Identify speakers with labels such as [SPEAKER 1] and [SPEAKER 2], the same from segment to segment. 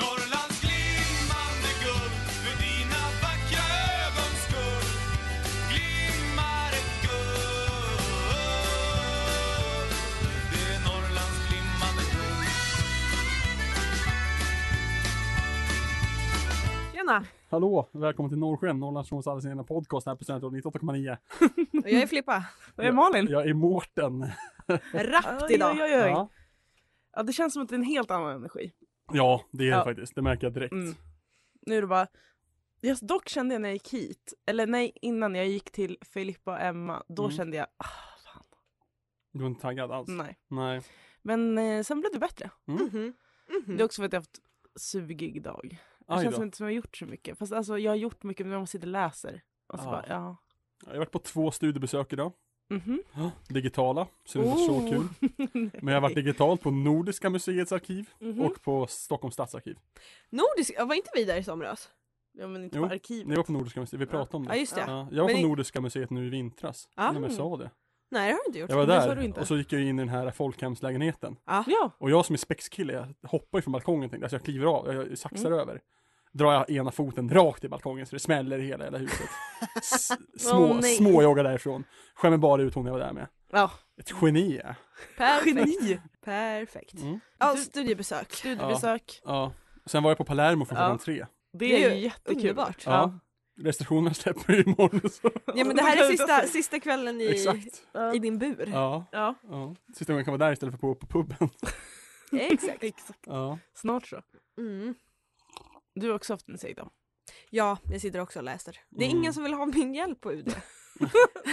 [SPEAKER 1] Norrlands glimmande guld för dina vackra ögons skull glimmar ett guld Det är Norrlands glimmande guld
[SPEAKER 2] Tjena!
[SPEAKER 3] Hallå, välkommen till Norrsken, Norrlands Jonas allsena podcast här på Studentradion 98,9.
[SPEAKER 2] Jag är Filippa. Och jag är Malin.
[SPEAKER 3] Jag är Mårten.
[SPEAKER 2] Rappt idag.
[SPEAKER 4] Oj, oj, oj. Ja.
[SPEAKER 3] Ja.
[SPEAKER 4] det känns som att det är en helt annan energi.
[SPEAKER 3] ja, det är det
[SPEAKER 4] Ja.
[SPEAKER 3] faktiskt. Det märker jag direkt.
[SPEAKER 4] Mm. Nu är det bara... Jag, dock kände jag när jag gick hit, eller nej innan jag gick till Filippa och Emma, då
[SPEAKER 3] Mm.
[SPEAKER 4] kände jag ah, fan,
[SPEAKER 3] Du var inte taggad alls?
[SPEAKER 4] nej.
[SPEAKER 3] Nej.
[SPEAKER 4] Men eh, sen blev det bättre.
[SPEAKER 3] Mm.
[SPEAKER 2] Mhm.
[SPEAKER 4] Det är också för att jag har haft sugig dag. Det
[SPEAKER 3] Aj
[SPEAKER 4] känns
[SPEAKER 3] då.
[SPEAKER 4] som inte som jag har gjort så mycket. Fast alltså jag har gjort mycket men man sitter och läser. Och så
[SPEAKER 3] Ja.
[SPEAKER 4] bara, ja.
[SPEAKER 3] Jag har varit på två studiebesök idag.
[SPEAKER 4] Mhm.
[SPEAKER 3] Digitala, så det är inte så
[SPEAKER 4] Oh.
[SPEAKER 3] kul. Men jag har varit digitalt på Nordiska museets arkiv
[SPEAKER 4] Mhm.
[SPEAKER 3] och på Stockholms stadsarkiv.
[SPEAKER 2] Nordisk, ja, var inte vi där i somras?
[SPEAKER 4] Ja men inte
[SPEAKER 3] Jo,
[SPEAKER 4] på arkivet.
[SPEAKER 3] Ni var på Nordiska museet, vi pratade om
[SPEAKER 2] Ja
[SPEAKER 3] det.
[SPEAKER 2] just det.
[SPEAKER 3] Mm. Ja, jag var
[SPEAKER 2] Men
[SPEAKER 3] på
[SPEAKER 2] i-
[SPEAKER 3] Nordiska museet nu i vintras.
[SPEAKER 2] Ah.
[SPEAKER 3] Ja, men jag sa det.
[SPEAKER 2] Nej det har du inte gjort.
[SPEAKER 3] Jag var
[SPEAKER 4] det sa du
[SPEAKER 3] där
[SPEAKER 4] inte.
[SPEAKER 3] och så gick jag in i den här folkhemslägenheten.
[SPEAKER 4] Ja.
[SPEAKER 3] Och jag som är spexkille, jag hoppar ju från balkongen tänkte jag, så jag kliver av, jag saxar
[SPEAKER 4] Mm.
[SPEAKER 3] över. Drar jag ena foten rakt i balkongen så det smäller i hela, hela huset. S- små,
[SPEAKER 2] Åh, nej.
[SPEAKER 3] små joggar därifrån. Skämmer bara ut hon jag var där med.
[SPEAKER 4] Ja.
[SPEAKER 3] Ett geni ja.
[SPEAKER 2] Perfekt.
[SPEAKER 4] Geni!
[SPEAKER 2] Perfekt.
[SPEAKER 3] Mm.
[SPEAKER 2] Ja,
[SPEAKER 4] Du-
[SPEAKER 2] studiebesök.
[SPEAKER 4] Studiebesök.
[SPEAKER 3] ja. Sen var jag på Palermo från
[SPEAKER 4] Ja.
[SPEAKER 3] klockan tre.
[SPEAKER 4] Det är ju
[SPEAKER 2] ju
[SPEAKER 4] jättekul.
[SPEAKER 2] underbart.
[SPEAKER 3] Ja. Restriktionerna släpper ju imorgon så.
[SPEAKER 2] Ja men det här är sista, sista kvällen i,
[SPEAKER 3] Exakt.
[SPEAKER 2] i din bur.
[SPEAKER 3] Ja.
[SPEAKER 4] Ja.
[SPEAKER 3] ja. Sista gången jag kan vara där istället för på, på puben.
[SPEAKER 2] Exakt.
[SPEAKER 3] Ja.
[SPEAKER 4] Snart så.
[SPEAKER 2] Mm.
[SPEAKER 4] Du har också haft en seg dag.
[SPEAKER 2] Ja, jag sitter också och läser. Det är
[SPEAKER 3] Mm.
[SPEAKER 2] ingen som vill ha min hjälp på UD.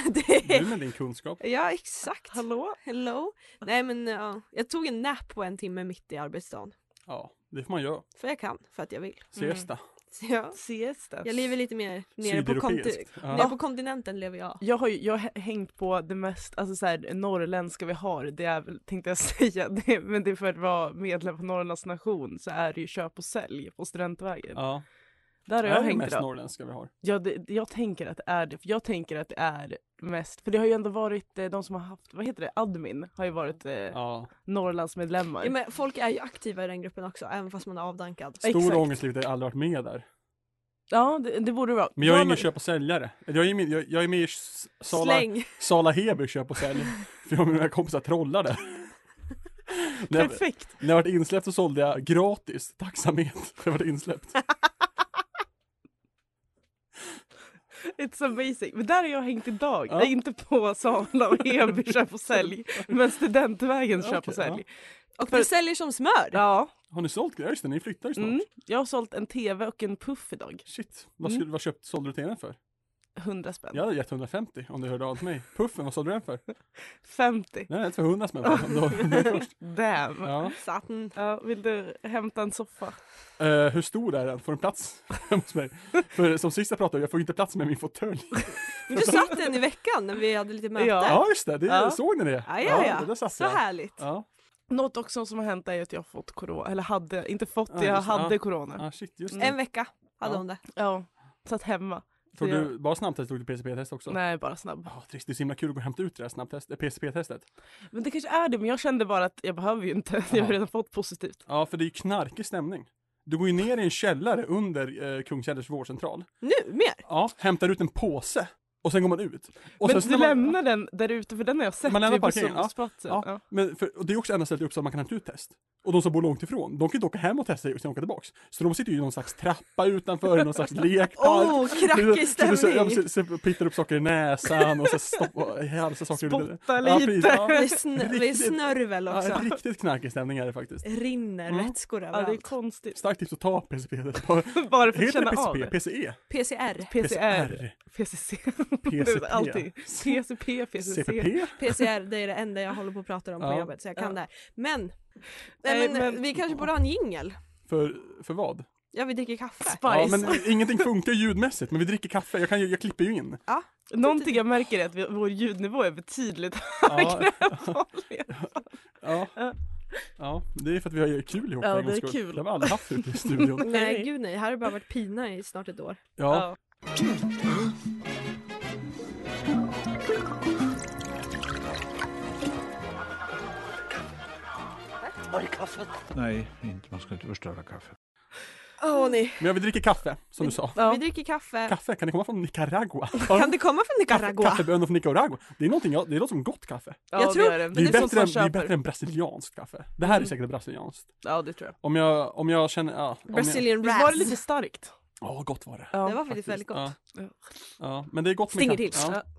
[SPEAKER 2] det
[SPEAKER 3] Du
[SPEAKER 2] är...
[SPEAKER 3] med din kunskap.
[SPEAKER 2] Ja, exakt.
[SPEAKER 4] Hallå?
[SPEAKER 2] Hello. Nej men ja, jag tog en nap på en timme mitt i arbetsdagen.
[SPEAKER 3] Ja, det får man
[SPEAKER 4] Mm.
[SPEAKER 3] göra.
[SPEAKER 2] För jag kan, för att jag vill.
[SPEAKER 3] Siesta.
[SPEAKER 2] Så jag,
[SPEAKER 4] Siesta.
[SPEAKER 2] jag lever lite mer nere på, konti-
[SPEAKER 3] Sydeuropeiskt.
[SPEAKER 2] nere
[SPEAKER 3] Ja.
[SPEAKER 2] på kontinenten. lever jag.
[SPEAKER 4] Jag har ju, jag har hängt på det mest, alltså så här, norrländska vi har, det är väl, tänkte jag säga, det, men det är för att vara medlem på Norrlands nation så är det ju köp och sälj på Studentvägen.
[SPEAKER 3] Ja.
[SPEAKER 4] Där har
[SPEAKER 3] Det
[SPEAKER 4] jag
[SPEAKER 3] är det
[SPEAKER 4] hängt
[SPEAKER 3] mest
[SPEAKER 4] idag.
[SPEAKER 3] norrländska vi har.
[SPEAKER 4] Ja, det, det- jag tänker att det är det, för jag tänker att det är mest, för det har ju ändå varit eh, de som har haft, vad heter det, admin har ju varit eh,
[SPEAKER 3] Ja.
[SPEAKER 4] Norrlandsmedlemmar.
[SPEAKER 2] Ja, men folk är ju aktiva i den gruppen också, även fast man är avdankad.
[SPEAKER 3] Stor
[SPEAKER 4] Exakt.
[SPEAKER 3] ångestliv, jag har aldrig varit med där.
[SPEAKER 4] Ja, det, det borde det vara.
[SPEAKER 3] Men jag är
[SPEAKER 4] Ja,
[SPEAKER 3] ingen köp och säljare. Jag är, med, jag, jag är med i S- Sala,
[SPEAKER 2] Släng!
[SPEAKER 3] Sala Heby köp och sälj. För jag och mina kompisar trollade. när, jag,
[SPEAKER 4] Perfekt!
[SPEAKER 3] när jag varit insläppt så sålde jag gratis tacksamhet. När jag varit insläppt.
[SPEAKER 4] It's amazing. Men där har jag hängt idag.
[SPEAKER 3] Ja.
[SPEAKER 4] Nej, inte på Sala och Heby köp och sälj, men Studentvägens köp
[SPEAKER 3] Okej,
[SPEAKER 4] och sälj.
[SPEAKER 2] Och du säljer som smör!
[SPEAKER 4] Ja,
[SPEAKER 3] Har ni sålt grejer? Just det, ni flyttar ju snart.
[SPEAKER 4] mm. jag har sålt en tv och en puff idag.
[SPEAKER 3] Shit, vad, skulle, vad köpt, sålde du till den för?
[SPEAKER 4] 100 spänn.
[SPEAKER 3] Jag hade gett 150 om du hörde av till mig. Puffen, vad sålde du den för?
[SPEAKER 4] 50.
[SPEAKER 3] Nej, inte för 100 spänn. bara, om du har- om du är först.
[SPEAKER 4] Damn. Ja.
[SPEAKER 3] Ja.
[SPEAKER 2] Satan.
[SPEAKER 4] vill du hämta en soffa?
[SPEAKER 3] Eh, hur stor är den? Får den plats hemma hos mig? För som sist jag pratade, jag får inte plats med min fåtölj.
[SPEAKER 2] Men du satt den i veckan när vi hade lite möte.
[SPEAKER 4] Ja.
[SPEAKER 3] Ja, just det. det
[SPEAKER 4] Ja.
[SPEAKER 3] Såg ni det?
[SPEAKER 2] Ja, ja,
[SPEAKER 3] det
[SPEAKER 2] ja.
[SPEAKER 3] där satt
[SPEAKER 2] Så
[SPEAKER 3] jag.
[SPEAKER 2] härligt.
[SPEAKER 3] Ja.
[SPEAKER 4] Något också som har hänt är att jag har fått corona, eller hade, inte fått,
[SPEAKER 3] Ja,
[SPEAKER 4] jag
[SPEAKER 3] just det.
[SPEAKER 4] hade
[SPEAKER 3] Ja.
[SPEAKER 4] corona.
[SPEAKER 3] Ah, shit, just det.
[SPEAKER 2] En vecka hade
[SPEAKER 3] Ja.
[SPEAKER 2] hon det.
[SPEAKER 4] Ja, satt hemma.
[SPEAKER 3] Tog
[SPEAKER 4] Så jag-
[SPEAKER 3] du bara snabbtest, tog du PCP-test också?
[SPEAKER 4] Nej, bara snabb.
[SPEAKER 3] Ah, trist, det är så himla kul att gå och hämta ut det eh, där snabbtestet, PCP-testet.
[SPEAKER 4] Men det kanske är det, men jag kände bara att jag behöver ju inte, jag har redan fått positivt.
[SPEAKER 3] Ja, för det är ju knarkig stämning. Du går ju ner i en källare under eh, Kungskällers vårdcentral.
[SPEAKER 2] Nu mer!
[SPEAKER 3] Ja, hämtar ut en påse och sen går man ut. Och
[SPEAKER 4] men
[SPEAKER 3] sen
[SPEAKER 4] du
[SPEAKER 3] när man-
[SPEAKER 4] lämnar den där ute, för den har jag sett
[SPEAKER 3] Man lämnar
[SPEAKER 4] vid
[SPEAKER 3] parkeringen, ja.
[SPEAKER 4] busshållplatsen.
[SPEAKER 3] Ja,
[SPEAKER 4] Ja.
[SPEAKER 3] men för, och det är också enda stället i Uppsala man kan hämta ut test. Och de som bor långt ifrån, de kan ju inte åka hem och testa och sen åka tillbaks. Så de sitter ju i någon slags trappa utanför, i någon slags lekpark.
[SPEAKER 2] Oh,
[SPEAKER 3] Sitter-
[SPEAKER 2] krackig
[SPEAKER 3] sitter så- ja,
[SPEAKER 2] stämning!
[SPEAKER 3] men sitter- sitter- Pittar upp saker i näsan och så stoppar, hälsar saker
[SPEAKER 4] Spotta
[SPEAKER 3] Ja,
[SPEAKER 4] lite.
[SPEAKER 3] precis. Ja.
[SPEAKER 2] Det är, sn- det är
[SPEAKER 3] Riktigt.
[SPEAKER 2] snörvel
[SPEAKER 3] Ja,
[SPEAKER 2] också.
[SPEAKER 3] en riktigt knarkig stämning är det faktiskt.
[SPEAKER 2] Rinner
[SPEAKER 3] Mm.
[SPEAKER 2] vätskor
[SPEAKER 4] Ja, det är
[SPEAKER 2] överallt.
[SPEAKER 4] konstigt.
[SPEAKER 3] Starkt tips att ta PCP. Bara-
[SPEAKER 4] Bara för att
[SPEAKER 3] Heter
[SPEAKER 4] känna
[SPEAKER 3] det
[SPEAKER 4] av.
[SPEAKER 3] PCP? PCE?
[SPEAKER 2] PCR,
[SPEAKER 4] PCR, PCC,
[SPEAKER 3] PCP.
[SPEAKER 4] alltid. PCP, PCC.
[SPEAKER 3] CPP?
[SPEAKER 2] PCR det är det enda jag håller på att prata om på
[SPEAKER 3] Ja.
[SPEAKER 2] jobbet så jag kan
[SPEAKER 4] Ja.
[SPEAKER 2] det här. Men, nej,
[SPEAKER 4] Nej,
[SPEAKER 2] men,
[SPEAKER 4] men-
[SPEAKER 2] vi kanske borde ha en jingel.
[SPEAKER 3] För, för vad?
[SPEAKER 2] Ja vi dricker kaffe.
[SPEAKER 3] Ja,
[SPEAKER 4] Spice.
[SPEAKER 3] men ingenting funkar ljudmässigt, men vi dricker kaffe. Jag, kan, ju- jag klipper ju in.
[SPEAKER 4] Någonting jag märker är att vi, vår ljudnivå är betydligt
[SPEAKER 3] Ja,
[SPEAKER 4] farligare.
[SPEAKER 3] ja. Ja, det är för att vi har ju kul ihop
[SPEAKER 4] Ja,
[SPEAKER 3] för en gångs
[SPEAKER 4] det är
[SPEAKER 3] skull.
[SPEAKER 4] kul.
[SPEAKER 3] Det har vi aldrig haft ute i studion.
[SPEAKER 2] Nej gud nej, här har det bara varit pina i snart ett år.
[SPEAKER 3] Ja,
[SPEAKER 5] Nej, inte. man ska inte förstöra kaffet.
[SPEAKER 2] Åh nej.
[SPEAKER 3] men jag vill dricka kaffe, som du sa.
[SPEAKER 2] Vi dricker kaffe.
[SPEAKER 3] Kaffe, kan det komma från Nicaragua?
[SPEAKER 2] Kan det komma från Nicaragua?
[SPEAKER 3] Kaffebönor från Nicaragua. Det är någonting, jag, det låter som gott kaffe.
[SPEAKER 4] Ja,
[SPEAKER 2] Jag tror-
[SPEAKER 4] det är det. Men
[SPEAKER 3] Det är,
[SPEAKER 4] det är sånt
[SPEAKER 3] bättre
[SPEAKER 4] man
[SPEAKER 3] än, det är
[SPEAKER 4] köper. Mm.
[SPEAKER 3] bättre än brasiliansk kaffe. Det här är säkert brasilianskt.
[SPEAKER 4] Ja, det tror jag.
[SPEAKER 3] Om jag, om jag känner, ja. om jag-
[SPEAKER 2] Brazilian
[SPEAKER 4] Visst
[SPEAKER 2] Razz.
[SPEAKER 4] var det lite starkt?
[SPEAKER 3] Ja, gott var det.
[SPEAKER 4] Ja.
[SPEAKER 2] Det var faktiskt väldigt gott.
[SPEAKER 3] Ja. ja, men det är gott med
[SPEAKER 2] Stinger
[SPEAKER 3] kaffe.
[SPEAKER 2] till.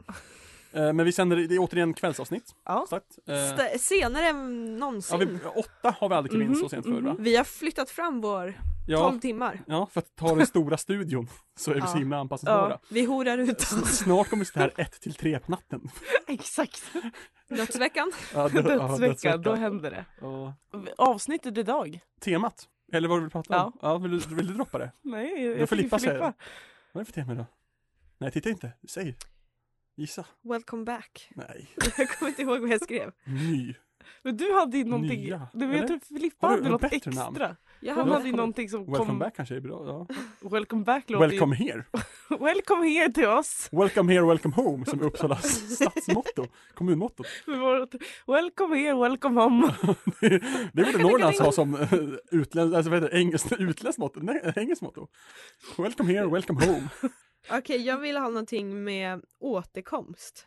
[SPEAKER 3] Ja. Eh, Men vi sänder, det är återigen kvällsavsnitt.
[SPEAKER 4] Ja.
[SPEAKER 3] Sagt. Eh,
[SPEAKER 2] St- senare än
[SPEAKER 3] Ja,
[SPEAKER 2] någonsin.
[SPEAKER 3] vi, åtta har vi aldrig klivit in
[SPEAKER 4] Mhm,
[SPEAKER 3] så sent förr va?
[SPEAKER 2] Vi har flyttat fram vår 12
[SPEAKER 3] Ja,
[SPEAKER 2] timmar.
[SPEAKER 3] ja, för att ta den stora studion så är vi så himla anpassningsbara.
[SPEAKER 2] Vi horar ut oss.
[SPEAKER 3] Snart kommer vi sitta här 1 till 3 på natten.
[SPEAKER 4] Exakt.
[SPEAKER 2] Dödsveckan.
[SPEAKER 3] Ja, dö- ja,
[SPEAKER 4] Dödsvecka, då händer det.
[SPEAKER 3] Ja.
[SPEAKER 4] Avsnittet idag.
[SPEAKER 3] Temat? Eller vad du vill prata om? Ja, vill, du, vill du droppa det?
[SPEAKER 4] Nej, jag
[SPEAKER 3] Då får
[SPEAKER 4] fick
[SPEAKER 3] Filippa säga
[SPEAKER 4] Filippa.
[SPEAKER 3] Vad är det för tema idag? Nej, titta inte. Säg. Gissa.
[SPEAKER 2] Welcome back.
[SPEAKER 3] Nej.
[SPEAKER 2] Jag kommer inte ihåg vad jag skrev.
[SPEAKER 3] Ny.
[SPEAKER 4] Men du hade ju någonting.
[SPEAKER 3] Nya,
[SPEAKER 4] du vet, typ
[SPEAKER 3] eller?
[SPEAKER 4] Filippa
[SPEAKER 3] Har du
[SPEAKER 4] hade
[SPEAKER 3] något
[SPEAKER 4] något
[SPEAKER 3] bättre
[SPEAKER 4] extra.
[SPEAKER 3] namn?
[SPEAKER 2] Jag
[SPEAKER 4] Hon
[SPEAKER 2] hade
[SPEAKER 4] hade ju någonting som
[SPEAKER 3] Welcome
[SPEAKER 4] kom.
[SPEAKER 3] back kanske är bra. Ja.
[SPEAKER 4] Welcome back låter
[SPEAKER 3] Welcome here.
[SPEAKER 4] ju. Welcome here till oss.
[SPEAKER 3] Welcome here, welcome home som är Uppsalas stadsmotto. Kommunmotto.
[SPEAKER 4] Med vårt Welcome here, welcome home.
[SPEAKER 3] Det borde Norrlands ha som eh, utländsk, alltså vad heter det, engelskt, utländskt motto? Nej, engelskt motto. Welcome here, welcome home.
[SPEAKER 2] Okej, jag vill ha någonting med återkomst.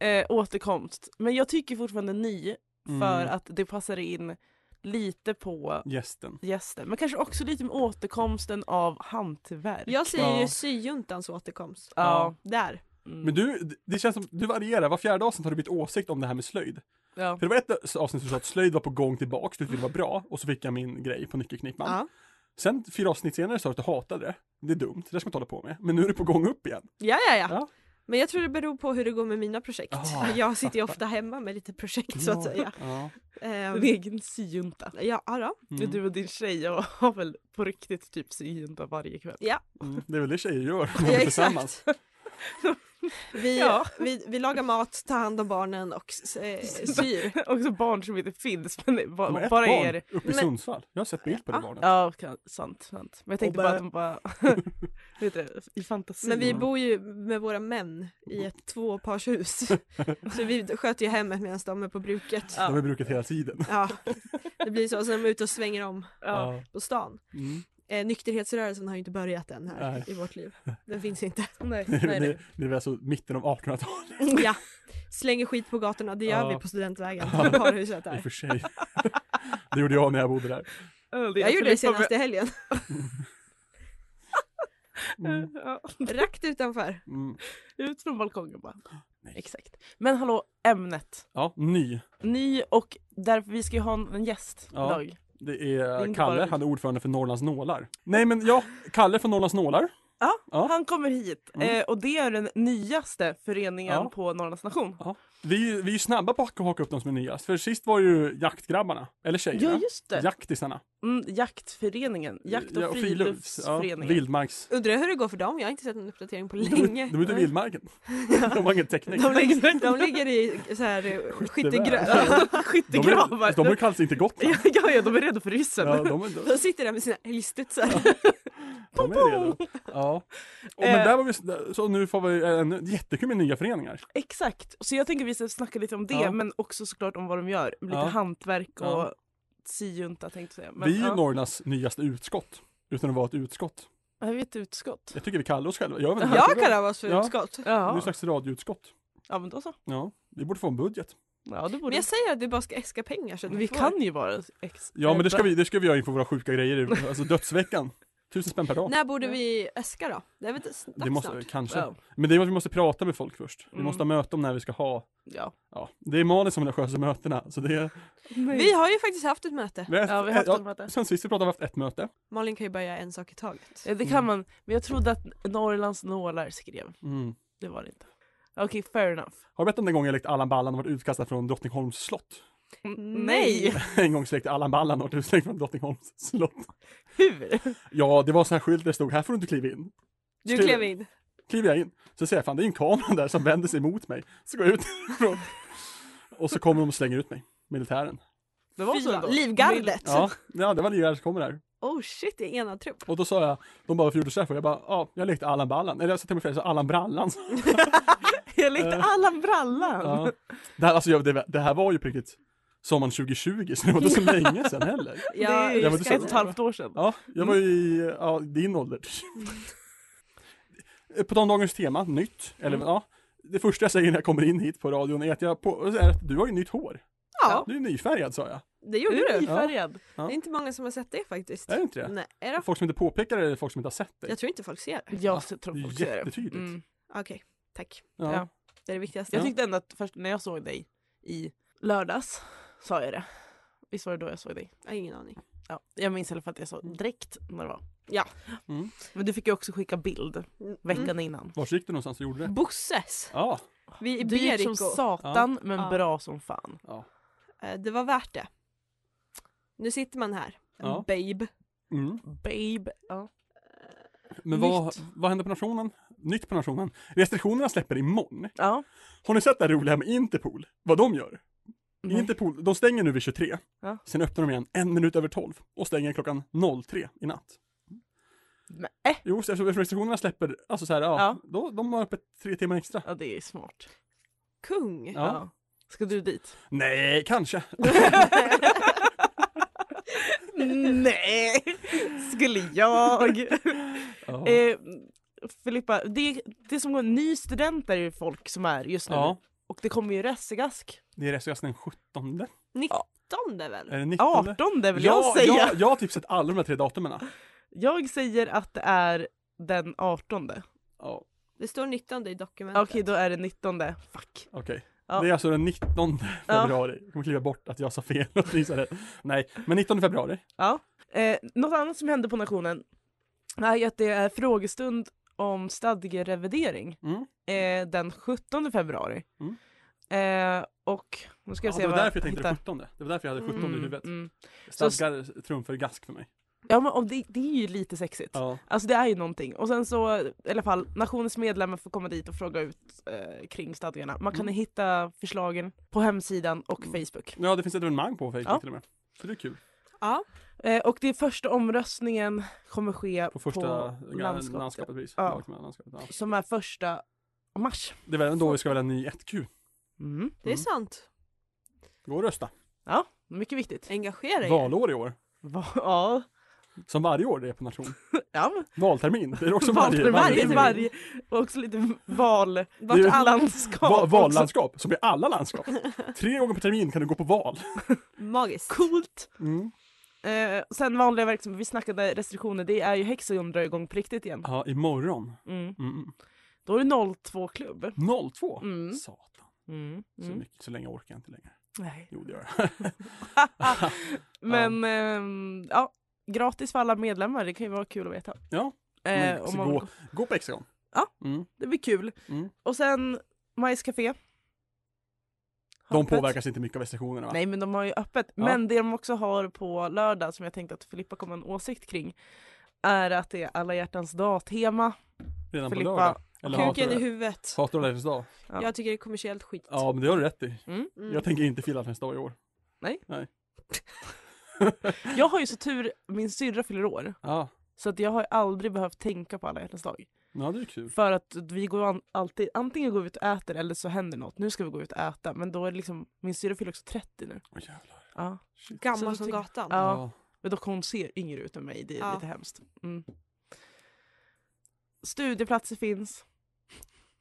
[SPEAKER 4] Eh, återkomst. Men jag tycker fortfarande ny för
[SPEAKER 3] Mm.
[SPEAKER 4] att det passar in lite på
[SPEAKER 3] Gästen.
[SPEAKER 4] gästen. Men kanske också lite med återkomsten av hantverk.
[SPEAKER 2] Jag säger
[SPEAKER 3] Ja.
[SPEAKER 2] ju syjuntans återkomst.
[SPEAKER 4] Ja.
[SPEAKER 2] Där.
[SPEAKER 4] Mm.
[SPEAKER 3] Men du, det känns som, du varierar. Var fjärde avsnitt har du bytt åsikt om det här med slöjd.
[SPEAKER 4] ja.
[SPEAKER 3] För det var ett avsnitt som sa att slöjd var på gång tillbaks, du tyckte det var bra och så fick jag min grej på nyckelknippan.
[SPEAKER 2] Ja.
[SPEAKER 3] Sen fyra avsnitt senare sa du att du hatade det. Det är dumt, det där ska man inte hålla på med. Men nu är det på gång upp igen.
[SPEAKER 2] Ja, ja, ja,
[SPEAKER 3] Ja.
[SPEAKER 2] Men jag tror det beror på hur det går med mina projekt.
[SPEAKER 3] Ah.
[SPEAKER 2] Jag sitter ju ofta hemma med lite projekt så att säga.
[SPEAKER 3] Ja.
[SPEAKER 4] Din
[SPEAKER 2] Ehm,
[SPEAKER 4] egen syjunta.
[SPEAKER 2] ja, ja,
[SPEAKER 3] Mm.
[SPEAKER 4] Du och din tjej jag har väl på riktigt typ syjunta varje kväll.
[SPEAKER 3] Mm. Det är väl det tjejer gör när
[SPEAKER 2] då.
[SPEAKER 3] de
[SPEAKER 2] ja
[SPEAKER 3] är tillsammans.
[SPEAKER 2] exakt. Vi,
[SPEAKER 4] Ja.
[SPEAKER 2] vi, vi lagar mat, tar hand om barnen och s- eh, syr.
[SPEAKER 4] Också barn som inte finns men det
[SPEAKER 3] De har
[SPEAKER 4] bara,
[SPEAKER 3] ett
[SPEAKER 4] bara
[SPEAKER 3] barn
[SPEAKER 4] är...
[SPEAKER 3] uppe i
[SPEAKER 2] Men-
[SPEAKER 3] Sundsvall. Jag har sett bild på det
[SPEAKER 2] Ja.
[SPEAKER 3] barnet.
[SPEAKER 4] Ah, Ja, kan, sant, sant. Men jag tänkte
[SPEAKER 3] Och
[SPEAKER 4] bara
[SPEAKER 3] bara-
[SPEAKER 4] att de bara... vet du, I fantasin.
[SPEAKER 2] Men vi
[SPEAKER 3] Mm.
[SPEAKER 2] bor ju med våra män i ett tvåparshus. så vi sköter ju hemmet medan de är på bruket.
[SPEAKER 3] De har brukat hela tiden.
[SPEAKER 2] Ja, det blir så. Och Sen är de ute och svänger om
[SPEAKER 4] Ja.
[SPEAKER 2] på stan.
[SPEAKER 3] Mm.
[SPEAKER 2] Eh, nykterhetsrörelsen har ju inte börjat än här
[SPEAKER 3] Nej.
[SPEAKER 2] i vårt liv. Den finns inte.
[SPEAKER 4] Nej,
[SPEAKER 3] Det,
[SPEAKER 4] nej,
[SPEAKER 3] det,
[SPEAKER 4] nej.
[SPEAKER 3] det är väl alltså mitten av 1800-talet
[SPEAKER 2] Ja, slänger skit på gatorna. Det gör
[SPEAKER 3] Ja.
[SPEAKER 2] vi på Studentvägen,
[SPEAKER 3] Ja.
[SPEAKER 2] parhuset
[SPEAKER 3] i och
[SPEAKER 2] där.
[SPEAKER 3] för sig. Det gjorde jag när jag bodde där.
[SPEAKER 4] Ja, är
[SPEAKER 2] Jag gjorde det
[SPEAKER 4] Filippa med-
[SPEAKER 2] senaste helgen.
[SPEAKER 3] Mm.
[SPEAKER 4] Ja,
[SPEAKER 2] Rakt utanför.
[SPEAKER 3] Mm.
[SPEAKER 4] ut från balkongen bara.
[SPEAKER 3] Nej.
[SPEAKER 4] Exakt. Men hallå, ämnet.
[SPEAKER 3] Ja, ny.
[SPEAKER 4] Ny och därför vi ska ju ha en en gäst
[SPEAKER 3] Ja.
[SPEAKER 4] idag.
[SPEAKER 3] Det är,
[SPEAKER 4] inte bara
[SPEAKER 3] Kalle,
[SPEAKER 4] vi.
[SPEAKER 3] han är ordförande för Norrlands nålar. Nej men ja, Kalle från Norrlands nålar.
[SPEAKER 4] Ja,
[SPEAKER 3] Ja.
[SPEAKER 4] han kommer hit.
[SPEAKER 3] Mm.
[SPEAKER 4] Eh, och det är den nyaste föreningen
[SPEAKER 3] Ja.
[SPEAKER 4] på Norrlands nation.
[SPEAKER 3] Vi, vi är ju snabba på att haka upp de som är nyast. För sist var ju jaktgrabbarna, eller tjejerna.
[SPEAKER 4] Ja, just det.
[SPEAKER 3] Jaktisarna.
[SPEAKER 4] Mm, jaktföreningen. Jakt och
[SPEAKER 3] Ja,
[SPEAKER 4] friluftsföreningen.
[SPEAKER 3] Ja, vildmarks...
[SPEAKER 2] Undrar hur det går för dem. Jag har inte sett någon uppdatering på
[SPEAKER 3] De är-
[SPEAKER 2] länge.
[SPEAKER 3] de är ute i vildmarken. De har ingen täckning.
[SPEAKER 2] De ligger, de ligger i så här, eh, skyttegrav.
[SPEAKER 3] De är-
[SPEAKER 4] Skyttegravar.
[SPEAKER 3] De har ju kallat sig inte Gotland.
[SPEAKER 4] ja, ja, de är rädda för ryssen.
[SPEAKER 3] Ja, de, är- de,
[SPEAKER 2] De sitter där med sina älgstudsar.
[SPEAKER 3] de är redo. Ja. Och, men
[SPEAKER 4] Eh.
[SPEAKER 3] där var vi, så nu får vi en jättekul med nya föreningar.
[SPEAKER 4] Exakt, så jag tänker vi ska snacka lite om det
[SPEAKER 3] Ja.
[SPEAKER 4] men också såklart om vad de gör. Lite
[SPEAKER 3] Ja.
[SPEAKER 4] hantverk och
[SPEAKER 3] Ja.
[SPEAKER 4] syjunta tänkte jag säga. Men,
[SPEAKER 3] vi är
[SPEAKER 4] ja.
[SPEAKER 3] Norrlands nyaste utskott. Utan att vara ett utskott.
[SPEAKER 4] Är vi ett utskott?
[SPEAKER 3] Jag tycker vi kallar oss själva. Jag vet inte.
[SPEAKER 2] Jag kallar oss för
[SPEAKER 3] Ja.
[SPEAKER 2] utskott.
[SPEAKER 3] Det är
[SPEAKER 4] Ja.
[SPEAKER 3] ett slags radioutskott.
[SPEAKER 4] ja, men då så.
[SPEAKER 3] Ja, vi borde få en budget.
[SPEAKER 4] Ja, det
[SPEAKER 2] Men
[SPEAKER 4] borde...
[SPEAKER 2] jag säger att du bara ska äska pengar så att du
[SPEAKER 4] vi
[SPEAKER 2] får.
[SPEAKER 4] kan ju vara ex...
[SPEAKER 3] Ja, men det ska vi, det ska vi göra inför våra sjuka grejer. Alltså dödsveckan. Tusen spänn per dag.
[SPEAKER 2] När borde vi äska då? Det är väl dags
[SPEAKER 3] det måste,
[SPEAKER 2] snart?
[SPEAKER 3] kanske.
[SPEAKER 4] Ja.
[SPEAKER 3] Men det är att vi måste prata med folk först. Vi
[SPEAKER 4] Mm.
[SPEAKER 3] måste ha möte om när vi ska ha.
[SPEAKER 4] Ja.
[SPEAKER 3] Ja, det är Malin som sköter mötena. Så det är...
[SPEAKER 2] Vi har ju faktiskt haft ett möte.
[SPEAKER 3] Vi har-
[SPEAKER 4] Ja, vi har haft
[SPEAKER 3] ja,
[SPEAKER 4] ett möte.
[SPEAKER 3] Sen sist vi pratade har vi haft ett möte.
[SPEAKER 2] Malin kan ju bara göra en sak i taget.
[SPEAKER 4] Ja, det kan man. Men jag trodde att Norrlands nålar skrev.
[SPEAKER 3] Mm.
[SPEAKER 4] Det var det inte. Okej, fair enough.
[SPEAKER 3] Har du berättat om den gången jag lekte Allan Ballan och varit utkastad från Drottningholms slott?
[SPEAKER 4] Mm,
[SPEAKER 2] Nej.
[SPEAKER 3] en gång så lekte Allan Ballan och varit utslängd från Drottningholms slott.
[SPEAKER 4] Hur?
[SPEAKER 3] Ja, det var en sån här skylt där det stod här får du inte kliva in.
[SPEAKER 2] Du
[SPEAKER 3] Skriv-
[SPEAKER 2] klev in.
[SPEAKER 3] kliver jag in. Så ser jag fan det är en kamera där som vänder sig mot mig. Så går jag ut från Och så kommer de och slänger ut mig. Militären.
[SPEAKER 4] Det var så
[SPEAKER 2] Fy,
[SPEAKER 4] ändå.
[SPEAKER 2] Livgardet!
[SPEAKER 3] Ja, ja det var livgardet som kommer där.
[SPEAKER 2] Oh shit, det är enad trupp.
[SPEAKER 3] Och då sa jag, de bara varför gjorde du så här för? Jag bara, ja, jag lekte Allan Ballan. Eller jag sa till mig själv, jag sa Allan Brallan.
[SPEAKER 4] Jag lekte
[SPEAKER 3] Eh.
[SPEAKER 4] Allan Brallan.
[SPEAKER 3] Ja. Det, här, alltså, jag, det, det här var ju på riktigt sommaren 2020, så det var inte så länge sedan heller.
[SPEAKER 4] Det är
[SPEAKER 2] Ja,
[SPEAKER 4] ju
[SPEAKER 3] Ja, men du
[SPEAKER 4] ett
[SPEAKER 3] sa-
[SPEAKER 4] och ett halvt år sedan.
[SPEAKER 3] Ja, jag var ju i ja, din ålder. På den dagens tema, nytt. Eller, ja, det första jag säger när jag kommer in hit på radion är att, jag på, är att du har ju nytt hår.
[SPEAKER 2] ja,
[SPEAKER 3] Du är nyfärgad sa jag.
[SPEAKER 2] det
[SPEAKER 4] Är
[SPEAKER 2] gjorde
[SPEAKER 4] du
[SPEAKER 2] du.
[SPEAKER 4] nyfärgad?
[SPEAKER 2] Det är inte många som har sett det faktiskt.
[SPEAKER 3] Är det inte det?
[SPEAKER 2] Nej, är det?
[SPEAKER 3] Folk som inte påpekar det eller folk som inte har sett dig.
[SPEAKER 2] Jag tror inte folk ser det.
[SPEAKER 4] Jag ser- tror
[SPEAKER 3] det är
[SPEAKER 4] folk ser det.
[SPEAKER 3] jättetydligt.
[SPEAKER 4] Mm.
[SPEAKER 2] Okej, tack.
[SPEAKER 3] Ja.
[SPEAKER 4] Ja.
[SPEAKER 2] Det är det viktigaste.
[SPEAKER 4] Jag tyckte ändå att först när jag såg dig i lördags sa jag det. Visst var det då jag såg dig?
[SPEAKER 2] Jag har ingen aning.
[SPEAKER 4] Ja, jag minns i alla fall att jag såg
[SPEAKER 2] Mm.
[SPEAKER 4] direkt när det var.
[SPEAKER 2] Ja.
[SPEAKER 3] Mm.
[SPEAKER 4] Men du fick ju också skicka bild
[SPEAKER 2] Mm.
[SPEAKER 4] veckan innan.
[SPEAKER 3] Vart gick du någonstans och gjorde det?
[SPEAKER 2] Bosses!
[SPEAKER 3] Ja,
[SPEAKER 2] Vi är i
[SPEAKER 4] Du gick som
[SPEAKER 2] Beriko.
[SPEAKER 4] satan men
[SPEAKER 2] Ja.
[SPEAKER 4] bra som fan.
[SPEAKER 2] Eh, Det var värt det. Nu sitter man här.
[SPEAKER 3] Ja.
[SPEAKER 2] Babe.
[SPEAKER 3] mm.
[SPEAKER 4] Babe. Ja.
[SPEAKER 3] men vad, vad händer på nationen? Nytt på nationen. Restriktionerna släpper imorgon.
[SPEAKER 4] ja.
[SPEAKER 3] Har ni sett det här roliga med Interpol? Vad de gör?
[SPEAKER 4] Nej.
[SPEAKER 3] Interpol, de stänger nu vid 23.
[SPEAKER 4] Ja.
[SPEAKER 3] Sen öppnar de igen en minut över 12 och stänger klockan 03 i natt.
[SPEAKER 4] Men, äh.
[SPEAKER 3] Jo, så eftersom restriktionerna släpper, alltså så här, ja,
[SPEAKER 4] Ja.
[SPEAKER 3] Då, de har öppet tre timmar extra.
[SPEAKER 4] ja, det är smart.
[SPEAKER 2] Kung.
[SPEAKER 3] Ja.
[SPEAKER 4] Ska du dit?
[SPEAKER 3] Nej, kanske.
[SPEAKER 4] Nej, skulle jag.
[SPEAKER 3] Ja.
[SPEAKER 4] eh, Filippa, det, det som går ny student är ju folk som är just nu.
[SPEAKER 3] ja,
[SPEAKER 4] Och det kommer ju ressegask.
[SPEAKER 3] det är restlöst den 17.
[SPEAKER 2] Donde väl?
[SPEAKER 3] Är det 19?
[SPEAKER 4] 18 det vill jag
[SPEAKER 3] ja,
[SPEAKER 4] säga.
[SPEAKER 3] Jag, jag har typ sett alla de här tre datumen.
[SPEAKER 4] Jag säger att det är den 18. Okej,
[SPEAKER 3] Ja,
[SPEAKER 2] Det står 19 i dokumentet.
[SPEAKER 4] då är det 19. Fuck.
[SPEAKER 3] okej.
[SPEAKER 4] Ja.
[SPEAKER 3] Det är alltså den 19 februari. Jag kommer kliva bort att jag sa fel och visa det. Nej, men 19 februari.
[SPEAKER 4] Ja. Eh, något annat som hände på nationen är ju att det är frågestund om stadgerevidering
[SPEAKER 3] Mm.
[SPEAKER 4] eh, den 17 februari.
[SPEAKER 3] Mm.
[SPEAKER 4] Eh, och nu ska
[SPEAKER 3] Ja,
[SPEAKER 4] jag se
[SPEAKER 3] det var
[SPEAKER 4] vad
[SPEAKER 3] därför jag tänkte
[SPEAKER 4] hittar.
[SPEAKER 3] den 17. Det var därför jag hade 17 i huvudet.
[SPEAKER 4] Mm. Så-
[SPEAKER 3] Stadgar trumfar gask för mig.
[SPEAKER 4] Ja men och det, det är ju lite sexigt.
[SPEAKER 3] Ja.
[SPEAKER 4] Alltså det är ju någonting. Och sen så, i alla fall, nationens medlemmar får komma dit och fråga ut eh, kring stadgarna. Man kan
[SPEAKER 3] Mm.
[SPEAKER 4] hitta förslagen på hemsidan och Facebook.
[SPEAKER 3] ja, det finns ett evenemang på Facebook
[SPEAKER 4] Ja.
[SPEAKER 3] till och med. Så det är kul.
[SPEAKER 2] Ja.
[SPEAKER 4] Eh, och det är första omröstningen kommer ske
[SPEAKER 3] På första landskapet.
[SPEAKER 4] landskapet.
[SPEAKER 3] landskapet, precis.
[SPEAKER 4] Ja.
[SPEAKER 3] Lagom med landskapet, ja.
[SPEAKER 4] Som är första mars.
[SPEAKER 3] Det är väl då vi ska välja en ny 1Q.
[SPEAKER 4] Mm.
[SPEAKER 2] Det är
[SPEAKER 3] Mm.
[SPEAKER 2] sant.
[SPEAKER 3] Gå och rösta.
[SPEAKER 4] Ja, mycket viktigt.
[SPEAKER 2] Engagera er.
[SPEAKER 3] Valår i år.
[SPEAKER 4] Va? Ja,
[SPEAKER 3] Som varje år det är på nation.
[SPEAKER 4] ja. men
[SPEAKER 3] Valtermin. Det är också varje,
[SPEAKER 4] Valtermin,
[SPEAKER 3] varje,
[SPEAKER 4] varje, Och också lite val...
[SPEAKER 3] Det är ju-
[SPEAKER 4] Vallandskap.
[SPEAKER 3] Va-
[SPEAKER 4] också.
[SPEAKER 3] vallandskap, som är alla landskap. Tre gånger per termin kan du gå på val.
[SPEAKER 2] Magiskt.
[SPEAKER 4] Coolt!
[SPEAKER 3] Mm.
[SPEAKER 4] Eh, sen vanliga verksamheter, vi snackade restriktioner, det är ju Hexagon drar igång på riktigt igen.
[SPEAKER 3] Ja, imorgon.
[SPEAKER 4] Mm.
[SPEAKER 3] Mm.
[SPEAKER 4] Då är det 0-2-klubb.
[SPEAKER 3] 02.
[SPEAKER 4] Mm.
[SPEAKER 3] Satan.
[SPEAKER 4] Mm.
[SPEAKER 3] Så,
[SPEAKER 4] Mm.
[SPEAKER 3] mycket, så länge orkar jag inte längre.
[SPEAKER 4] Nej.
[SPEAKER 3] Jo, det gör jag.
[SPEAKER 4] Men ehm, ja, gratis för alla medlemmar, det kan ju vara kul att veta.
[SPEAKER 3] Ja,
[SPEAKER 4] Eh,
[SPEAKER 3] men
[SPEAKER 4] om
[SPEAKER 3] så
[SPEAKER 4] man,
[SPEAKER 3] gå, gå på Hexagon.
[SPEAKER 4] Ja.
[SPEAKER 3] Mm.
[SPEAKER 4] Det blir kul.
[SPEAKER 3] Mm.
[SPEAKER 4] Och sen Majs Café. Har
[SPEAKER 3] De
[SPEAKER 4] öppet.
[SPEAKER 3] påverkas inte mycket av restriktionerna va?
[SPEAKER 4] Nej men de har ju öppet.
[SPEAKER 3] Ja.
[SPEAKER 4] Men det de också har på lördag som jag tänkte att Filippa kommer ha en åsikt kring är att det är alla hjärtans dag-tema.
[SPEAKER 3] Redan
[SPEAKER 4] Filippa,
[SPEAKER 3] på lördag. Eller hatar
[SPEAKER 2] Kuken
[SPEAKER 3] du
[SPEAKER 2] i
[SPEAKER 3] det?
[SPEAKER 2] huvudet.
[SPEAKER 3] Hatar du Lärsens dag?
[SPEAKER 4] Ja.
[SPEAKER 2] Jag tycker det är kommersiellt skit.
[SPEAKER 3] Ja, men det har du rätt i.
[SPEAKER 4] Mm.
[SPEAKER 2] Mm.
[SPEAKER 3] Jag tänker inte fira Lärsens dag i år.
[SPEAKER 4] Jag har ju så tur, min syrra fyller år.
[SPEAKER 3] Ja,
[SPEAKER 4] Så att jag har ju aldrig behövt tänka på alla hjärtans dag.
[SPEAKER 3] ja det är kul.
[SPEAKER 4] För att vi går an- alltid, antingen går vi ut och äter eller så händer något. Nu ska vi gå ut och äta. Men då är det liksom, min syrra fyller också 30 nu.
[SPEAKER 3] Åh jävlar.
[SPEAKER 4] Ja.
[SPEAKER 3] Shit.
[SPEAKER 4] Så då
[SPEAKER 2] Gammal som
[SPEAKER 4] tycker-
[SPEAKER 2] gatan.
[SPEAKER 4] Ja. Men dock hon ser yngre ut än mig, det är
[SPEAKER 2] Ja.
[SPEAKER 4] lite hemskt. Mm. Studieplatser finns.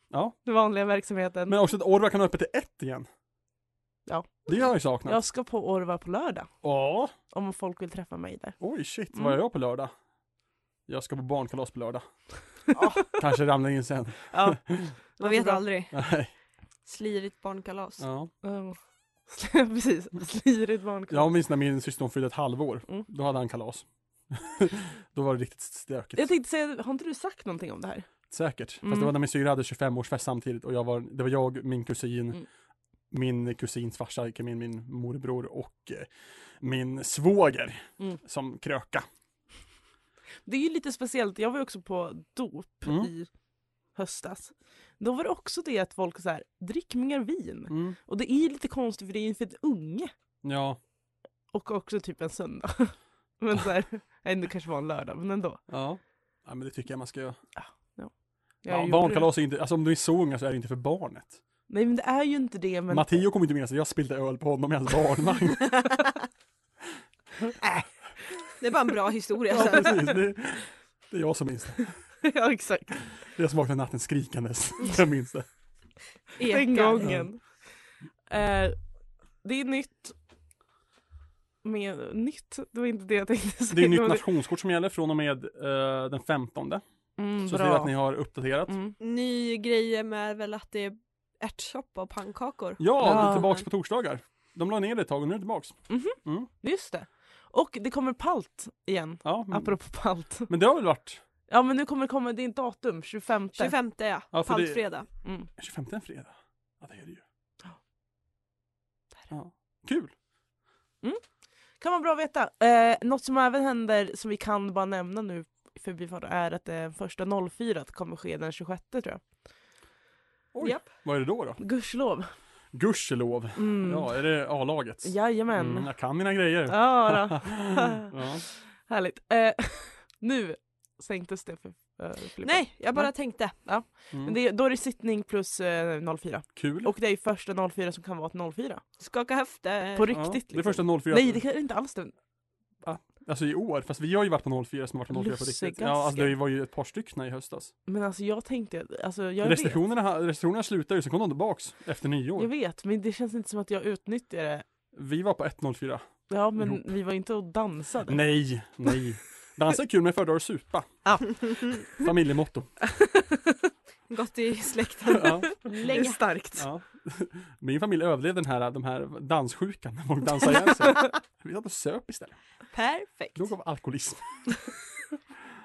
[SPEAKER 3] Ja.
[SPEAKER 4] Den vanliga verksamheten.
[SPEAKER 3] Men också att Orvar kan ha öppet till ett igen.
[SPEAKER 4] Ja.
[SPEAKER 3] Det har jag ju saknat.
[SPEAKER 4] Jag ska på Orva på lördag.
[SPEAKER 3] Ja.
[SPEAKER 4] Om folk vill träffa mig där.
[SPEAKER 3] Oj shit,
[SPEAKER 4] Mm.
[SPEAKER 3] vad gör jag på lördag? Jag ska på barnkalas på lördag.
[SPEAKER 4] Ja.
[SPEAKER 3] Kanske ramlar in sen.
[SPEAKER 4] Ja.
[SPEAKER 2] Man
[SPEAKER 4] låter
[SPEAKER 2] vet
[SPEAKER 4] bra.
[SPEAKER 2] aldrig.
[SPEAKER 3] Nej.
[SPEAKER 2] Slirigt barnkalas.
[SPEAKER 3] Ja.
[SPEAKER 4] Mm. Precis, slirigt barnkalas.
[SPEAKER 3] Jag minns när min syster fyllde ett halvår.
[SPEAKER 4] Mm.
[SPEAKER 3] Då hade han kalas. Då var det riktigt stökigt.
[SPEAKER 4] Jag tänkte säga, har inte du sagt någonting om det här?
[SPEAKER 3] Säkert. Fast
[SPEAKER 4] Mm.
[SPEAKER 3] det var när min syrra hade 25-årsfest samtidigt och jag var, det var jag, min kusin,
[SPEAKER 4] Mm.
[SPEAKER 3] min kusins farsa, icke min, min morbror och eh, min svåger
[SPEAKER 4] Mm.
[SPEAKER 3] som kröka.
[SPEAKER 4] Det är ju lite speciellt, jag var ju också på dop
[SPEAKER 3] Mm.
[SPEAKER 4] i höstas. Då var det också det att folk så här, drick mer vin.
[SPEAKER 3] Mm.
[SPEAKER 4] Och det är lite konstigt för det är ju för ett unge.
[SPEAKER 3] Ja,
[SPEAKER 4] Och också typ en söndag. men så här, nej, det kanske var en lördag, men ändå.
[SPEAKER 3] ja. Ja men det tycker jag man ska göra.
[SPEAKER 4] Jag
[SPEAKER 3] Ja,
[SPEAKER 4] gjorde det.
[SPEAKER 3] barnkalas är inte, alltså om du är så unga så är det inte för barnet.
[SPEAKER 4] Nej men det är ju inte det men
[SPEAKER 3] Matteo kommer inte minnas att jag spillde öl på honom i hans barnvagn.
[SPEAKER 2] Det är bara en bra historia.
[SPEAKER 3] ja
[SPEAKER 2] Så.
[SPEAKER 3] precis, det, det är jag som minns det.
[SPEAKER 4] ja exakt.
[SPEAKER 3] Det är jag som vaknade natten skrikandes. Jag minns det.
[SPEAKER 4] Den
[SPEAKER 2] Ekar.
[SPEAKER 4] gången. Eh, det är nytt. Med, nytt? Det var inte det jag tänkte säga.
[SPEAKER 3] Det är nytt
[SPEAKER 4] Men-
[SPEAKER 3] nationskort som gäller från och med eh, den 15.
[SPEAKER 4] mm,
[SPEAKER 3] Så se
[SPEAKER 4] bra.
[SPEAKER 3] till att ni har uppdaterat.
[SPEAKER 4] mm.
[SPEAKER 2] Ny grej med väl att det är ärtsoppa och pannkakor.
[SPEAKER 3] Ja,
[SPEAKER 4] Ja. Mhm.
[SPEAKER 3] du är tillbaks på torsdagar. De la ner det ett tag och nu är du tillbaks. Mm,
[SPEAKER 4] Just det. Och det kommer palt igen.
[SPEAKER 3] Ja, men-
[SPEAKER 4] Apropå palt.
[SPEAKER 3] men det har väl varit
[SPEAKER 4] Ja men nu kommer det komma, det är ett datum, Mm. 25.
[SPEAKER 2] 25 ja,
[SPEAKER 3] Ja, för det-
[SPEAKER 2] pallfredag.
[SPEAKER 3] 25 en fredag? Ja, det är det ju. Ja. Kul!
[SPEAKER 4] Kan vara bra att veta. Eh, något som även händer, som vi kan bara nämna nu i förbifarten, är att den första 04 kommer ske den 26 tror jag.
[SPEAKER 3] Oj,
[SPEAKER 2] Japp.
[SPEAKER 3] vad är det då då?
[SPEAKER 4] Gudskelov.
[SPEAKER 3] Gudskelov.
[SPEAKER 4] Mm.
[SPEAKER 3] Ja, är det A-laget?
[SPEAKER 4] Jajamän.
[SPEAKER 3] Mm, jag kan mina grejer.
[SPEAKER 4] Ja, då.
[SPEAKER 3] ja.
[SPEAKER 4] Härligt. Eh, nu sänktes det för eh, Filippa.
[SPEAKER 2] Nej, jag bara tänkte.
[SPEAKER 4] Men det, är- då är det sittning plus eh, 04.
[SPEAKER 3] Mm. Kul.
[SPEAKER 4] Och det är ju första 04 som kan vara ett 04.
[SPEAKER 2] Skaka höfter.
[SPEAKER 4] På
[SPEAKER 3] Ja,
[SPEAKER 4] riktigt.
[SPEAKER 3] Det är första
[SPEAKER 4] liksom.
[SPEAKER 3] 04.
[SPEAKER 4] Nej, det kan inte alls det.
[SPEAKER 3] Alltså i år, fast vi har ju varit på 04 som har varit på 04 på riktigt.
[SPEAKER 4] Lussegaske.
[SPEAKER 3] Ja, alltså det var ju ett par stycken i höstas.
[SPEAKER 4] Men alltså jag tänkte, alltså jag vet,
[SPEAKER 3] restriktionerna, ha- restriktionerna slutade ju, sen kom de tillbaks efter nyår.
[SPEAKER 4] jag vet, men det känns inte som att jag utnyttjar det.
[SPEAKER 3] Vi var på 104.
[SPEAKER 4] Ja, men
[SPEAKER 3] Jo.
[SPEAKER 4] vi var inte och dansade.
[SPEAKER 3] Nej, nej. Dansa är kul men jag föredrar att supa.
[SPEAKER 4] Ja.
[SPEAKER 3] Familjemotto.
[SPEAKER 2] Gått i släkten
[SPEAKER 3] Ja,
[SPEAKER 2] länge.
[SPEAKER 4] Starkt.
[SPEAKER 3] ja. Min familj överlevde den här, de här danssjukan när folk dansade ihjäl sig. Vi satt och söp istället.
[SPEAKER 2] Perfekt.
[SPEAKER 3] Dog av alkoholism.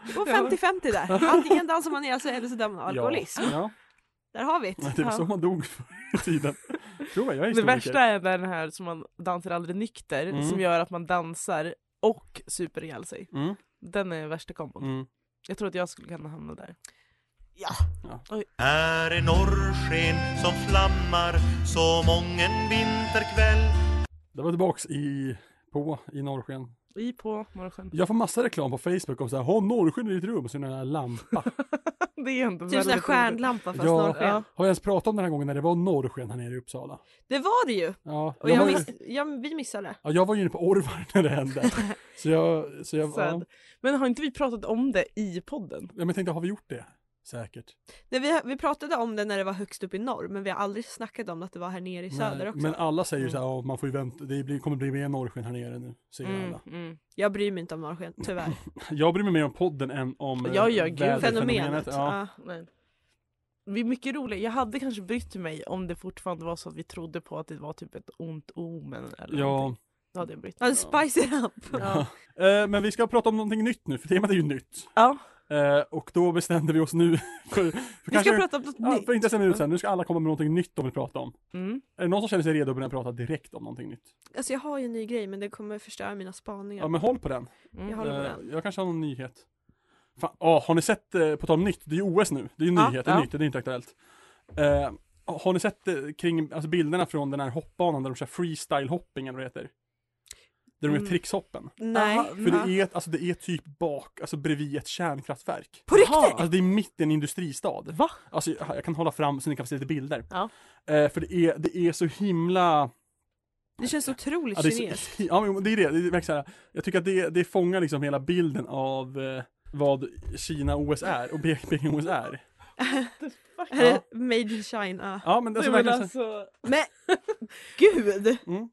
[SPEAKER 2] Det går 50-50 där. Antingen dansar man ihjäl sig eller så dör man av alkoholism.
[SPEAKER 3] Ja,
[SPEAKER 2] Där har vi det.
[SPEAKER 3] ja. det var så
[SPEAKER 4] Ja.
[SPEAKER 3] man dog förr i tiden. Tror jag, jag är
[SPEAKER 4] Det
[SPEAKER 3] historiker.
[SPEAKER 4] värsta är när den här som man dansar aldrig nykter,
[SPEAKER 3] Mm.
[SPEAKER 4] som gör att man dansar och super ihjäl sig.
[SPEAKER 3] Mm,
[SPEAKER 4] Den är värsta kombon.
[SPEAKER 3] mm.
[SPEAKER 4] Jag tror att jag skulle kunna hamna där.
[SPEAKER 1] Här är norrsken som flammar så mången vinterkväll
[SPEAKER 3] Det var tillbaks i, på, i norrsken.
[SPEAKER 4] I på morgonen.
[SPEAKER 3] Jag får massa reklam på Facebook om så här, ha norrsken i ditt rum, så är det en lampa.
[SPEAKER 4] Det är ändå
[SPEAKER 2] Typ sån där
[SPEAKER 4] väldigt roligt.
[SPEAKER 2] stjärnlampa fast
[SPEAKER 3] Ja.
[SPEAKER 2] norrsken.
[SPEAKER 4] Ja.
[SPEAKER 3] Har jag ens pratat om den här gången när det var norrsken här nere i Uppsala?
[SPEAKER 2] Det var det ju.
[SPEAKER 3] Ja,
[SPEAKER 2] Och jag
[SPEAKER 3] var ju-
[SPEAKER 2] miss, jag, vi missade det.
[SPEAKER 3] Ja, jag var ju inne på Orvar när det hände. Så jag, så jag, ja.
[SPEAKER 4] Sad. Men har inte vi pratat om det i podden?
[SPEAKER 3] Ja, men jag tänkte, har vi gjort det? Säkert.
[SPEAKER 2] Nej, vi, vi pratade om det när det var högst upp i norr men vi har aldrig snackat om att det var här nere i söder
[SPEAKER 3] Nej,
[SPEAKER 2] också. Mm.
[SPEAKER 3] Men alla säger ju så här, ja, man får ju vänta, det blir, kommer bli mer norrsken här nere nu, säger alla.
[SPEAKER 4] mm.
[SPEAKER 2] Jag bryr mig inte om norrsken, tyvärr.
[SPEAKER 3] Jag bryr mig mer om podden än om eh,
[SPEAKER 4] Jag gör gud.
[SPEAKER 3] väderfenomenet.
[SPEAKER 2] Fenomenet.
[SPEAKER 3] Ja.
[SPEAKER 2] Ja.
[SPEAKER 4] Ah, Nej. Det är mycket roligt. Jag hade kanske brytt mig om det fortfarande var så att vi trodde på att det var typ ett ont omen eller
[SPEAKER 3] Ja.
[SPEAKER 4] någonting. Då hade jag brytt mig.
[SPEAKER 2] Ja, spice it up.
[SPEAKER 4] Ja.
[SPEAKER 3] Eh, Men vi ska prata om någonting nytt nu, för temat är ju nytt.
[SPEAKER 4] Ja.
[SPEAKER 3] Eh, Och då bestämde vi oss nu för, för
[SPEAKER 2] Vi ska prata om något
[SPEAKER 3] ja,
[SPEAKER 2] nytt.
[SPEAKER 3] för inte sen minut sen, nu ska alla komma med någonting nytt de vill prata om.
[SPEAKER 4] Mm.
[SPEAKER 3] Är det någon som känner sig redo att börja prata direkt om någonting nytt?
[SPEAKER 2] Alltså jag har ju en ny grej men det kommer förstöra mina spaningar.
[SPEAKER 3] Ja men håll på den.
[SPEAKER 4] Mm.
[SPEAKER 2] Jag håller på
[SPEAKER 3] Eh,
[SPEAKER 2] den.
[SPEAKER 3] jag kanske har någon nyhet. Fan, ah, har ni sett, eh, på tal om nytt, det är ju OS nu. Det är ju
[SPEAKER 4] Ja,
[SPEAKER 3] nyhet, det är
[SPEAKER 4] ja.
[SPEAKER 3] nytt, det är inte aktuellt. Eh, har ni sett eh, kring, alltså bilderna från den här hoppbanan där de kör freestyle hopping eller vad det heter? Där de gör
[SPEAKER 4] Mm.
[SPEAKER 3] trickshoppen.
[SPEAKER 2] Nej.
[SPEAKER 4] Aha,
[SPEAKER 3] För
[SPEAKER 2] Ja.
[SPEAKER 3] det är, ett- alltså det är typ bak, alltså bredvid ett kärnkraftverk.
[SPEAKER 2] På riktigt?
[SPEAKER 4] Jaha.
[SPEAKER 3] Alltså det är mitt i en industristad.
[SPEAKER 4] Va?
[SPEAKER 3] Alltså jag, jag kan hålla fram så ni kan få se lite bilder.
[SPEAKER 4] Ja.
[SPEAKER 3] Eh, för det är, det är så himla...
[SPEAKER 2] Det känns otroligt
[SPEAKER 3] Ja, det, är
[SPEAKER 2] kinesiskt.
[SPEAKER 3] så, ja, men det är det. det är verkligen så här, jag tycker att det, det fångar liksom hela bilden av eh, vad Kina OS är och Be- Peking OS är.
[SPEAKER 2] Är det Made in China.
[SPEAKER 3] Ja, men alltså,
[SPEAKER 4] Nej, men
[SPEAKER 3] verkligen, så-
[SPEAKER 4] alltså...
[SPEAKER 2] Men gud!
[SPEAKER 3] mm.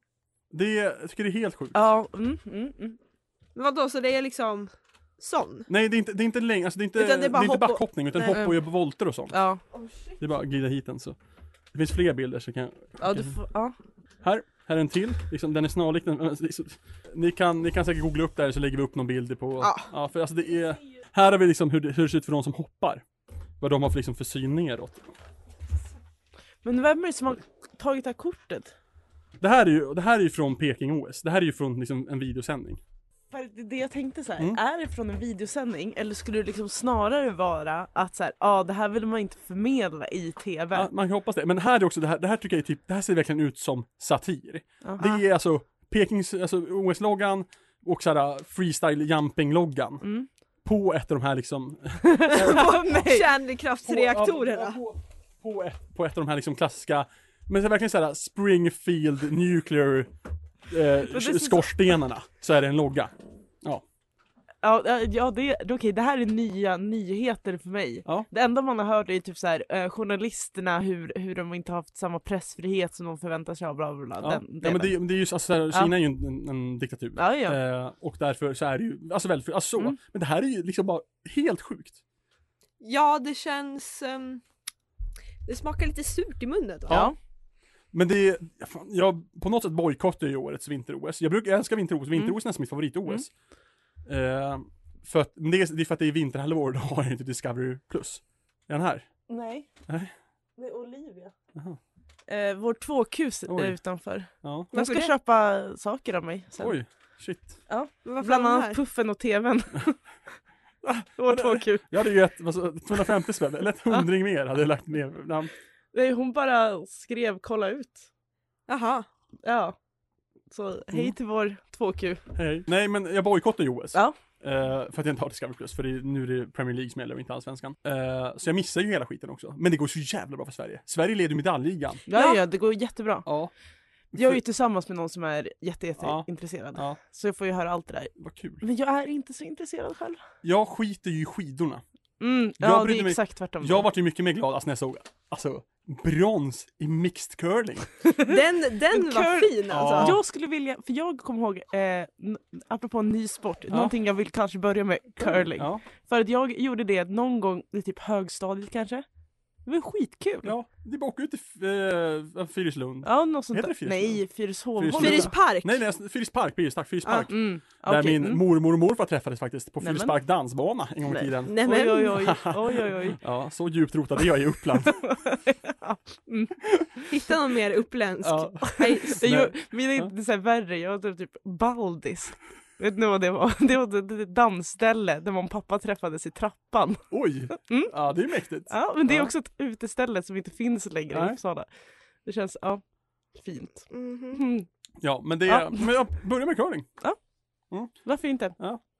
[SPEAKER 3] det, är- jag tycker det är helt sjukt.
[SPEAKER 4] Ja, mm, mm, mm.
[SPEAKER 2] Men vadå, så det är liksom sån?
[SPEAKER 3] Nej, det är inte, det är inte längre, alltså det är inte,
[SPEAKER 2] Utan det är
[SPEAKER 3] det är
[SPEAKER 2] bara
[SPEAKER 3] inte
[SPEAKER 2] hopp och-
[SPEAKER 3] backhoppning utan
[SPEAKER 4] Nej.
[SPEAKER 3] hopp och göra volter och sånt.
[SPEAKER 4] ja.
[SPEAKER 3] Det är bara att glida hit den så. Det finns fler bilder så kan jag...
[SPEAKER 4] ja, du får... Ja.
[SPEAKER 3] Här, här är en till. Liksom, den är snarlik den. men liksom- Ni kan, ni kan säkert googla upp det här så lägger vi upp någon bild på...
[SPEAKER 2] Ja.
[SPEAKER 3] för alltså det är... Här har vi liksom hur det, hur det ser ut för de som hoppar. Vad de har för, liksom, för syn neråt.
[SPEAKER 4] Men vem är det som har tagit det här kortet?
[SPEAKER 3] Det här är ju, det här är ju från Peking OS. Det här är ju från liksom, en videosändning.
[SPEAKER 4] För det är det jag tänkte så här,
[SPEAKER 3] Mm.
[SPEAKER 4] är det från en videosändning eller skulle det liksom snarare vara att så här, ah, det här vill man inte förmedla i TV?
[SPEAKER 3] Ja, man kan hoppas det. Men här är också det här, det här tycker jag är typ, det här ser verkligen ut som satir.
[SPEAKER 4] Ja.
[SPEAKER 3] Det är alltså Pekings, alltså OS-loggan och såhär freestyle jumping-loggan.
[SPEAKER 4] Mm.
[SPEAKER 3] På ett av de här liksom...
[SPEAKER 4] Åh, nej.
[SPEAKER 2] Kärnkraftsreaktorerna.
[SPEAKER 3] På, på, på, ett, på ett av de här liksom klassiska, men så här verkligen såhär Springfield nuclear eh,
[SPEAKER 4] ser så-
[SPEAKER 3] skorstenarna. Så är det en logga.
[SPEAKER 4] Ja, ja, ja det, det- okej, det här är nya nyheter för mig.
[SPEAKER 3] Ja.
[SPEAKER 4] Det enda man har hört är typ så här, eh, journalisterna, hur, hur de inte har haft samma pressfrihet som de förväntar sig av, bla bla bla.
[SPEAKER 3] Ja.
[SPEAKER 4] Den,
[SPEAKER 3] ja,
[SPEAKER 4] delen.
[SPEAKER 3] men det, är- det är ju, alltså, så här, Kina är ju en, en, en diktatur.
[SPEAKER 4] Ja, ja.
[SPEAKER 3] Eh, och därför så är det ju, alltså väl, alltså så.
[SPEAKER 4] Mm.
[SPEAKER 3] Men det här är ju liksom bara helt sjukt.
[SPEAKER 2] Ja, det känns... ehm, det smakar lite surt i munnen. Då.
[SPEAKER 4] ja.
[SPEAKER 3] Men det är, fan, jag, på något sätt bojkottar jag ju årets vinter-OS. Jag brukar, jag älskar vinter-OS,
[SPEAKER 4] Mm.
[SPEAKER 3] vinter-OS är nästan mitt favorit-OS. Eh, för att, men det, är, det är för att det är vinterhalvår, då har jag inte Discovery+. Plus. Är den här?
[SPEAKER 4] Nej.
[SPEAKER 3] Nej.
[SPEAKER 4] Det är Olivia.
[SPEAKER 3] Jaha.
[SPEAKER 4] Eh, vår tvåkus är
[SPEAKER 3] Oj.
[SPEAKER 4] utanför.
[SPEAKER 3] Ja.
[SPEAKER 4] Hon ska
[SPEAKER 2] Varför det?
[SPEAKER 4] köpa saker av mig sen.
[SPEAKER 3] Oj, shit.
[SPEAKER 2] Men varför är den
[SPEAKER 4] Bland annat
[SPEAKER 2] här?
[SPEAKER 4] puffen och tvn. vår tvåkus.
[SPEAKER 3] Jag hade ju gett alltså, 250 spänn, eller ett hundring mer hade jag lagt ner. Ja,
[SPEAKER 4] Nej, hon bara skrev kolla ut.
[SPEAKER 2] Jaha.
[SPEAKER 4] Ja. Så hej
[SPEAKER 3] Mm.
[SPEAKER 4] till vår 2Q.
[SPEAKER 3] Hej. Nej, men jag bojkottar ju OS.
[SPEAKER 4] Ja.
[SPEAKER 3] Eh, för att jag inte har Discovery Plus, för det är, nu är det Premier League som gäller och inte Allsvenskan. Eh, så jag missar ju hela skiten också. Men det går så jävla bra för Sverige. Sverige leder ju medaljligan.
[SPEAKER 4] Ja,
[SPEAKER 2] Ja.
[SPEAKER 4] ja. det går jättebra.
[SPEAKER 3] Ja.
[SPEAKER 4] Jag är ju tillsammans med någon som är jätte,
[SPEAKER 3] Ja.
[SPEAKER 4] jätteintresserad.
[SPEAKER 3] Ja,
[SPEAKER 4] Så jag får ju höra allt det där.
[SPEAKER 3] vad kul.
[SPEAKER 4] Men jag är inte så intresserad själv.
[SPEAKER 3] Jag skiter ju i skidorna.
[SPEAKER 4] Mm,
[SPEAKER 3] Jag
[SPEAKER 4] ja, det
[SPEAKER 3] brydde
[SPEAKER 4] är
[SPEAKER 3] mig-
[SPEAKER 4] exakt tvärtom.
[SPEAKER 3] Jag vart ju mycket mer glad alltså, när jag såg alltså, brons i mixed curling.
[SPEAKER 2] Den, den
[SPEAKER 4] En
[SPEAKER 2] var
[SPEAKER 4] curl-
[SPEAKER 2] fin
[SPEAKER 3] Ja.
[SPEAKER 2] alltså.
[SPEAKER 4] Jag skulle vilja, för jag kommer ihåg, eh, n- apropå en ny sport, någonting jag vill kanske börja med, curling.
[SPEAKER 3] Ja,
[SPEAKER 4] För att jag gjorde det någon gång i typ högstadiet kanske. Det var skitkul.
[SPEAKER 3] ja. Det är bara att åka ut till eh, Fyrislund.
[SPEAKER 4] Ja, något sånt
[SPEAKER 3] Heter
[SPEAKER 4] där.
[SPEAKER 3] det Fyrishov?
[SPEAKER 4] Nej, Fyrishov.
[SPEAKER 3] Fyrishov.
[SPEAKER 4] Fyris-
[SPEAKER 2] Fyris park.
[SPEAKER 3] Nej, nej, Fyris park, Fyris, tack, Fyris
[SPEAKER 2] Ja,
[SPEAKER 3] park.
[SPEAKER 4] Mm,
[SPEAKER 3] Där
[SPEAKER 4] okej,
[SPEAKER 3] min
[SPEAKER 4] mm.
[SPEAKER 3] mormor och morfar träffades faktiskt på
[SPEAKER 4] Nej,
[SPEAKER 3] Fyris
[SPEAKER 4] men.
[SPEAKER 3] park dansbana en gång i
[SPEAKER 4] Nej.
[SPEAKER 3] tiden.
[SPEAKER 2] Nej men.
[SPEAKER 4] Oj, oj, oj, oj, oj, oj.
[SPEAKER 3] Ja, så djupt rotade jag i Uppland.
[SPEAKER 2] Hitta någon mer uppländsk.
[SPEAKER 3] ja.
[SPEAKER 2] Nej,
[SPEAKER 4] Det
[SPEAKER 3] Nej.
[SPEAKER 4] är ju- Mina är inte så här värre, jag tog typ Baldis. Vet ni vad det var? Det var ett- ett dansställe där man och pappa träffades i trappan.
[SPEAKER 3] Oj!
[SPEAKER 4] Mm.
[SPEAKER 3] Ja, det är mäktigt.
[SPEAKER 4] Ja, men det är
[SPEAKER 3] Ja.
[SPEAKER 4] också ett uteställe som inte finns längre
[SPEAKER 3] Nej.
[SPEAKER 4] i Uppsala. Det känns, ja, fint.
[SPEAKER 2] mhm.
[SPEAKER 4] Mm.
[SPEAKER 3] Ja, men det är,
[SPEAKER 4] Ja.
[SPEAKER 3] men jag börjar med curling.
[SPEAKER 4] Varför inte?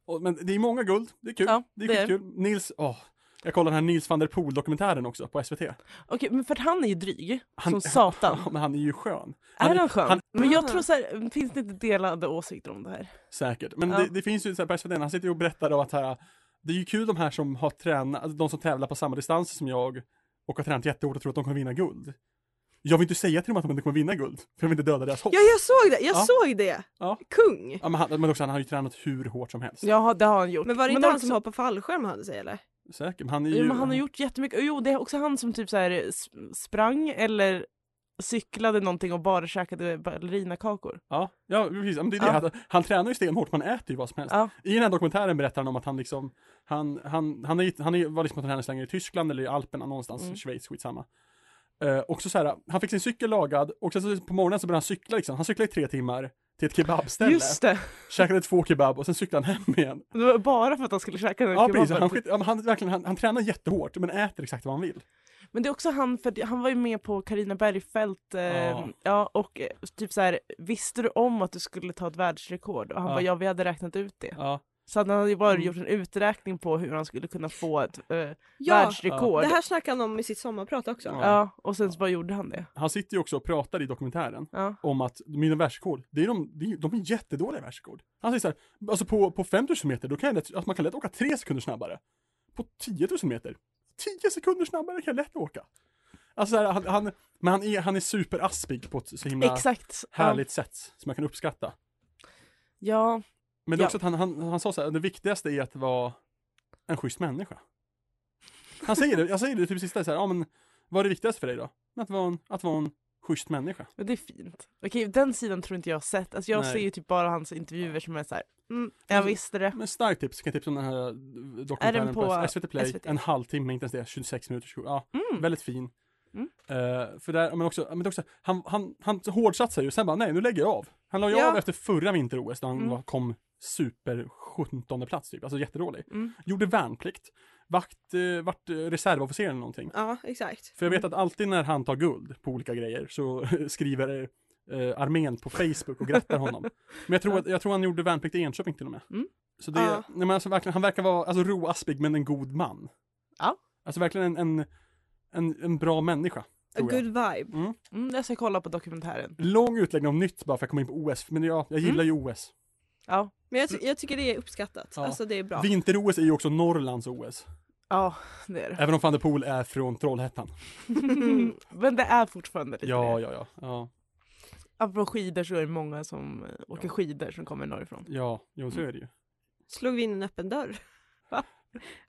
[SPEAKER 3] Och, men det är många guld, det är kul.
[SPEAKER 4] Ja,
[SPEAKER 3] det är
[SPEAKER 4] det är
[SPEAKER 3] skitkul. Nils, åh. Jag kollar den här Nils van der Poel-dokumentären också på SVT.
[SPEAKER 4] Okej, men för att han är ju dryg
[SPEAKER 3] Han-
[SPEAKER 4] som satan.
[SPEAKER 3] Men han är ju skön.
[SPEAKER 4] är han skön?
[SPEAKER 3] han-
[SPEAKER 4] Men jag tror så här, finns det inte delade åsikter om det här?
[SPEAKER 3] Säkert. Men
[SPEAKER 4] Ja.
[SPEAKER 3] det, det finns ju så här på SVT, han sitter ju och berättar då att här, det är ju kul de här som har tränat, alltså de som tävlar på samma distans som jag och har tränat jättehårt och tror att de kommer vinna guld. Jag vill inte säga till dem att de inte kommer vinna guld, för jag vill inte döda deras hopp.
[SPEAKER 2] Ja jag såg det, jag
[SPEAKER 3] Ja.
[SPEAKER 2] såg det!
[SPEAKER 3] Ja.
[SPEAKER 2] Kung!
[SPEAKER 3] Ja, men, han, men också, han har ju tränat hur hårt som helst.
[SPEAKER 4] Ja, det har han gjort.
[SPEAKER 2] Men var det inte han
[SPEAKER 4] också-
[SPEAKER 2] som hoppade fallskärm hade sig eller?
[SPEAKER 3] Säkert, men han är ju...
[SPEAKER 4] Jo, men han har gjort jättemycket. Jo, det är också han som typ så här s- sprang eller cyklade någonting och bara käkade ballerinakakor.
[SPEAKER 3] Ja, ja precis. Ja, Men det är det.
[SPEAKER 4] Ja.
[SPEAKER 3] Han, han tränar ju stenhårt, man äter ju vad som helst.
[SPEAKER 4] Ja.
[SPEAKER 3] I den här dokumentären berättar han om att han liksom, han, han, han, är, han är, var liksom på träningsläger i Tyskland eller i Alperna någonstans,
[SPEAKER 4] Mm.
[SPEAKER 3] Schweiz, skitsamma. Uh, och så, så här, han fick sin cykel lagad och sen så på morgonen så började han cykla liksom. Han cyklade i tre timmar till ett kebabställe,
[SPEAKER 4] Just det!
[SPEAKER 3] käkade två kebab och sen cyklade han hem igen.
[SPEAKER 4] Det var bara för att han skulle käka den
[SPEAKER 3] Ja precis,
[SPEAKER 4] kebaben.
[SPEAKER 3] han, skit, ja, men han, verkligen, han, han tränar jättehårt men äter exakt vad han vill.
[SPEAKER 4] Men det är också han, för det- han var ju med på Karina Bergfeldt, eh,
[SPEAKER 3] Ja.
[SPEAKER 4] ja. och eh, typ så här, visste du om att du skulle ta ett världsrekord? Och han
[SPEAKER 3] Ja.
[SPEAKER 4] bara, ja vi hade räknat ut det.
[SPEAKER 3] Ja.
[SPEAKER 4] Så han hade ju bara
[SPEAKER 3] Mm.
[SPEAKER 4] gjort en uträkning på hur han skulle kunna få ett eh,
[SPEAKER 2] Ja!
[SPEAKER 4] världsrekord.
[SPEAKER 2] Det
[SPEAKER 4] Ja.
[SPEAKER 2] här snackade han om i sitt sommarprat också.
[SPEAKER 3] Ja.
[SPEAKER 4] och sen så bara gjorde han det.
[SPEAKER 3] Han sitter ju också och pratar i dokumentären
[SPEAKER 4] Ja.
[SPEAKER 3] om att mina världsrekord, det är de, det är, de är jättedåliga världsrekord. Han säger så här, alltså på, på 5000 meter, då kan jag lätt, alltså man kan lätt åka 3 sekunder snabbare. På 10 000 meter, 10 sekunder snabbare kan jag lätt åka. Alltså så här, han, han, men han är, han är superaspig på ett så himla
[SPEAKER 4] Exakt.
[SPEAKER 3] eh, härligt sätt som jag kan uppskatta.
[SPEAKER 4] Ja.
[SPEAKER 3] Men det är
[SPEAKER 4] Ja.
[SPEAKER 3] också att han, han, han sa så här, det viktigaste är att vara en schysst människa. Han säger det, jag säger det typ sista så här, ja men vad är det viktigaste för dig då? Att vara en, att vara en schysst människa.
[SPEAKER 4] Men det är fint. Okej, den sidan tror inte jag har sett. Alltså jag
[SPEAKER 3] Nej.
[SPEAKER 4] ser ju typ bara hans intervjuer som är så här. Mm, jag visste det.
[SPEAKER 3] Men starkt tips, kan jag tipsa om den här eh, dokumentären
[SPEAKER 4] den
[SPEAKER 3] på,
[SPEAKER 4] på
[SPEAKER 3] SVT Play,
[SPEAKER 4] SVT?
[SPEAKER 3] en halvtimme, inte ens det, 26 minuter, 20, ja,
[SPEAKER 4] Mm.
[SPEAKER 3] väldigt fin.
[SPEAKER 4] Mm.
[SPEAKER 3] Eh, för där, men också, men det är också han, han, han hårdsatsade ju, sen bara nej, nu lägger jag av. Han la ju
[SPEAKER 2] Ja.
[SPEAKER 3] av efter förra vinter-OS, då han
[SPEAKER 4] Mm.
[SPEAKER 3] var, kom super 17 plats typ, alltså jättedålig.
[SPEAKER 4] Mm.
[SPEAKER 3] Gjorde värnplikt, vakt, eh, vart eh, reservofficer eller någonting.
[SPEAKER 2] Ja, exakt.
[SPEAKER 3] För jag vet att alltid när han tar guld på olika grejer så skriver eh, armén på Facebook och grattar honom. Men jag tror, att, jag tror han gjorde värnplikt i Enköping till och med.
[SPEAKER 4] Mm.
[SPEAKER 3] Så det,
[SPEAKER 2] Ja.
[SPEAKER 3] nej, men alltså, verkligen, han verkar vara alltså, roaspig men en god man.
[SPEAKER 4] Ja.
[SPEAKER 3] Alltså verkligen en, en, en, en bra människa.
[SPEAKER 2] A
[SPEAKER 3] tror jag.
[SPEAKER 2] good vibe.
[SPEAKER 4] Mm, jag ska kolla på dokumentären.
[SPEAKER 3] Lång utläggning om nytt bara för att komma in på OS, men jag, jag gillar ju OS.
[SPEAKER 4] Ja,
[SPEAKER 2] Men jag, ty- jag tycker det är uppskattat.
[SPEAKER 3] Mm. Ja.
[SPEAKER 2] Alltså det är bra.
[SPEAKER 3] Vinter-OS är ju också Norrlands OS.
[SPEAKER 4] ja det är det.
[SPEAKER 3] Även om van der Poel är från Trollhättan.
[SPEAKER 4] Men det är fortfarande lite
[SPEAKER 3] Ja,
[SPEAKER 4] det.
[SPEAKER 3] ja, ja. Ja,
[SPEAKER 4] Apropå skidor så är det många som eh, åker
[SPEAKER 3] Ja.
[SPEAKER 4] skidor som kommer norrifrån.
[SPEAKER 3] ja jo, så är det ju.
[SPEAKER 2] Slog vi in en öppen dörr?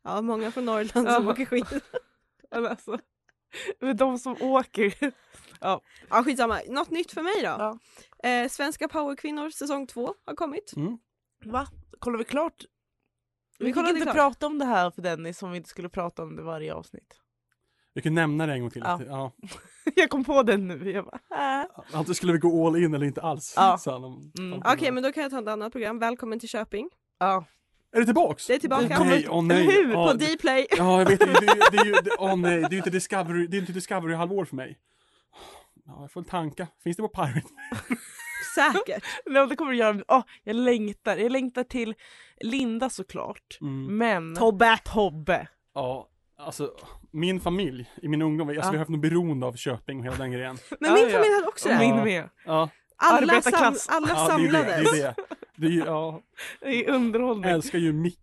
[SPEAKER 2] Ja, många från Norrland som
[SPEAKER 4] Ja.
[SPEAKER 2] åker skidor.
[SPEAKER 4] Men Alltså, men de som åker.
[SPEAKER 2] Ja, skitsamma. Något nytt för mig då?
[SPEAKER 4] Ja.
[SPEAKER 2] Eh, Svenska powerkvinnor säsong två har kommit.
[SPEAKER 3] Mm.
[SPEAKER 4] Va? Kollar vi klart?
[SPEAKER 2] Vi
[SPEAKER 4] Vi, fick
[SPEAKER 2] kollade
[SPEAKER 4] inte
[SPEAKER 2] klart.
[SPEAKER 4] prata om det här för Dennis som vi inte skulle prata om det varje avsnitt.
[SPEAKER 3] Vi kan nämna det en gång till.
[SPEAKER 4] Ja.
[SPEAKER 3] Ja.
[SPEAKER 4] Jag kom på den nu. Jag bara, äh.
[SPEAKER 3] Antingen skulle vi gå all in eller inte alls.
[SPEAKER 4] Ja.
[SPEAKER 3] sa han om-
[SPEAKER 4] Mm.
[SPEAKER 3] om-
[SPEAKER 2] Okej, men då kan jag ta ett annat program. Välkommen till Köping.
[SPEAKER 4] Ja.
[SPEAKER 3] Är det tillbaks?
[SPEAKER 2] Det är tillbaka.
[SPEAKER 3] Åh, nej, åh nej.
[SPEAKER 2] Eller hur?
[SPEAKER 3] Ja,
[SPEAKER 2] På
[SPEAKER 3] det-
[SPEAKER 2] Dplay.
[SPEAKER 3] Ja, jag vet. Det, är ju- det är ju, det, åh nej, det är ju inte Discovery, det är inte Discovery-halvår för mig. Ja, jag får tanka. Finns det på Pirate?
[SPEAKER 2] Säkert.
[SPEAKER 4] Nej, det kommer att göra. Åh, jag längtar. Jag längtar till Linda såklart.
[SPEAKER 3] Mm.
[SPEAKER 4] Men Tobbe. Tobbe.
[SPEAKER 3] Ja, alltså min familj i min ungdom, alltså
[SPEAKER 4] Ja.
[SPEAKER 3] vi har haft något beroende av Köping och hela den grejen.
[SPEAKER 2] Men
[SPEAKER 4] Ja,
[SPEAKER 2] min
[SPEAKER 4] ja.
[SPEAKER 2] familj hade också
[SPEAKER 4] Och
[SPEAKER 2] det.
[SPEAKER 4] min med.
[SPEAKER 3] Ja,
[SPEAKER 2] Alla, sam,
[SPEAKER 4] Arbetarklass.
[SPEAKER 2] alla
[SPEAKER 3] ja det är ju det.
[SPEAKER 2] samlades.
[SPEAKER 3] det, är ju det. det är ju, ja,
[SPEAKER 4] I underhållning.
[SPEAKER 3] jag älskar ju Micke,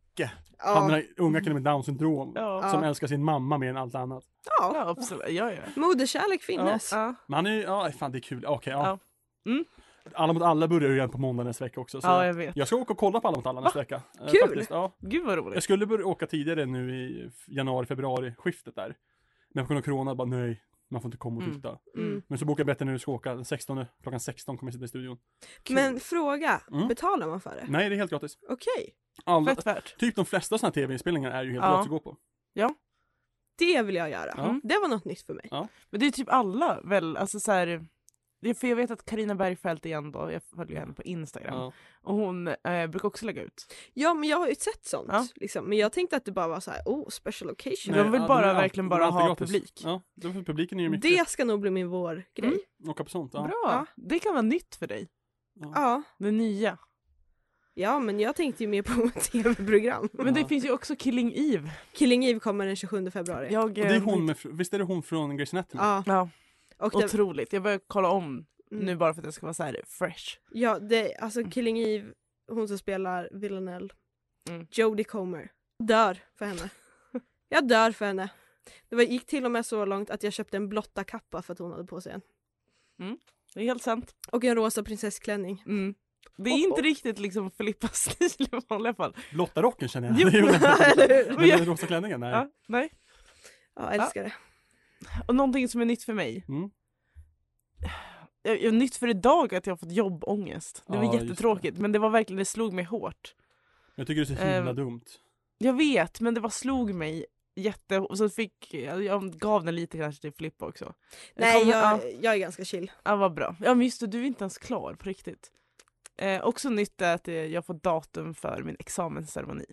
[SPEAKER 3] han den
[SPEAKER 2] Ja.
[SPEAKER 3] där unga killen med down syndrom.
[SPEAKER 4] Ja.
[SPEAKER 3] Som
[SPEAKER 2] Ja.
[SPEAKER 3] älskar sin mamma mer än allt annat.
[SPEAKER 2] ja.
[SPEAKER 4] ja, absolut. Ja, ja.
[SPEAKER 2] Moderkärlek finnes.
[SPEAKER 4] Ja.
[SPEAKER 3] Men han är ju, ja fan det är kul, okej ja.
[SPEAKER 4] Ja. Mm.
[SPEAKER 3] Alla mot alla börjar ju redan på måndag nästa vecka också. Så
[SPEAKER 4] ja, Ah, jag vet.
[SPEAKER 3] jag ska åka och kolla på Alla mot alla nästa vecka. Eh,
[SPEAKER 2] Kul!
[SPEAKER 3] faktiskt, ja.
[SPEAKER 4] Gud vad
[SPEAKER 3] Jag
[SPEAKER 4] roligt.
[SPEAKER 3] skulle börja åka tidigare nu i januari, februari skiftet där. Men på grund av corona bara nej, man får inte komma och
[SPEAKER 4] Mm.
[SPEAKER 3] titta.
[SPEAKER 2] Mm.
[SPEAKER 3] Men så bokade jag bättre nu ska åka den 16, klockan 16 kommer jag sitta i studion.
[SPEAKER 2] Men fråga,
[SPEAKER 3] Mm.
[SPEAKER 2] betalar man för det?
[SPEAKER 3] Nej, det är helt gratis.
[SPEAKER 2] Okej.
[SPEAKER 3] Alla,
[SPEAKER 4] Fett värt.
[SPEAKER 3] typ de flesta sådana här tv-inspelningar är ju helt
[SPEAKER 4] Ja.
[SPEAKER 3] gratis att gå på.
[SPEAKER 2] Det vill jag göra.
[SPEAKER 3] Ja.
[SPEAKER 2] Det var något nytt för mig.
[SPEAKER 4] Men det är typ alla väl, alltså så här, det är för jag vet att Karina Bergfeldt igen då, jag följer henne på Instagram,
[SPEAKER 3] Ja.
[SPEAKER 4] och hon eh, brukar också lägga ut.
[SPEAKER 2] Ja, men jag har ju sett sånt.
[SPEAKER 4] Ja.
[SPEAKER 2] Liksom. Men jag tänkte att det bara var så här, oh, special occasion.
[SPEAKER 4] Nej, de vill bara
[SPEAKER 3] är alltid-
[SPEAKER 4] verkligen
[SPEAKER 3] de är
[SPEAKER 4] bara
[SPEAKER 3] alltid
[SPEAKER 4] ha
[SPEAKER 3] gratis.
[SPEAKER 4] publik.
[SPEAKER 3] Ja, de- för publiken är ju mycket.
[SPEAKER 2] Det ska nog bli min vårgrej.
[SPEAKER 4] Mm.
[SPEAKER 3] Åka på sånt. Ja.
[SPEAKER 4] Bra!
[SPEAKER 2] Ja.
[SPEAKER 4] Det kan vara nytt för dig,
[SPEAKER 2] Ja.
[SPEAKER 4] det nya.
[SPEAKER 2] ja, men jag tänkte ju mer på tv-program.
[SPEAKER 4] Men det
[SPEAKER 3] Ja.
[SPEAKER 4] finns ju också Killing Eve.
[SPEAKER 2] Killing Eve kommer den 27 februari.
[SPEAKER 4] Jag, eh,
[SPEAKER 3] Och det är hon med, visst är det hon från Grace Anatomy?
[SPEAKER 2] Ja,
[SPEAKER 4] Ja,
[SPEAKER 2] och det,
[SPEAKER 4] otroligt. Jag börjar kolla om
[SPEAKER 2] Mm.
[SPEAKER 4] nu Mm. bara för att jag ska vara så här fresh.
[SPEAKER 2] ja det, alltså Killing Eve, hon som spelar Villanelle,
[SPEAKER 4] Mm.
[SPEAKER 2] Jodie Comer. Dör för henne. Jag dör för henne. Det var, gick till och med så långt att jag köpte en blotta kappa för att hon hade på sig en.
[SPEAKER 4] Det är helt sant.
[SPEAKER 2] Och en rosa prinsessklänning.
[SPEAKER 4] Mm. Det är
[SPEAKER 2] Oho.
[SPEAKER 4] inte riktigt liksom Filippas stil i vanliga fall.
[SPEAKER 3] Blotta rocken känner jag.
[SPEAKER 4] Jo,
[SPEAKER 3] Det är ju-
[SPEAKER 4] eller hur?
[SPEAKER 3] Men den rosa klänningen? Nej.
[SPEAKER 4] Ja, nej.
[SPEAKER 2] Ja, älskar det.
[SPEAKER 4] Och någonting som är nytt för mig.
[SPEAKER 3] Mm.
[SPEAKER 4] Jag, jag, nytt för idag att jag har fått jobbångest. Det var
[SPEAKER 3] Ja, just det.
[SPEAKER 4] jättetråkigt men det var verkligen, det slog mig hårt.
[SPEAKER 3] Jag tycker det är så himla
[SPEAKER 4] Ehm.
[SPEAKER 3] dumt.
[SPEAKER 4] Jag vet men det var slog mig jätte... Och så fick jag, jag gav den lite kanske till Filippa också.
[SPEAKER 2] Nej,
[SPEAKER 4] kommer-
[SPEAKER 2] jag,
[SPEAKER 4] Ja,
[SPEAKER 2] jag är ganska chill.
[SPEAKER 4] ja vad bra. Ja men just det, du är inte ens klar på riktigt. Eh, också nytt är att eh, jag får datum för min examensceremoni.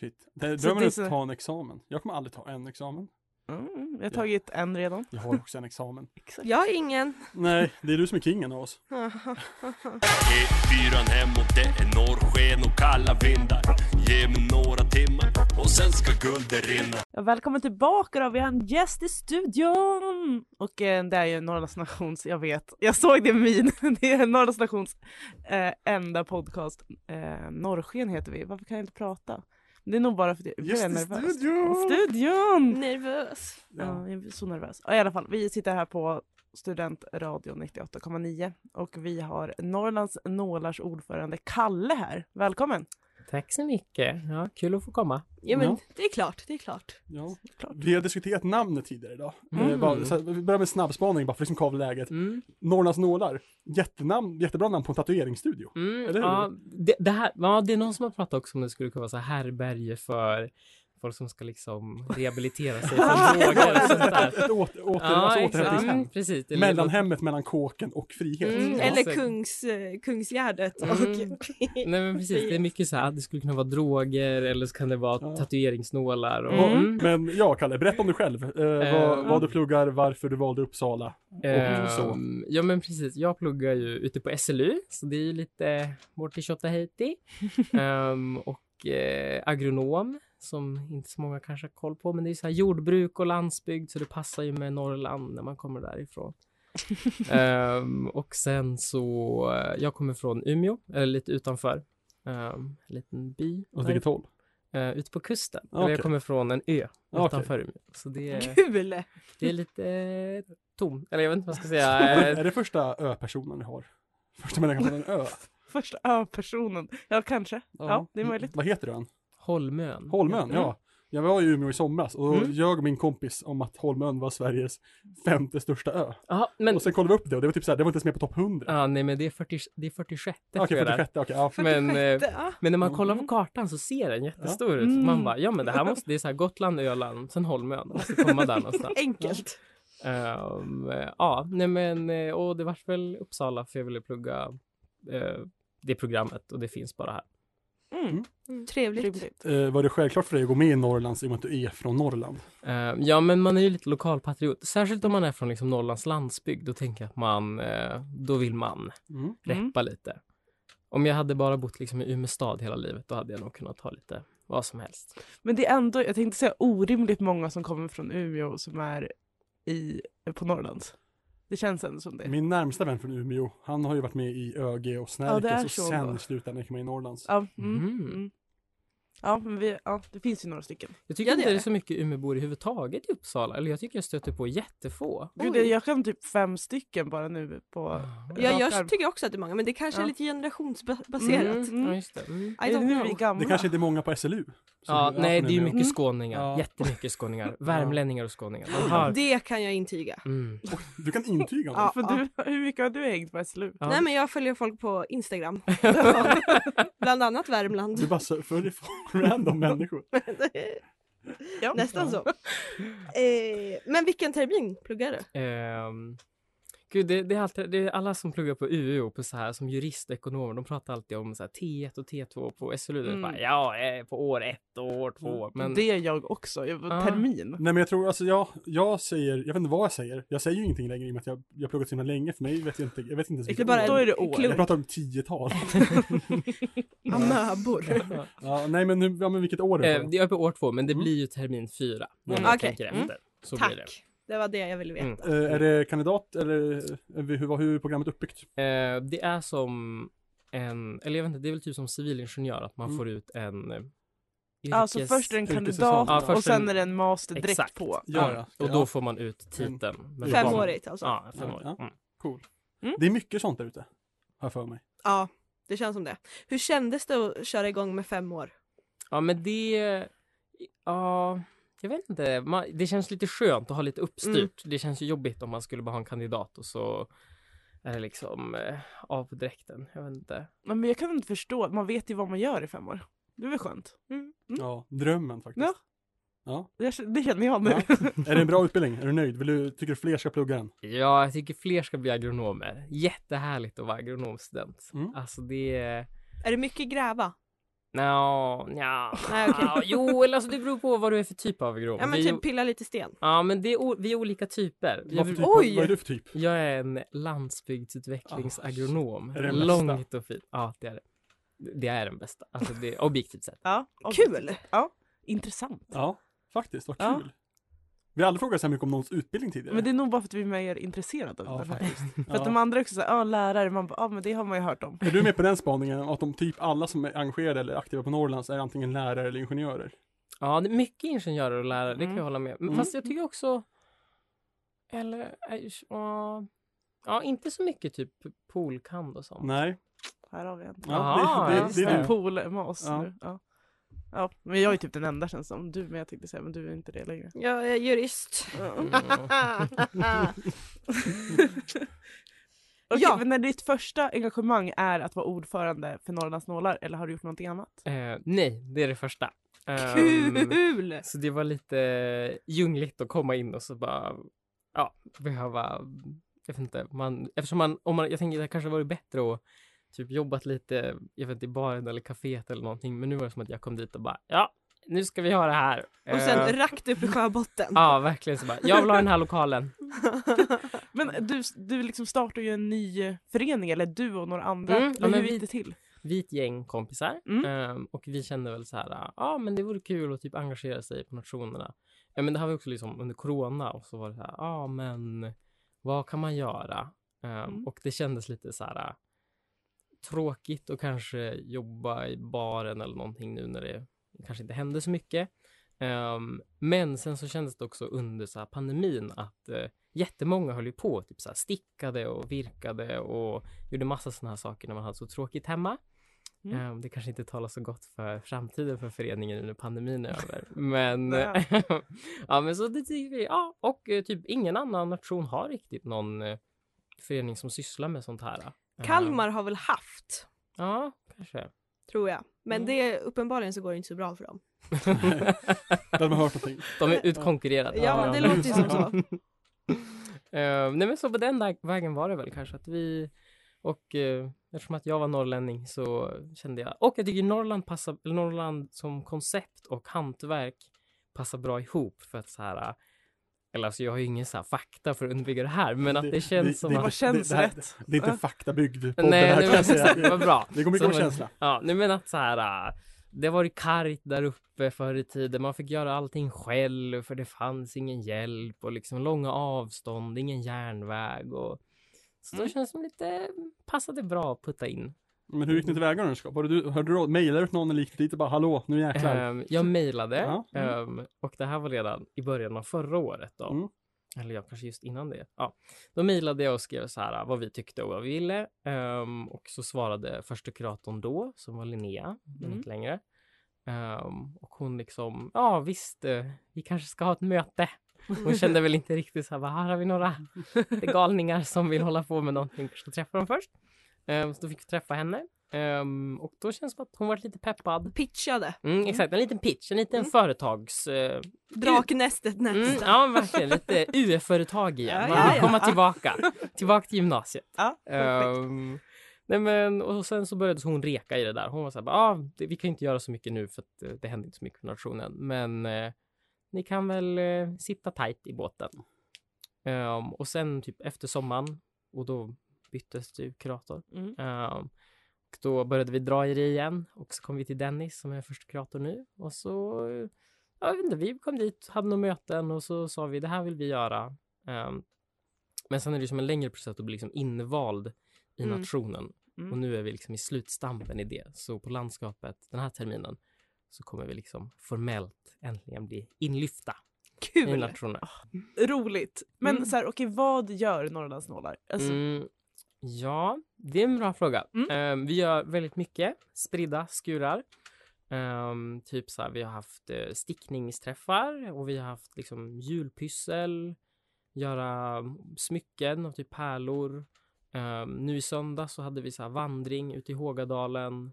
[SPEAKER 3] Shit. Det,
[SPEAKER 4] Så
[SPEAKER 3] drömmer
[SPEAKER 4] det är
[SPEAKER 3] du
[SPEAKER 4] så-
[SPEAKER 3] att ta en examen? Jag kommer aldrig ta en examen.
[SPEAKER 4] Mm, jag har tagit en redan.
[SPEAKER 3] Jag har också en examen.
[SPEAKER 4] Exakt.
[SPEAKER 2] Jag är ingen.
[SPEAKER 3] Nej, det är du som är kingen av oss.
[SPEAKER 1] E4 hemåt, det är norrsken och kalla vindar. Ge mig några timmar och sen ska guldet rinna.
[SPEAKER 4] Ja, välkommen tillbaka då, vi har en gäst i studion! Och eh, det är ju Norrlands Nations, jag vet, jag såg det min, det är Norrlands Nations eh, enda podcast. Eh, Norrsken heter vi, varför kan jag inte prata? Det är nog bara för att jag
[SPEAKER 3] Just
[SPEAKER 4] jag är
[SPEAKER 3] i
[SPEAKER 4] nervös.
[SPEAKER 3] studion!
[SPEAKER 4] Studion!
[SPEAKER 2] Nervös.
[SPEAKER 3] Ja.
[SPEAKER 4] Ja, jag är så nervös. Ja, I alla fall, vi sitter här på Studentradion 98,9 och vi har Norrlands Nålars ordförande Kalle här. Välkommen!
[SPEAKER 6] Tack så mycket. Ja, kul att få komma.
[SPEAKER 2] Ja, men
[SPEAKER 3] Ja.
[SPEAKER 2] det är klart, det är klart.
[SPEAKER 3] ja.
[SPEAKER 4] Klart.
[SPEAKER 3] Vi har diskuterat namnet tidigare idag.
[SPEAKER 6] Mm.
[SPEAKER 3] Eh, bara, så här, vi börjar med snabbspaning bara för att liksom kavla läget. Norrlands nålar. Jättenamn, jättebra namn på en tatueringsstudio.
[SPEAKER 6] Mm,
[SPEAKER 3] Eller hur?
[SPEAKER 6] ja, det, det, här, ja, det är någon som har pratat också om det skulle kunna vara så här härbärge för, Folk som ska liksom rehabilitera sig från droger och sånt där.
[SPEAKER 3] Ett åter, åter,
[SPEAKER 6] Ja,
[SPEAKER 3] alltså
[SPEAKER 6] exakt.
[SPEAKER 3] återhämtningshem.
[SPEAKER 6] Mm, precis. Det låter-
[SPEAKER 3] Mellanhemmet mellan kåken och frihet.
[SPEAKER 6] Mm,
[SPEAKER 3] Ja.
[SPEAKER 2] Eller
[SPEAKER 6] så-
[SPEAKER 2] kungs, eh, Kungsgärdet
[SPEAKER 6] Mm.
[SPEAKER 2] och
[SPEAKER 6] Nej men precis, det är mycket så här, det skulle kunna vara droger eller så kan det vara
[SPEAKER 3] Ja.
[SPEAKER 6] tatueringsnålar. Och,
[SPEAKER 4] Mm.
[SPEAKER 6] Mm.
[SPEAKER 3] Men ja, Kalle, berätta om dig själv. Eh, vad,
[SPEAKER 6] Eh.
[SPEAKER 3] vad du pluggar, varför du valde Uppsala. Och så.
[SPEAKER 6] Ehm, ja men precis, jag pluggar ju ute på SLU, så det är ju lite bort till Tjotahejti. Ehm, och eh, agronom, som inte så många kanske har koll på, men det är ju så här jordbruk och landsbygd, så det passar ju med Norrland när man kommer därifrån. Ehm, och sen så, eh, jag kommer från Umeå, eller lite utanför, ehm, en liten by.
[SPEAKER 3] Åt
[SPEAKER 6] där.
[SPEAKER 3] vilket håll?
[SPEAKER 6] Uh, ute på kusten.
[SPEAKER 3] Ah, Okej. Ah,
[SPEAKER 6] Eller jag kommer från en ö
[SPEAKER 3] Okej.
[SPEAKER 6] utanför Umeå. Så det är,
[SPEAKER 2] kul!
[SPEAKER 6] det är lite eh, tom. Eller jag vet inte vad jag ska säga.
[SPEAKER 3] är
[SPEAKER 6] Eh,
[SPEAKER 3] det första ö-personen vi har? Första människan från en ö?
[SPEAKER 4] Första ö-personen. Ja, kanske. Ja, det är möjligt.
[SPEAKER 3] Vad heter ön?
[SPEAKER 6] Holmön.
[SPEAKER 3] Holmön, ja. Jag var i Umeå i somras och då
[SPEAKER 6] Mm.
[SPEAKER 3] ljög min kompis om att Holmön var Sveriges femte största ö.
[SPEAKER 6] Ja, men...
[SPEAKER 3] Och sen kollade vi upp det och det var typ såhär, det var inte ens med på topp 100.
[SPEAKER 6] Ja, nej, men det är, 40, det är 46.
[SPEAKER 3] Okej,
[SPEAKER 6] tror jag det är.
[SPEAKER 3] 46, okej. ja.
[SPEAKER 6] Men, eh,
[SPEAKER 2] Ja,
[SPEAKER 6] men när man
[SPEAKER 3] Mm.
[SPEAKER 6] kollar på kartan så ser den jättestor ut.
[SPEAKER 4] Mm.
[SPEAKER 6] Man bara, ja men det här måste, det är så här Gotland, Öland, sen Holmön. Måste komma där någonstans.
[SPEAKER 2] enkelt.
[SPEAKER 6] Ehm, eh, ja, nej men, eh, och det vart väl Uppsala för jag ville plugga eh, det programmet och det finns bara här.
[SPEAKER 4] Mm.
[SPEAKER 2] Trevligt.
[SPEAKER 4] Trevligt.
[SPEAKER 3] Eh, var det självklart för dig att gå med i Norrlands i och med att du är från Norrland?
[SPEAKER 6] Eh, ja, men man är ju lite lokalpatriot. Särskilt om man är från liksom Norrlands landsbygd. Då tänker jag att man, eh, då vill man
[SPEAKER 3] Mm.
[SPEAKER 4] Mm.
[SPEAKER 6] reppa lite. Om jag hade bara bott liksom i Umeå stad hela livet, då hade jag nog kunnat ta lite vad som helst.
[SPEAKER 4] Men det är ändå, jag tänkte säga orimligt många som kommer från Umeå som är i, på Norrland. Det känns ändå som det.
[SPEAKER 3] Min närmsta vän från Umeå, han har ju varit med i ÖG och
[SPEAKER 4] Ja, det
[SPEAKER 3] Snärkes
[SPEAKER 4] är
[SPEAKER 3] och
[SPEAKER 4] så
[SPEAKER 3] sen
[SPEAKER 4] då.
[SPEAKER 3] slutade han gick med i Norrlands.
[SPEAKER 4] Ja, mm.
[SPEAKER 6] Mm.
[SPEAKER 4] Mm. ja, men vi, ja, det finns ju några stycken.
[SPEAKER 6] Jag tycker
[SPEAKER 2] Ja, det
[SPEAKER 6] inte
[SPEAKER 2] är
[SPEAKER 6] det är så mycket Umeåbor i huvud taget i Uppsala. Eller jag tycker jag stöter på jättefå.
[SPEAKER 4] Gud,
[SPEAKER 2] Oj.
[SPEAKER 4] jag kan typ fem stycken bara nu på...
[SPEAKER 2] Ja,
[SPEAKER 4] Rak
[SPEAKER 2] jag
[SPEAKER 4] arm.
[SPEAKER 2] tycker också att det är många, men det kanske är
[SPEAKER 4] Ja.
[SPEAKER 2] lite generationsbaserat.
[SPEAKER 6] Mm. Ja, just det. Mm.
[SPEAKER 2] I
[SPEAKER 4] Är det
[SPEAKER 2] don't
[SPEAKER 4] nu vi är
[SPEAKER 2] know.
[SPEAKER 4] gamla?
[SPEAKER 3] Det kanske inte är många på SLU. som
[SPEAKER 6] Ja,
[SPEAKER 3] är från
[SPEAKER 6] nej, det är ju
[SPEAKER 3] Umeå.
[SPEAKER 6] mycket skåningar.
[SPEAKER 3] Ja.
[SPEAKER 6] Jättemycket skåningar. Värmlänningar och skåningar. Man hör.
[SPEAKER 2] Det kan jag intyga.
[SPEAKER 6] Mm.
[SPEAKER 3] Du kan intyga om det.
[SPEAKER 4] Ja,
[SPEAKER 2] Ja,
[SPEAKER 4] för
[SPEAKER 2] ja.
[SPEAKER 4] Du, hur mycket har du hängt med SLU?
[SPEAKER 6] Ja.
[SPEAKER 2] Nej men jag följer folk på Instagram. Bland annat
[SPEAKER 3] Du
[SPEAKER 2] Värmland.
[SPEAKER 3] bara så- följer random människor.
[SPEAKER 4] Ja.
[SPEAKER 2] Nästan så. Eh, men vilken termin pluggar du?
[SPEAKER 6] Ehm, gud, det, det, är alltid, det är alla som pluggar på UO på så här, som jurist och ekonomer, de pratar alltid om så här, T1 och T2 på SLU. Mm.
[SPEAKER 4] Mm.
[SPEAKER 6] Bara, ja, jag är på år ett och år två. Men
[SPEAKER 4] Det är jag också, jag,
[SPEAKER 6] Ja.
[SPEAKER 4] termin.
[SPEAKER 3] Nej men jag tror, alltså jag, jag säger, jag vet inte vad jag säger. Jag säger ju ingenting längre i och med att jag, jag har pluggat så himla länge. För mig vet jag inte, jag vet inte ens
[SPEAKER 4] Det
[SPEAKER 3] vilket
[SPEAKER 4] är bara
[SPEAKER 3] år.
[SPEAKER 4] då är det år.
[SPEAKER 3] Jag pratar om tiotal.
[SPEAKER 2] Amöbor.
[SPEAKER 3] Ja, nej men, hur, ja, men vilket år är
[SPEAKER 6] eh,
[SPEAKER 3] det?
[SPEAKER 6] jag är på år två, men det
[SPEAKER 3] Mm.
[SPEAKER 6] blir ju termin fyra. När
[SPEAKER 3] Mm.
[SPEAKER 6] man
[SPEAKER 2] Okej.
[SPEAKER 6] tänker
[SPEAKER 4] Mm.
[SPEAKER 6] efter. Så blir det.
[SPEAKER 2] Tack. Det var det jag ville veta.
[SPEAKER 6] Mm.
[SPEAKER 3] Eh, är det kandidat eller är vi- hur, vad- hur är programmet uppbyggt?
[SPEAKER 6] Eh, det är som en, eller jag vet inte, det är väl typ som civilingenjör, att man
[SPEAKER 3] Mm.
[SPEAKER 6] får ut en eh,
[SPEAKER 4] Alltså
[SPEAKER 6] yrkes-
[SPEAKER 4] först är det en
[SPEAKER 3] yrkesexamen.
[SPEAKER 4] kandidat
[SPEAKER 3] Ja,
[SPEAKER 6] först
[SPEAKER 4] och sen
[SPEAKER 6] en-
[SPEAKER 4] är det en master direkt
[SPEAKER 6] Exakt.
[SPEAKER 4] på.
[SPEAKER 3] Ja, ja.
[SPEAKER 6] Och då
[SPEAKER 3] Ja.
[SPEAKER 6] får man ut titeln. Men-
[SPEAKER 3] Fem år.
[SPEAKER 2] Femårigt alltså. Ja.
[SPEAKER 6] Ja, femårig.
[SPEAKER 3] Ja.
[SPEAKER 6] Mm.
[SPEAKER 3] Cool.
[SPEAKER 4] Mm.
[SPEAKER 3] Det är mycket sånt där ute. Har jag för mig.
[SPEAKER 2] det känns som det. Hur kändes det att köra igång med fem år?
[SPEAKER 6] Ja, men det... Ja, jag vet inte. Man, det känns lite skönt att ha lite uppstyrt.
[SPEAKER 2] Mm.
[SPEAKER 6] Det känns ju jobbigt om man skulle bara ha en kandidat och så är det liksom eh, av på dräkten. Jag vet inte.
[SPEAKER 4] Ja, Men jag kan inte förstå, man vet ju vad man gör i fem år. Det är väl skönt? Mm.
[SPEAKER 3] Ja, drömmen faktiskt.
[SPEAKER 4] Ja.
[SPEAKER 3] Ja.
[SPEAKER 4] Jag känner- Det känner jag nu.
[SPEAKER 3] Ja. Är det en bra utbildning? Är du nöjd? Vill du, tycker du fler ska plugga den?
[SPEAKER 6] Ja, jag tycker fler ska bli agronomer. Jättehärligt att vara agronomstudent.
[SPEAKER 3] Mm.
[SPEAKER 6] Alltså det är...
[SPEAKER 2] Är det mycket gräva?
[SPEAKER 6] Nja, nja.
[SPEAKER 2] Nej, okej.
[SPEAKER 6] Ja, Jo, eller alltså det beror på vad du är för typ av agron.
[SPEAKER 2] Ja men
[SPEAKER 6] vi,
[SPEAKER 2] typ pilla lite sten.
[SPEAKER 6] ja, men det är o- vi är olika typer.
[SPEAKER 3] Vad, för
[SPEAKER 6] Jag-
[SPEAKER 3] typ,
[SPEAKER 2] Oj!
[SPEAKER 3] vad är du för typ?
[SPEAKER 6] Jag är en landsbygdsutvecklingsagronom.
[SPEAKER 3] Är det den bästa?
[SPEAKER 6] Långt och fint. Ja, det är det. Det är den bästa. Alltså, det är objektivt sett.
[SPEAKER 4] Ja.
[SPEAKER 2] Kul!
[SPEAKER 4] Ja. Intressant.
[SPEAKER 3] Ja, faktiskt. Vad
[SPEAKER 4] Ja.
[SPEAKER 3] kul. Vi har aldrig frågat så här mycket om någons utbildning tidigare.
[SPEAKER 4] Men det är nog bara för att vi är mer intresserade av
[SPEAKER 3] Ja,
[SPEAKER 4] det. här.
[SPEAKER 3] faktiskt.
[SPEAKER 4] För att de andra är också såhär, ja lärare, man bara, ja men det har man ju hört om.
[SPEAKER 3] Är du med på den spaningen att de typ alla som är engagerade eller aktiva på Norrlands är antingen lärare eller ingenjörer?
[SPEAKER 6] Ja, det är mycket ingenjörer och lärare. Det kan
[SPEAKER 4] Mm.
[SPEAKER 6] jag hålla med Men
[SPEAKER 3] Mm.
[SPEAKER 6] Fast jag tycker också... Eller... äh, Ja, ja, inte så mycket typ poolkand och sånt.
[SPEAKER 3] Nej.
[SPEAKER 4] Här har vi en.
[SPEAKER 3] Ja,
[SPEAKER 6] Aha,
[SPEAKER 3] det,
[SPEAKER 4] Ja,
[SPEAKER 3] det, det,
[SPEAKER 4] en
[SPEAKER 3] är du.
[SPEAKER 4] pool med oss
[SPEAKER 3] Ja.
[SPEAKER 4] nu. Ja. ja, men jag är typ den enda känns det som. Du med jag tänkte säga, men du är inte det längre.
[SPEAKER 2] Jag är jurist.
[SPEAKER 6] Mm.
[SPEAKER 4] Okej,
[SPEAKER 2] Ja.
[SPEAKER 4] men när ditt första engagemang är att vara ordförande för Norrlands nålar, eller har du gjort någonting annat?
[SPEAKER 6] Eh, nej, det är det första. Ehm,
[SPEAKER 2] Kul!
[SPEAKER 6] så det var lite djungligt att komma in och så bara, ja, behöva, jag vet inte, man, eftersom man, om man, jag tänker det kanske varit bättre att typ jobbat lite, jag vet inte, i baren eller kaféet eller någonting, men nu var det som att jag kom dit och bara, ja, nu ska vi ha det här.
[SPEAKER 2] Och sen
[SPEAKER 6] Ehm,
[SPEAKER 2] rakt upp i sjöbotten.
[SPEAKER 6] Ja, verkligen så bara, jag vill ha den här lokalen.
[SPEAKER 4] Men du, du liksom startar ju en ny eh, förening, eller du och några andra.
[SPEAKER 6] Mm, ja,
[SPEAKER 4] men hur
[SPEAKER 6] men vi-
[SPEAKER 4] gick det till?
[SPEAKER 6] Vi är ett gäng kompisar
[SPEAKER 4] Mm.
[SPEAKER 6] ehm, och vi kände väl så här, ja ah, men det vore kul att typ engagera sig på nationerna. Ja men det här var också liksom under corona och så var det så här, ja men vad kan man göra? Ehm,
[SPEAKER 4] Mm.
[SPEAKER 6] Och det kändes lite så här eh, tråkigt att kanske jobba i baren eller någonting nu när det kanske inte hände så mycket. Ehm, men sen så kändes det också under så här pandemin att eh, jättemånga höll ju på och typ så här stickade och virkade och gjorde massa sådana här saker när man hade så tråkigt hemma.
[SPEAKER 4] Mm.
[SPEAKER 6] Ehm, det kanske inte talar så gott för framtiden för föreningen nu när pandemin är över. Men, eh,
[SPEAKER 4] Nej.
[SPEAKER 6] ja, men så det tycker vi. Ja, och eh, typ ingen annan nation har riktigt någon eh, förening som sysslar med sånt här. Ehm,
[SPEAKER 2] Kalmar har väl haft,
[SPEAKER 6] Ja, kanske.
[SPEAKER 2] tror jag. Men
[SPEAKER 6] Mm.
[SPEAKER 2] det, uppenbarligen så går det inte så bra för dem.
[SPEAKER 3] Där hade man hört någonting.
[SPEAKER 6] De är utkonkurrerade.
[SPEAKER 2] Ja, men det låter ju som så.
[SPEAKER 6] Ehm, nej men så på den där vägen var det väl kanske att vi och eh, eftersom att jag var norrlänning så kände jag och jag tycker Norrland passar eller Norrland som koncept och hantverk passar bra ihop för att så här eh, eller alltså jag har ju ingen så här fakta för att underbygga det här men att det, känns som
[SPEAKER 3] det-
[SPEAKER 6] att
[SPEAKER 4] Vad känns
[SPEAKER 3] det, det, här,
[SPEAKER 4] rätt?
[SPEAKER 3] det är inte
[SPEAKER 4] Ja.
[SPEAKER 3] en faktabyggd podd det
[SPEAKER 6] nej,
[SPEAKER 3] här
[SPEAKER 6] nej
[SPEAKER 3] kan jag
[SPEAKER 6] men,
[SPEAKER 3] säga.
[SPEAKER 6] vad bra
[SPEAKER 3] Det går mycket
[SPEAKER 6] Så-
[SPEAKER 3] på känsla.
[SPEAKER 6] Ja, nu menar att så här. äh, Det har varit kargt där uppe förr i tiden. Man fick göra allting själv för det fanns ingen hjälp och liksom långa avstånd, ingen järnväg och så då känns det som lite passade bra att putta in.
[SPEAKER 3] Men hur gick ni tillväga nu Skap? Var det du, hörde du då, mejlade du till någon eller gick du dit och bara hallå, nu jäklar.
[SPEAKER 6] Ehm, jag mejlade
[SPEAKER 3] Ja.
[SPEAKER 6] ehm, och det här var redan i början av förra året då.
[SPEAKER 3] Mm.
[SPEAKER 6] Eller ja, kanske just innan det. Ja. Då mejlade jag och skrev så här vad vi tyckte och vad vi ville. Ehm, och så svarade första kuratorn då, som var Linnea, men
[SPEAKER 4] Mm.
[SPEAKER 6] inte längre. Ehm, och hon liksom, ja visst, eh, vi kanske ska ha ett möte. Hon kände väl inte riktigt så här, "Vad, här har vi några lite galningar som vill hålla på med någonting, kanske ska träffa dem först. Ehm, så då fick vi träffa henne. Ehm, och då känns det som att hon var lite peppad.
[SPEAKER 2] Pitchade.
[SPEAKER 6] Mm, exakt, en liten pitch, en liten
[SPEAKER 2] Mm.
[SPEAKER 6] företags... Eh,
[SPEAKER 2] Draknästet näst.
[SPEAKER 6] mm, ja, verkligen lite UF-företag igen.
[SPEAKER 2] Ja,
[SPEAKER 6] Man
[SPEAKER 2] ja,
[SPEAKER 6] vill
[SPEAKER 2] ja.
[SPEAKER 6] komma tillbaka, tillbaka till gymnasiet.
[SPEAKER 4] Ja, perfekt.
[SPEAKER 6] Ehm, nej men, och sen så började hon reka i det där. Hon var så här, bara, ah, det, vi kan ju inte göra så mycket nu för att eh, det händer inte så mycket för nationen, men eh, ni kan väl eh, sitta tajt i båten. Ehm, och sen typ efter sommaren, och då byttes det ju kurator.
[SPEAKER 4] Mm.
[SPEAKER 6] Ehm, och då började vi dra i det igen och så kom vi till Dennis som är första kurator nu och så, eh, jag vet inte, vi kom dit, hade några möten och så sa vi det här vill vi göra. Ehm, men sen är det ju som en längre process att bli liksom invald i
[SPEAKER 2] Mm.
[SPEAKER 6] nationen
[SPEAKER 4] Mm.
[SPEAKER 6] och nu är vi liksom i slutstampen i det. Så på landskapet den här terminen så kommer vi liksom formellt äntligen bli inlyfta i
[SPEAKER 2] Kul!
[SPEAKER 6] nationen.
[SPEAKER 4] Roligt. Men
[SPEAKER 6] Mm.
[SPEAKER 4] så här, okej, vad gör Norrlandsnålar? Alltså,
[SPEAKER 6] Mm, ja, det är en bra fråga.
[SPEAKER 4] Mm.
[SPEAKER 6] Ehm, vi gör väldigt mycket spridda skurar. Ehm, typ så här, vi har haft eh, stickningsträffar och vi har haft liksom julpyssel, göra mm, smycken av typ pärlor. Ehm, nu i söndag så hade vi så här vandring ute i Hågadalen.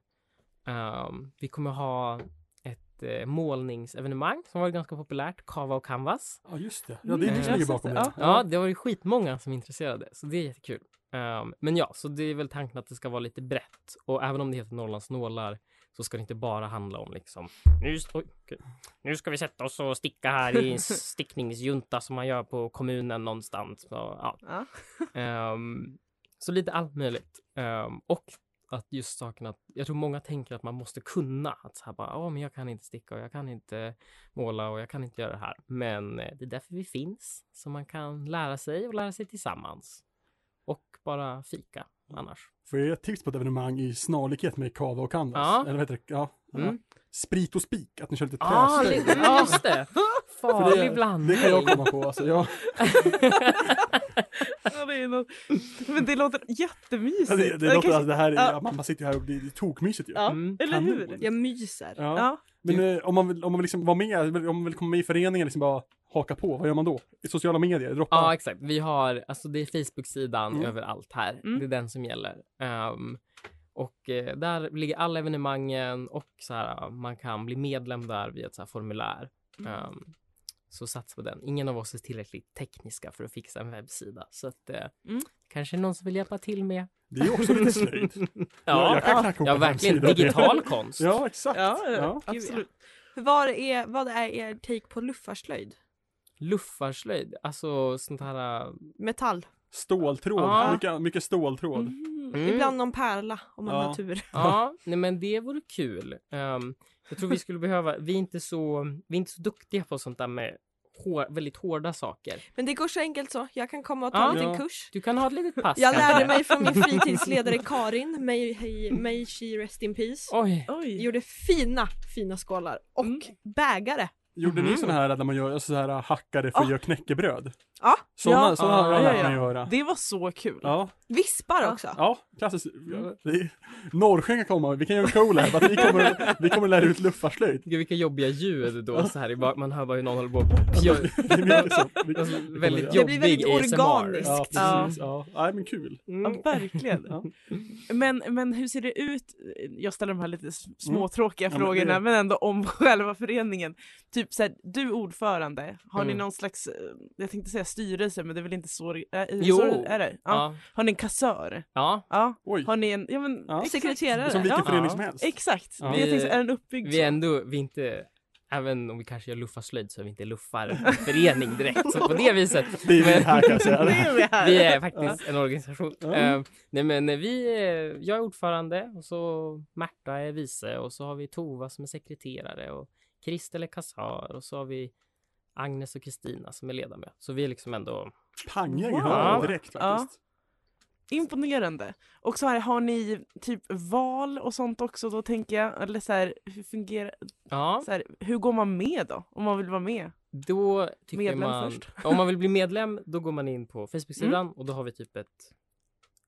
[SPEAKER 6] Ehm, vi kommer ha ett eh, målningsevenemang som varit ganska populärt, Kava och Canvas.
[SPEAKER 3] Ja just det, ja det är
[SPEAKER 6] Mm.
[SPEAKER 3] du som ligger bakom det.
[SPEAKER 4] Ja.
[SPEAKER 6] Ja, det var ju skitmånga som är intresserade, så det är jättekul. Ehm, men ja, så det är väl tanken att det ska vara lite brett. Och även om det heter Norrlands nålar så ska det inte bara handla om liksom, nu, s- oj, gud. nu ska vi sätta oss och sticka här i en stickningsjunta som man gör på kommunen någonstans. Så, ja.
[SPEAKER 4] Ja.
[SPEAKER 6] Ehm, så lite allt möjligt. Ehm, och att just saken att, jag tror många tänker att man måste kunna. Att så här bara, "Åh, men jag kan inte sticka och jag kan inte måla och jag kan inte göra det här. Men eh, det är därför vi finns, så man kan lära sig och lära sig tillsammans. Och bara fika annars.
[SPEAKER 3] Får jag ge ett tips på ett evenemang i snarlikhet med kava och canvas?
[SPEAKER 6] Ja.
[SPEAKER 3] Eller vad heter det? Ja.
[SPEAKER 6] Mm.
[SPEAKER 3] Sprit och spik, att ni kör lite
[SPEAKER 6] Ah,
[SPEAKER 3] träslöjd.
[SPEAKER 6] lite- ja, just det!
[SPEAKER 3] För
[SPEAKER 6] Farlig
[SPEAKER 3] Det
[SPEAKER 6] blandning.
[SPEAKER 3] kan jag komma på alltså. Ja,
[SPEAKER 4] ja, det är något. Men det låter jättemysigt.
[SPEAKER 3] det, det,
[SPEAKER 4] Eller
[SPEAKER 3] låter, alltså, det här är,
[SPEAKER 4] Ja.
[SPEAKER 3] ja. man sitter ju här och blir tokmysigt ju.
[SPEAKER 4] Ja,
[SPEAKER 6] Mm,
[SPEAKER 4] eller hur?
[SPEAKER 3] kanon.
[SPEAKER 4] Ja.
[SPEAKER 2] Jag myser.
[SPEAKER 4] Ja.
[SPEAKER 3] Men eh, om man vill, om man vill liksom vara med, om man vill komma med i föreningen, liksom bara haka på, vad gör man då? I sociala medier, droppa?
[SPEAKER 6] Ja, exakt. Vi har, alltså det är Facebook-sidan
[SPEAKER 3] Mm.
[SPEAKER 6] överallt här.
[SPEAKER 4] Mm.
[SPEAKER 6] Det är den som gäller. Ehm, Och eh, där ligger alla evenemangen och så här, man kan bli medlem där via ett så här formulär.
[SPEAKER 3] Mm.
[SPEAKER 6] Ehm, så satsa på den. Ingen av oss är tillräckligt tekniska för att fixa en webbsida. Så att, eh,
[SPEAKER 4] Mm.
[SPEAKER 6] kanske någon som vill hjälpa till med.
[SPEAKER 3] Det är också lite slöjd.
[SPEAKER 6] Ja,
[SPEAKER 3] jag kan knacka ihop
[SPEAKER 6] ja
[SPEAKER 3] en
[SPEAKER 6] verkligen.
[SPEAKER 3] hemsida.
[SPEAKER 6] Digital konst.
[SPEAKER 3] Ja, exakt.
[SPEAKER 4] Ja, ja,
[SPEAKER 2] Gud,
[SPEAKER 4] absolut.
[SPEAKER 2] Vad är, vad är er take på luffarslöjd?
[SPEAKER 6] Luffarslöjd, alltså sånt här... äh,
[SPEAKER 2] Metall.
[SPEAKER 3] Ståltråd.
[SPEAKER 6] Ja.
[SPEAKER 3] Mycket, mycket ståltråd.
[SPEAKER 6] Mm.
[SPEAKER 2] Ibland någon pärla om man
[SPEAKER 3] Ja.
[SPEAKER 2] har tur.
[SPEAKER 6] Ja, nej men det vore kul. Ehm, jag tror vi skulle behöva, vi är inte så, vi är inte så duktiga på sånt där med hår, väldigt hårda saker.
[SPEAKER 2] Men det går så enkelt så. Jag kan komma och ta
[SPEAKER 6] Ja.
[SPEAKER 2] en liten
[SPEAKER 3] Ja.
[SPEAKER 2] kurs.
[SPEAKER 6] Du kan ha ett litet pass.
[SPEAKER 2] Jag
[SPEAKER 6] kanske.
[SPEAKER 2] lärde mig från min fritidsledare Karin, may, hey, may she rest in peace.
[SPEAKER 6] Oj,
[SPEAKER 4] Oj.
[SPEAKER 2] Gjorde fina, fina skålar och
[SPEAKER 4] Mm.
[SPEAKER 2] bägare.
[SPEAKER 3] Gjorde ni
[SPEAKER 6] Mhm.
[SPEAKER 3] sådana här där man gör alltså, så här, hackade för att
[SPEAKER 2] Ah.
[SPEAKER 3] göra knäckebröd?
[SPEAKER 2] Ja.
[SPEAKER 3] Sådana,
[SPEAKER 4] Ja.
[SPEAKER 3] sådana har
[SPEAKER 6] Ah,
[SPEAKER 3] jag
[SPEAKER 4] ja,
[SPEAKER 3] lärt mig
[SPEAKER 4] ja.
[SPEAKER 3] göra.
[SPEAKER 4] Det var så kul.
[SPEAKER 3] Ja,
[SPEAKER 2] Vispar också.
[SPEAKER 3] ja, klassiskt. Ja, det är- Norrsken kan komma, vi kan göra en collab, att vi kommer, vi kommer lära ut luffarslöjd.
[SPEAKER 6] gud vilka jobbiga ljud då så här i bak- man hör bara hur någon håller på och
[SPEAKER 3] Alltså,
[SPEAKER 6] pjö-
[SPEAKER 3] det är mycket så. Vi- vi kommer
[SPEAKER 6] Alltså, Väldigt
[SPEAKER 3] göra.
[SPEAKER 2] Det
[SPEAKER 6] jobbig
[SPEAKER 2] blir väldigt
[SPEAKER 6] ASMR.
[SPEAKER 2] organiskt.
[SPEAKER 3] Ja, precis. Ja, Nej, men kul.
[SPEAKER 4] Ja, verkligen.
[SPEAKER 3] Mm. Ja.
[SPEAKER 4] Men, men hur ser det ut? Jag ställer de här lite s- småtråkiga
[SPEAKER 3] Mm. Ja, men det-
[SPEAKER 4] frågorna, men, ändå om själva föreningen. Typ så här, du är ordförande, har
[SPEAKER 6] Mm.
[SPEAKER 4] ni någon slags, eh, jag tänkte säga styrelse, men det är väl inte så, äh,
[SPEAKER 6] Jo.
[SPEAKER 4] så är det? Ja.
[SPEAKER 6] Ja,
[SPEAKER 4] Har ni en kassör?
[SPEAKER 6] ja,
[SPEAKER 4] Ja.
[SPEAKER 3] Oj,
[SPEAKER 4] Har ni en, ja men,
[SPEAKER 3] Ja.
[SPEAKER 4] exakt.
[SPEAKER 2] Sekreterare.
[SPEAKER 3] som vilken
[SPEAKER 4] Ja.
[SPEAKER 3] förening som helst.
[SPEAKER 4] Exakt,
[SPEAKER 3] Ja.
[SPEAKER 4] Det jag tänkte, så här, är den uppbyggd
[SPEAKER 6] vi är ändå, vi är inte, även om vi kanske gör luffarslöjd så är vi inte luffarförening direkt. Så på det viset.
[SPEAKER 3] Det är vi
[SPEAKER 6] Men-
[SPEAKER 3] här kan jag säga.
[SPEAKER 4] så? Det är vi här.
[SPEAKER 6] Vi är faktiskt en organisation.
[SPEAKER 3] Ja.
[SPEAKER 6] Eh, nej men eh, vi, eh, jag är ordförande och så Märta är vice och så har vi Tova som är sekreterare och Kristel är kassör och så har vi Agnes och Kristina som är ledamöter. Så vi är liksom ändå,
[SPEAKER 3] Panggäng
[SPEAKER 4] Wow.
[SPEAKER 3] hör man direkt
[SPEAKER 4] Ja.
[SPEAKER 3] faktiskt.
[SPEAKER 4] Imponerande. Och så här, har ni typ val och sånt också då tänker jag? Eller så här, hur fungerar,
[SPEAKER 6] ja,
[SPEAKER 4] så här, hur går man med då? Om man vill vara med?
[SPEAKER 6] då tycker
[SPEAKER 4] Medlem
[SPEAKER 6] man,
[SPEAKER 4] först. Mm.
[SPEAKER 6] om man vill bli medlem, då går man in på Facebook-sidan och då har vi typ ett,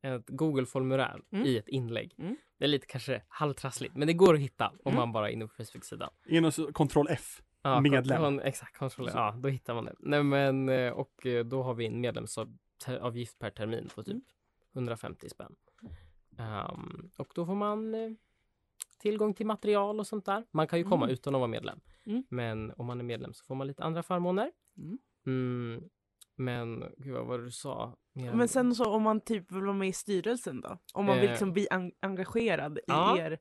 [SPEAKER 6] ett Google-formulär
[SPEAKER 4] Mm.
[SPEAKER 6] i ett inlägg.
[SPEAKER 4] Mm.
[SPEAKER 6] Det är lite kanske halvtrassligt, men det går att hitta om
[SPEAKER 4] Mm.
[SPEAKER 6] man bara är inne på Facebook-sidan.
[SPEAKER 3] In och så, kontroll F.
[SPEAKER 6] Ja,
[SPEAKER 3] Medlem.
[SPEAKER 6] kon- kon- exakt, kontroller. Ja, då hittar man det. Nej, men, eh, och eh, då har vi en medlemsavgift per termin på
[SPEAKER 4] Mm.
[SPEAKER 6] typ 150 spänn. Ehm, och då får man eh, tillgång till material och sånt där. Man kan ju komma
[SPEAKER 4] Mm.
[SPEAKER 6] utan att vara medlem.
[SPEAKER 4] Mm.
[SPEAKER 6] Men om man är medlem så får man lite andra förmåner.
[SPEAKER 4] Mm.
[SPEAKER 6] Mm, men gud vad var det du sa? Mer-
[SPEAKER 4] Men sen så om man typ vill vara med i styrelsen då? Om man vill
[SPEAKER 6] Eh.
[SPEAKER 4] liksom bli en- engagerad i
[SPEAKER 6] Ja.
[SPEAKER 4] er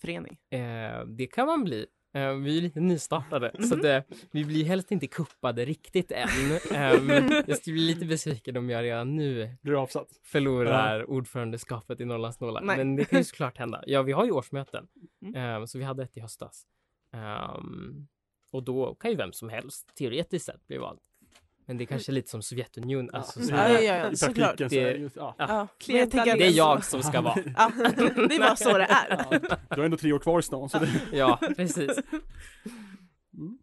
[SPEAKER 4] förening?
[SPEAKER 6] Eh, det kan man bli. Eh, vi är lite nystartade,
[SPEAKER 4] Mhm.
[SPEAKER 6] så att, eh, vi blir helst inte kuppade riktigt än. Ehm, jag skulle bli lite besviken om jag redan nu
[SPEAKER 3] Blir avsatt.
[SPEAKER 6] förlorar ordförandeskapet i Norrlands Nålar.
[SPEAKER 4] Nej.
[SPEAKER 6] Men det kan ju såklart hända. Ja, vi har ju årsmöten,
[SPEAKER 4] Mm.
[SPEAKER 6] Ehm, så vi hade ett i höstas. Ehm, och då kan ju vem som helst teoretiskt sett bli vald. Men det är kanske lite som Sovjetunionen. Alltså, så
[SPEAKER 4] Ja,
[SPEAKER 6] här,
[SPEAKER 4] ja, ja,
[SPEAKER 3] I
[SPEAKER 4] såklart.
[SPEAKER 3] praktiken så
[SPEAKER 6] Det-
[SPEAKER 3] är det ju, ja.
[SPEAKER 6] Ja.
[SPEAKER 4] Ja. Men jag
[SPEAKER 2] Kleta
[SPEAKER 4] tänker att
[SPEAKER 6] Det är jag
[SPEAKER 4] så-
[SPEAKER 6] som ska vara.
[SPEAKER 4] Ja, det är bara så det är.
[SPEAKER 3] Ja. Du har ändå tre år kvar i stan så det,
[SPEAKER 6] Ja, precis.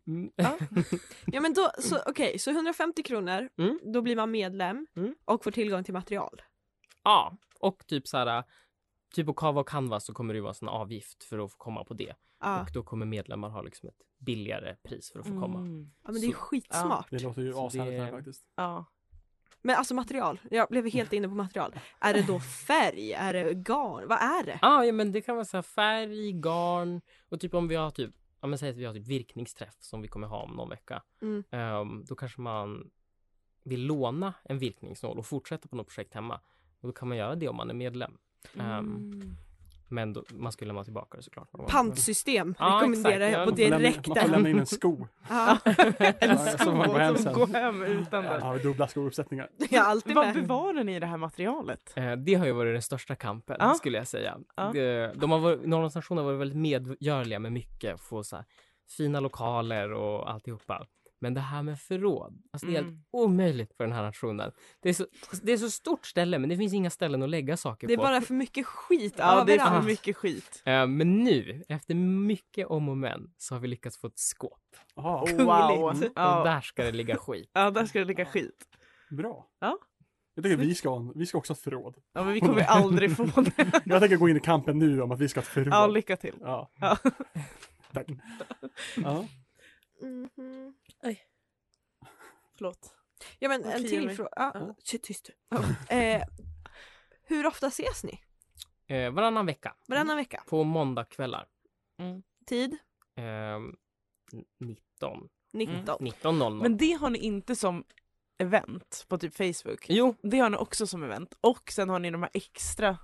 [SPEAKER 6] Mm.
[SPEAKER 2] Ja men då, så okej, så 150 kronor,
[SPEAKER 6] Mm.
[SPEAKER 2] då blir man medlem
[SPEAKER 6] Mm.
[SPEAKER 2] och får tillgång till material.
[SPEAKER 6] Ja, och typ så här. Typ på Kava och Canva så kommer det ju vara en avgift för att få komma på det.
[SPEAKER 2] Ja,
[SPEAKER 6] Och då kommer medlemmar ha liksom ett billigare pris för att få komma.
[SPEAKER 4] Mm.
[SPEAKER 2] ja men det är
[SPEAKER 6] så-
[SPEAKER 2] skitsmart.
[SPEAKER 3] det låter ju
[SPEAKER 6] Så
[SPEAKER 3] ashärligt
[SPEAKER 6] det-
[SPEAKER 3] här faktiskt.
[SPEAKER 4] Ja.
[SPEAKER 2] Men alltså material, jag blev helt inne på material. Är det då färg? Är det garn? Vad är det?
[SPEAKER 6] Ah, ja, men det kan vara så här färg, garn och typ om vi har typ, ja men säg att vi har typ virkningsträff som vi kommer ha om någon vecka.
[SPEAKER 2] Mm.
[SPEAKER 6] Ehm, då kanske man vill låna en virkningsnål och fortsätta på något projekt hemma. Och då kan man göra det om man är medlem. Ehm,
[SPEAKER 2] Mm.
[SPEAKER 6] Men då, man skulle lämna tillbaka det såklart.
[SPEAKER 2] Pantsystem
[SPEAKER 6] Ja,
[SPEAKER 2] rekommenderar
[SPEAKER 6] exakt. Ja,
[SPEAKER 2] jag på
[SPEAKER 3] Man får lämna- Man får
[SPEAKER 2] direkten.
[SPEAKER 3] lämna in en sko.
[SPEAKER 2] Ja,
[SPEAKER 4] En
[SPEAKER 3] Ja,
[SPEAKER 4] sko
[SPEAKER 3] som man går hem
[SPEAKER 4] som
[SPEAKER 3] sen.
[SPEAKER 4] går hem utan det.
[SPEAKER 3] Ja, dubbla skouppsättningar.
[SPEAKER 2] jag är alltid
[SPEAKER 4] Vad
[SPEAKER 2] med.
[SPEAKER 4] bevarar ni i det här materialet?
[SPEAKER 6] Eh, Det har ju varit den största kampen
[SPEAKER 4] Ja.
[SPEAKER 6] skulle jag säga.
[SPEAKER 4] Ja.
[SPEAKER 6] Det- De har varit, Norrlands nation har varit väldigt medgörliga med mycket, få så här fina lokaler och alltihopa. Men det här med förråd, alltså det är helt
[SPEAKER 4] Mm.
[SPEAKER 6] omöjligt för den här nationen. Det är, så, alltså det är så stort ställe, men det finns inga ställen att lägga saker
[SPEAKER 2] Det är
[SPEAKER 6] på.
[SPEAKER 2] bara för mycket skit
[SPEAKER 4] Ja, det är
[SPEAKER 2] överallt.
[SPEAKER 4] för mycket skit.
[SPEAKER 6] Eh, Men nu, efter mycket om och men, så har vi lyckats få ett skåp.
[SPEAKER 3] Aha, oh,
[SPEAKER 4] Wow.
[SPEAKER 6] Och
[SPEAKER 4] Ja.
[SPEAKER 6] där ska det ligga skit.
[SPEAKER 4] ja, där ska det ligga skit.
[SPEAKER 3] bra.
[SPEAKER 4] Ja.
[SPEAKER 3] Jag tycker vi ska, ha en- vi ska också ha ett förråd.
[SPEAKER 4] Ja, men vi kommer aldrig få det.
[SPEAKER 3] Jag tänker gå in i kampen nu om att vi ska ha ett förråd.
[SPEAKER 4] Ja, lycka till.
[SPEAKER 3] Ja.
[SPEAKER 4] Ja.
[SPEAKER 3] Tack. Ja.
[SPEAKER 2] Mhm.
[SPEAKER 4] Förlåt.
[SPEAKER 2] Ja men
[SPEAKER 4] Vad
[SPEAKER 2] en
[SPEAKER 4] kliar
[SPEAKER 2] till
[SPEAKER 4] mig.
[SPEAKER 2] fråga. Ja,
[SPEAKER 3] Ja.
[SPEAKER 2] tyst, tyst du. Eh, hur ofta ses ni?
[SPEAKER 6] eh, varannan vecka
[SPEAKER 2] Varannan vecka.
[SPEAKER 6] på måndagkvällar.
[SPEAKER 2] Tid
[SPEAKER 6] Ehm, n- Mm, 19.
[SPEAKER 4] Mm,
[SPEAKER 2] 19.
[SPEAKER 6] 19.00.
[SPEAKER 4] Men det har ni inte som event på typ Facebook?
[SPEAKER 6] Jo,
[SPEAKER 4] Det har ni också som event. Och sen har ni de här extra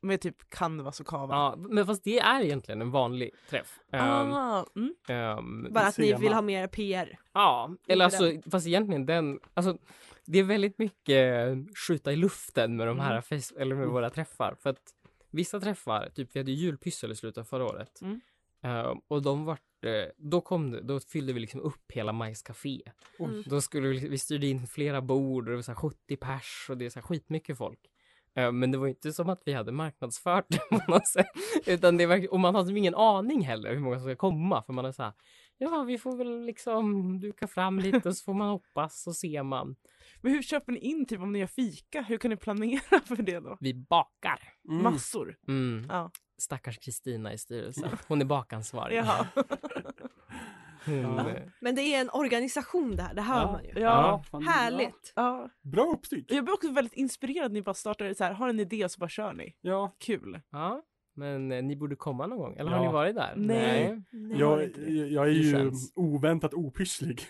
[SPEAKER 4] med typ canvas och kava.
[SPEAKER 6] ja, men fast det är egentligen en vanlig träff. Ehm,
[SPEAKER 4] Ah, mm.
[SPEAKER 6] ehm,
[SPEAKER 2] Bara att ni
[SPEAKER 3] Sena.
[SPEAKER 2] vill ha mer PR.
[SPEAKER 6] Ja, eller
[SPEAKER 2] Inte
[SPEAKER 6] alltså, fast egentligen den, alltså det är väldigt mycket skjuta i luften med de här
[SPEAKER 4] Mm.
[SPEAKER 6] fest, eller med våra träffar. För att vissa träffar, typ vi hade ju julpyssel i slutet av förra året.
[SPEAKER 4] Mm.
[SPEAKER 6] Eh, och de vart, eh, då kom det, då fyllde vi liksom upp hela Majs Café.
[SPEAKER 2] Mm.
[SPEAKER 6] Då skulle vi, vi styrde in flera bord och det var så här 70 pers och det är så här skitmycket folk. Eh, Men det var ju inte som att vi hade marknadsfört det på något sätt. Utan det var, och man hade ju ingen aning heller hur många som ska komma. För man är så här, ja vi får väl liksom duka fram lite och så får man hoppas så ser man.
[SPEAKER 4] Men hur köper ni in typ om ni gör fika? Hur kan ni planera för det då?
[SPEAKER 6] Vi bakar.
[SPEAKER 3] Mm.
[SPEAKER 4] Massor.
[SPEAKER 6] Mm.
[SPEAKER 4] Ja.
[SPEAKER 6] Stackars Kristina i styrelsen. Hon är bakansvarig.
[SPEAKER 4] Jaha.
[SPEAKER 6] Hon,
[SPEAKER 3] Ja.
[SPEAKER 6] eh,
[SPEAKER 2] Men det är en organisation det här, det hör man ju.
[SPEAKER 4] Ja.
[SPEAKER 3] fan,
[SPEAKER 2] Härligt!
[SPEAKER 4] ja.
[SPEAKER 3] Bra uppstyrt.
[SPEAKER 4] Jag blir också väldigt inspirerad när ni bara startar så här, har en idé och så bara kör ni.
[SPEAKER 3] Ja,
[SPEAKER 4] Kul.
[SPEAKER 6] ja. Men eh, ni borde komma någon gång. Eller har
[SPEAKER 3] Ja.
[SPEAKER 6] ni varit där?
[SPEAKER 4] Nej.
[SPEAKER 2] Nej.
[SPEAKER 3] jag, jag, jag är
[SPEAKER 6] Det
[SPEAKER 3] ju
[SPEAKER 6] känns.
[SPEAKER 3] oväntat opysslig.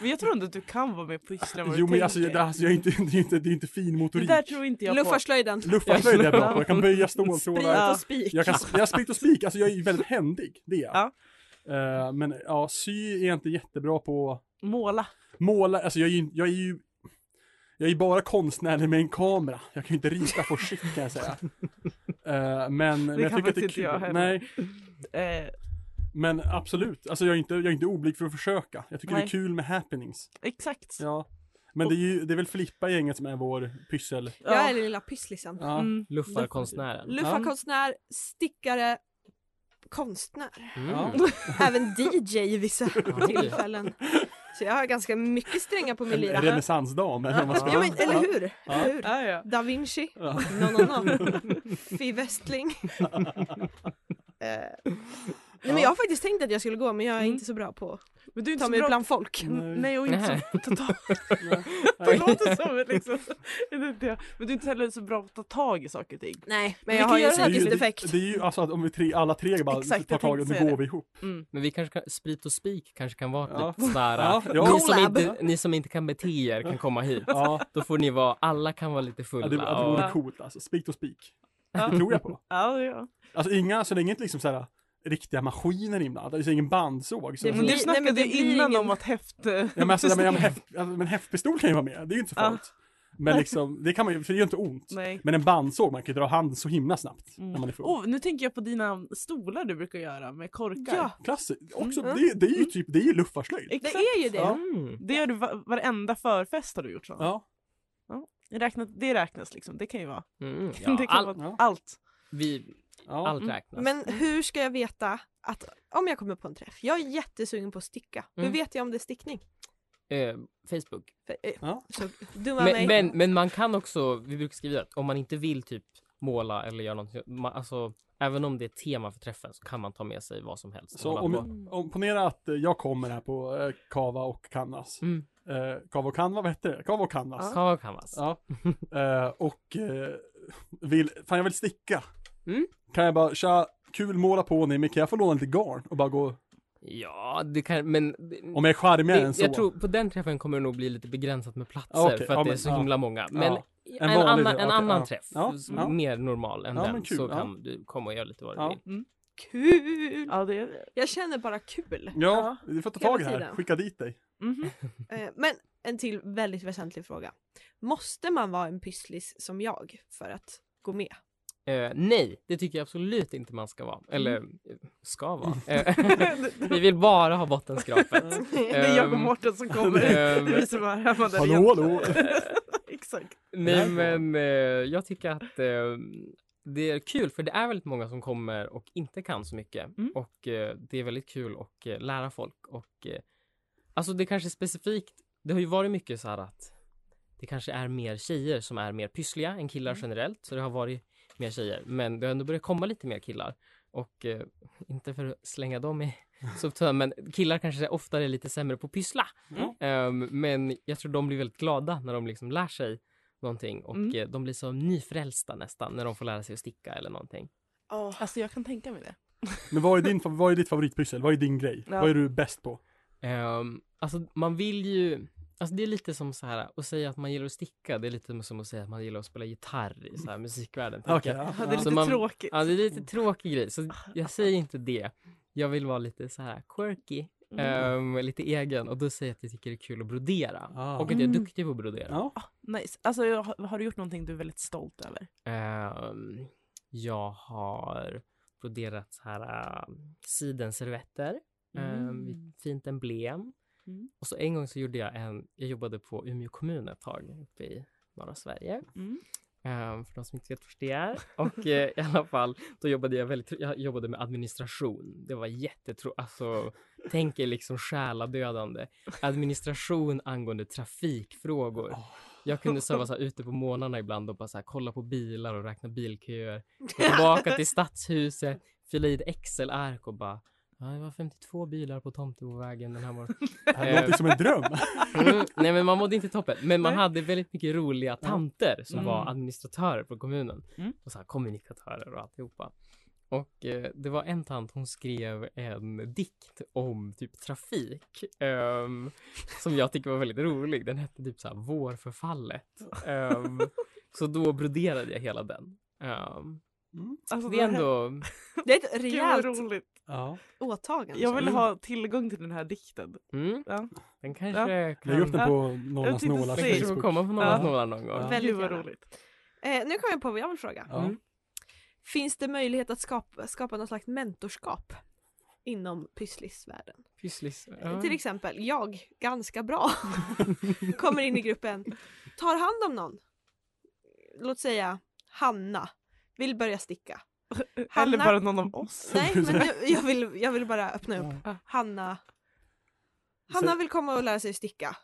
[SPEAKER 4] Men jag tror ändå att du kan vara med på Ysslan vad du
[SPEAKER 3] Jo men alltså,
[SPEAKER 4] tänker.
[SPEAKER 3] jag, alltså jag är inte, det är ju inte, det är inte fin
[SPEAKER 4] det
[SPEAKER 3] motorik.
[SPEAKER 4] där tror inte jag på.
[SPEAKER 2] Luffarslöjden.
[SPEAKER 3] Luffarslöjd är jag bra på, jag kan böja
[SPEAKER 2] Sprit
[SPEAKER 3] ståltrådar.
[SPEAKER 4] Ja.
[SPEAKER 2] och spik.
[SPEAKER 3] Jag kan, jag har spik och spik, alltså jag är ju väldigt händig, det är jag.
[SPEAKER 4] Ja.
[SPEAKER 3] Eh, men ja, sy är jag inte jättebra på.
[SPEAKER 4] Måla.
[SPEAKER 3] Måla, alltså jag är ju, jag är ju jag är ju bara konstnärlig med en kamera. Jag kan ju inte rita för shit kan jag säga. Eh, men, men jag tycker att
[SPEAKER 4] kan
[SPEAKER 3] det är
[SPEAKER 4] faktiskt inte
[SPEAKER 3] kul.
[SPEAKER 4] jag heller.
[SPEAKER 3] Nej,
[SPEAKER 4] Eh,
[SPEAKER 3] men absolut. Alltså jag är inte, jag är inte oblyg för att försöka. Jag tycker det
[SPEAKER 4] Nej.
[SPEAKER 3] är kul med happenings.
[SPEAKER 4] exakt.
[SPEAKER 3] Ja. Men det är ju, det är väl Filippa i gänget som är vår pyssel.
[SPEAKER 2] Jag är lilla pysslisen.
[SPEAKER 3] Ja.
[SPEAKER 4] Mm.
[SPEAKER 6] Luffarkonstnären.
[SPEAKER 2] Luffarkonstnär, stickare, konstnär.
[SPEAKER 6] Mm.
[SPEAKER 2] Även DJ i vissa
[SPEAKER 6] Ja.
[SPEAKER 2] tillfällen. Så jag har ganska mycket strängar på min
[SPEAKER 3] En
[SPEAKER 2] lyra.
[SPEAKER 3] renässansdam eller vad man ska
[SPEAKER 2] Ja, men, eller hur?
[SPEAKER 3] Ja.
[SPEAKER 2] Eller hur?
[SPEAKER 4] Ja, ja.
[SPEAKER 2] Da Vinci.
[SPEAKER 3] Ja.
[SPEAKER 2] No, no, no. Fy Westling. Eh, Nej, men jag har faktiskt tänkt att jag skulle gå men jag är
[SPEAKER 4] Mm.
[SPEAKER 2] inte så bra på att
[SPEAKER 4] Men du är inte
[SPEAKER 2] ta
[SPEAKER 4] så
[SPEAKER 2] mig
[SPEAKER 4] bra
[SPEAKER 2] bland folk.
[SPEAKER 3] Nej.
[SPEAKER 4] Nej och inte
[SPEAKER 6] Nej.
[SPEAKER 4] så ta tag Mm, Det låter som ett liksom, jag vet inte, jag. Men du är inte heller så bra på att ta tag i saker och ting.
[SPEAKER 2] Nej, men
[SPEAKER 4] Vi
[SPEAKER 2] jag
[SPEAKER 4] kan
[SPEAKER 2] har ju
[SPEAKER 4] göra
[SPEAKER 2] en
[SPEAKER 4] det här
[SPEAKER 3] ju,
[SPEAKER 2] cirkusdefekt.
[SPEAKER 3] det, det är ju alltså att om vi tre, alla tre bara
[SPEAKER 4] Exakt,
[SPEAKER 3] tar
[SPEAKER 4] jag
[SPEAKER 3] tag och
[SPEAKER 4] tänkte
[SPEAKER 3] nu
[SPEAKER 4] säga
[SPEAKER 3] går
[SPEAKER 4] det.
[SPEAKER 3] vi ihop.
[SPEAKER 6] Men vi kanske kan, sprit och spik kanske kan vara
[SPEAKER 3] Ja.
[SPEAKER 6] lite sådär.
[SPEAKER 3] Ja, ja.
[SPEAKER 6] Ni, som
[SPEAKER 2] Collab.
[SPEAKER 6] inte, ni som inte kan bete er kan komma hit.
[SPEAKER 3] Ja,
[SPEAKER 6] Då får ni vara, alla kan vara lite
[SPEAKER 3] ja
[SPEAKER 6] fulla.
[SPEAKER 3] det, ja, det
[SPEAKER 6] och,
[SPEAKER 3] vore
[SPEAKER 4] Ja.
[SPEAKER 3] coolt alltså. Spik och spik.
[SPEAKER 4] Ja.
[SPEAKER 3] Det tror jag på.
[SPEAKER 4] Ja, ja.
[SPEAKER 3] Alltså inga, så länge inte liksom såhär riktiga maskiner inblandade, alltså ingen bandsåg. Så,
[SPEAKER 2] Det
[SPEAKER 4] Men
[SPEAKER 2] blir-
[SPEAKER 4] du
[SPEAKER 2] nej,
[SPEAKER 4] snackade
[SPEAKER 2] men det
[SPEAKER 4] ju
[SPEAKER 2] blir
[SPEAKER 4] innan
[SPEAKER 2] ingen-
[SPEAKER 4] om att häft...
[SPEAKER 3] ja, men, alltså, ja, men, ja, men, häft, alltså, men häftpistol kan ju vara med, det är ju inte så
[SPEAKER 4] Ja.
[SPEAKER 3] farligt. Men liksom, det kan man ju, för det gör inte ont.
[SPEAKER 4] Nej.
[SPEAKER 3] Men en bandsåg, man kan ju dra handen så himla snabbt när man
[SPEAKER 4] Mm.
[SPEAKER 3] är full.
[SPEAKER 4] Oh, nu tänker jag på dina stolar du brukar göra med korkar.
[SPEAKER 2] Ja,
[SPEAKER 3] Klassiskt, också,
[SPEAKER 2] Mm.
[SPEAKER 3] det, det är ju typ, det är ju luffarslöjd.
[SPEAKER 4] Exakt.
[SPEAKER 2] det är ju det.
[SPEAKER 3] Ja.
[SPEAKER 6] Mm.
[SPEAKER 4] Det gör du va- varenda förfest har du gjort sånt.
[SPEAKER 3] Ja.
[SPEAKER 4] Räknat, det räknas liksom, det kan ju vara
[SPEAKER 6] Mm. Ja,
[SPEAKER 4] Det kan
[SPEAKER 6] all,
[SPEAKER 4] vara-
[SPEAKER 3] Ja.
[SPEAKER 4] allt.
[SPEAKER 6] vi,
[SPEAKER 3] Ja. mm.
[SPEAKER 6] allt räknas.
[SPEAKER 2] Men hur ska jag veta att om jag kommer på en träff, jag är jättesugen på att sticka.
[SPEAKER 6] Mm.
[SPEAKER 2] Hur vet jag om det är stickning?
[SPEAKER 6] Eh, Facebook.
[SPEAKER 2] För, eh,
[SPEAKER 3] Ja.
[SPEAKER 2] Så dumma mig.
[SPEAKER 6] Men, men, men man kan också, vi brukar skriva att om man inte vill typ måla eller göra någonting, man, alltså även om det är tema för träffen så kan man ta med sig vad som helst.
[SPEAKER 3] Så
[SPEAKER 6] Hålla
[SPEAKER 3] om,
[SPEAKER 6] på.
[SPEAKER 3] om, ponera att eh, jag kommer här på eh, Kava och Canvas.
[SPEAKER 6] Mm.
[SPEAKER 3] Eh, Kava och Canva, vad hette det? Kava och Canvas.
[SPEAKER 6] Kan vara canvas.
[SPEAKER 3] Ja. Eh, och eh, vill, fan jag vill sticka.
[SPEAKER 6] Mm.
[SPEAKER 3] Kan jag bara, tja, kul måla på ni, men kan jag få låna lite garn och bara gå,
[SPEAKER 6] Ja, det kan, men
[SPEAKER 3] om jag är charmigare än
[SPEAKER 6] Det,
[SPEAKER 3] så.
[SPEAKER 6] jag tror på den träffen kommer det nog bli lite begränsat med platser
[SPEAKER 3] Ja, okej.
[SPEAKER 6] för att
[SPEAKER 3] Ja,
[SPEAKER 6] det är
[SPEAKER 3] men-
[SPEAKER 6] så
[SPEAKER 3] ja.
[SPEAKER 6] himla många. Men
[SPEAKER 3] Ja.
[SPEAKER 6] en,
[SPEAKER 3] vanlig-
[SPEAKER 6] annan, en
[SPEAKER 3] okej,
[SPEAKER 6] annan
[SPEAKER 3] ja.
[SPEAKER 6] träff,
[SPEAKER 3] Ja,
[SPEAKER 6] s-
[SPEAKER 3] ja.
[SPEAKER 6] mer normal än
[SPEAKER 3] Ja,
[SPEAKER 6] den,
[SPEAKER 3] men kul,
[SPEAKER 6] så
[SPEAKER 3] ja.
[SPEAKER 6] kan du komma och göra lite vad du
[SPEAKER 3] Ja.
[SPEAKER 6] vill.
[SPEAKER 2] Kul!
[SPEAKER 4] Ja, det är...
[SPEAKER 2] Jag känner bara kul.
[SPEAKER 3] Ja, vi får ta
[SPEAKER 2] Hela
[SPEAKER 3] tag i det här,
[SPEAKER 2] tiden.
[SPEAKER 3] skicka dit dig.
[SPEAKER 4] Mhm.
[SPEAKER 2] Eh, Men en till väldigt väsentlig fråga. Måste man vara en pysslis som jag för att gå med?
[SPEAKER 6] Eh, nej, det tycker jag absolut inte man ska vara. Eller
[SPEAKER 3] Mm.
[SPEAKER 6] eh, ska vara. Eh, Vi vill bara ha bottenskrapet.
[SPEAKER 4] Det är jag och
[SPEAKER 6] Ehm,
[SPEAKER 4] Mårten som kommer. Det är vi som är hemma där
[SPEAKER 3] Hallå,
[SPEAKER 4] igen.
[SPEAKER 3] hallå.
[SPEAKER 4] Exakt.
[SPEAKER 6] Nej
[SPEAKER 3] Det här
[SPEAKER 6] men eh, jag tycker att eh, det är kul för det är väldigt många som kommer och inte kan så mycket
[SPEAKER 4] Mm.
[SPEAKER 6] och eh, det är väldigt kul att eh, lära folk och eh, alltså det kanske specifikt, det har ju varit mycket så här att det kanske är mer tjejer som är mer pyssliga än killar generellt så det har varit mer tjejer men det har ändå börjat komma lite mer killar och eh, inte för att slänga dem i soptunnan men killar kanske oftare är lite sämre på att pyssla
[SPEAKER 3] Mm.
[SPEAKER 6] Ehm, men jag tror de blir väldigt glada när de liksom lär sig någonting och
[SPEAKER 4] Mm.
[SPEAKER 6] eh, de blir så nyfrälsta nästan när de får lära sig att sticka eller någonting.
[SPEAKER 2] Åh,
[SPEAKER 4] Alltså jag kan tänka mig det.
[SPEAKER 3] Men vad är, din, fa- vad är ditt favoritpyssel? Vad är din grej?
[SPEAKER 4] Ja.
[SPEAKER 3] Vad är du bäst på?
[SPEAKER 6] Ehm, alltså man vill ju, alltså det är lite som så här att säga att man gillar att sticka, det är lite som att säga att man gillar att spela gitarr i så här musikvärlden. tänker jag.
[SPEAKER 3] ja.
[SPEAKER 4] Ja, det är
[SPEAKER 6] Så
[SPEAKER 4] lite
[SPEAKER 6] man-
[SPEAKER 4] tråkigt.
[SPEAKER 6] Ja, det är lite tråkig grej, så jag säger inte det. Jag vill vara lite så här quirky,
[SPEAKER 4] Mm.
[SPEAKER 6] ehm, lite egen och då säger jag att jag tycker det är kul att brodera
[SPEAKER 3] Ah.
[SPEAKER 6] och att jag är
[SPEAKER 4] Mm.
[SPEAKER 6] duktig på att brodera.
[SPEAKER 3] Ja.
[SPEAKER 4] Nice. Alltså, jag- har, har du gjort någonting du är väldigt stolt över?
[SPEAKER 6] Ehm, jag har broderat så här äh, sidenservetter, ehm,
[SPEAKER 4] Mm.
[SPEAKER 6] fint emblem.
[SPEAKER 4] Mm.
[SPEAKER 6] Och så en gång så gjorde jag en, jag jobbade på Umeå kommun ett tag uppe i norra Sverige.
[SPEAKER 4] Mm.
[SPEAKER 6] Ehm, för de som inte vet vad det är. Och eh, i alla fall, då jobbade jag väldigt, jag jobbade med administration. Det var jättetro, alltså tänk er liksom själadödande. Administration angående trafikfrågor. Jag kunde sova så här ute på morgnarna ibland och bara så här, kolla på bilar och räkna bilköer. Gå tillbaka till stadshuset, fylla i ett Excel-ark och bara Ja, det var 52 bilar på Tomtebovägen den här morgonen.
[SPEAKER 3] Det
[SPEAKER 6] Eh.
[SPEAKER 3] här låter som en dröm.
[SPEAKER 6] Mm, nej, men man mådde inte toppen. Men man
[SPEAKER 4] Nej.
[SPEAKER 6] hade väldigt mycket roliga tanter som
[SPEAKER 4] Mm.
[SPEAKER 6] var administratörer på kommunen
[SPEAKER 4] Mm.
[SPEAKER 6] och så här kommunikatörer och alltihopa. Och eh, det var en tant, hon skrev en dikt om typ trafik ehm, som jag tycker var väldigt rolig. Den hette typ så här Vårförfallet. Ehm, så då broderade jag hela den. Ehm,
[SPEAKER 3] Mm.
[SPEAKER 4] Alltså,
[SPEAKER 6] det är ändå...
[SPEAKER 2] Det är ett
[SPEAKER 4] Gud vad
[SPEAKER 2] rejält
[SPEAKER 4] roligt.
[SPEAKER 3] Ja.
[SPEAKER 2] åtagande.
[SPEAKER 4] Jag vill
[SPEAKER 2] känner
[SPEAKER 4] ha tillgång till den här dikten.
[SPEAKER 6] Mm,
[SPEAKER 4] Ja.
[SPEAKER 6] den kanske kan...
[SPEAKER 3] Lägg upp den på Norrlands
[SPEAKER 4] tänkte
[SPEAKER 3] Nålas
[SPEAKER 4] säga-
[SPEAKER 6] kanske får
[SPEAKER 3] Facebook.
[SPEAKER 6] komma på några
[SPEAKER 4] Ja.
[SPEAKER 6] nålar någon gång.
[SPEAKER 3] Ja.
[SPEAKER 2] Väldigt
[SPEAKER 4] Gud vad
[SPEAKER 2] gärna.
[SPEAKER 4] roligt.
[SPEAKER 2] Eh, nu kom jag på vad jag vill fråga.
[SPEAKER 3] Ja.
[SPEAKER 6] Mm.
[SPEAKER 2] Finns det möjlighet att skapa, skapa något slags mentorskap inom pysslisvärlden?
[SPEAKER 6] Pysslis.
[SPEAKER 2] Eh,
[SPEAKER 6] Ja.
[SPEAKER 2] Till exempel, jag, ganska bra, kommer in i gruppen, tar hand om någon. Låt säga Hanna, vill börja sticka.
[SPEAKER 4] Eller
[SPEAKER 2] Hanna-
[SPEAKER 4] bara någon av oss.
[SPEAKER 2] Nej, men jag, jag, vill, jag vill bara öppna upp.
[SPEAKER 4] Ja.
[SPEAKER 2] Hanna, Hanna vill komma och lära sig sticka.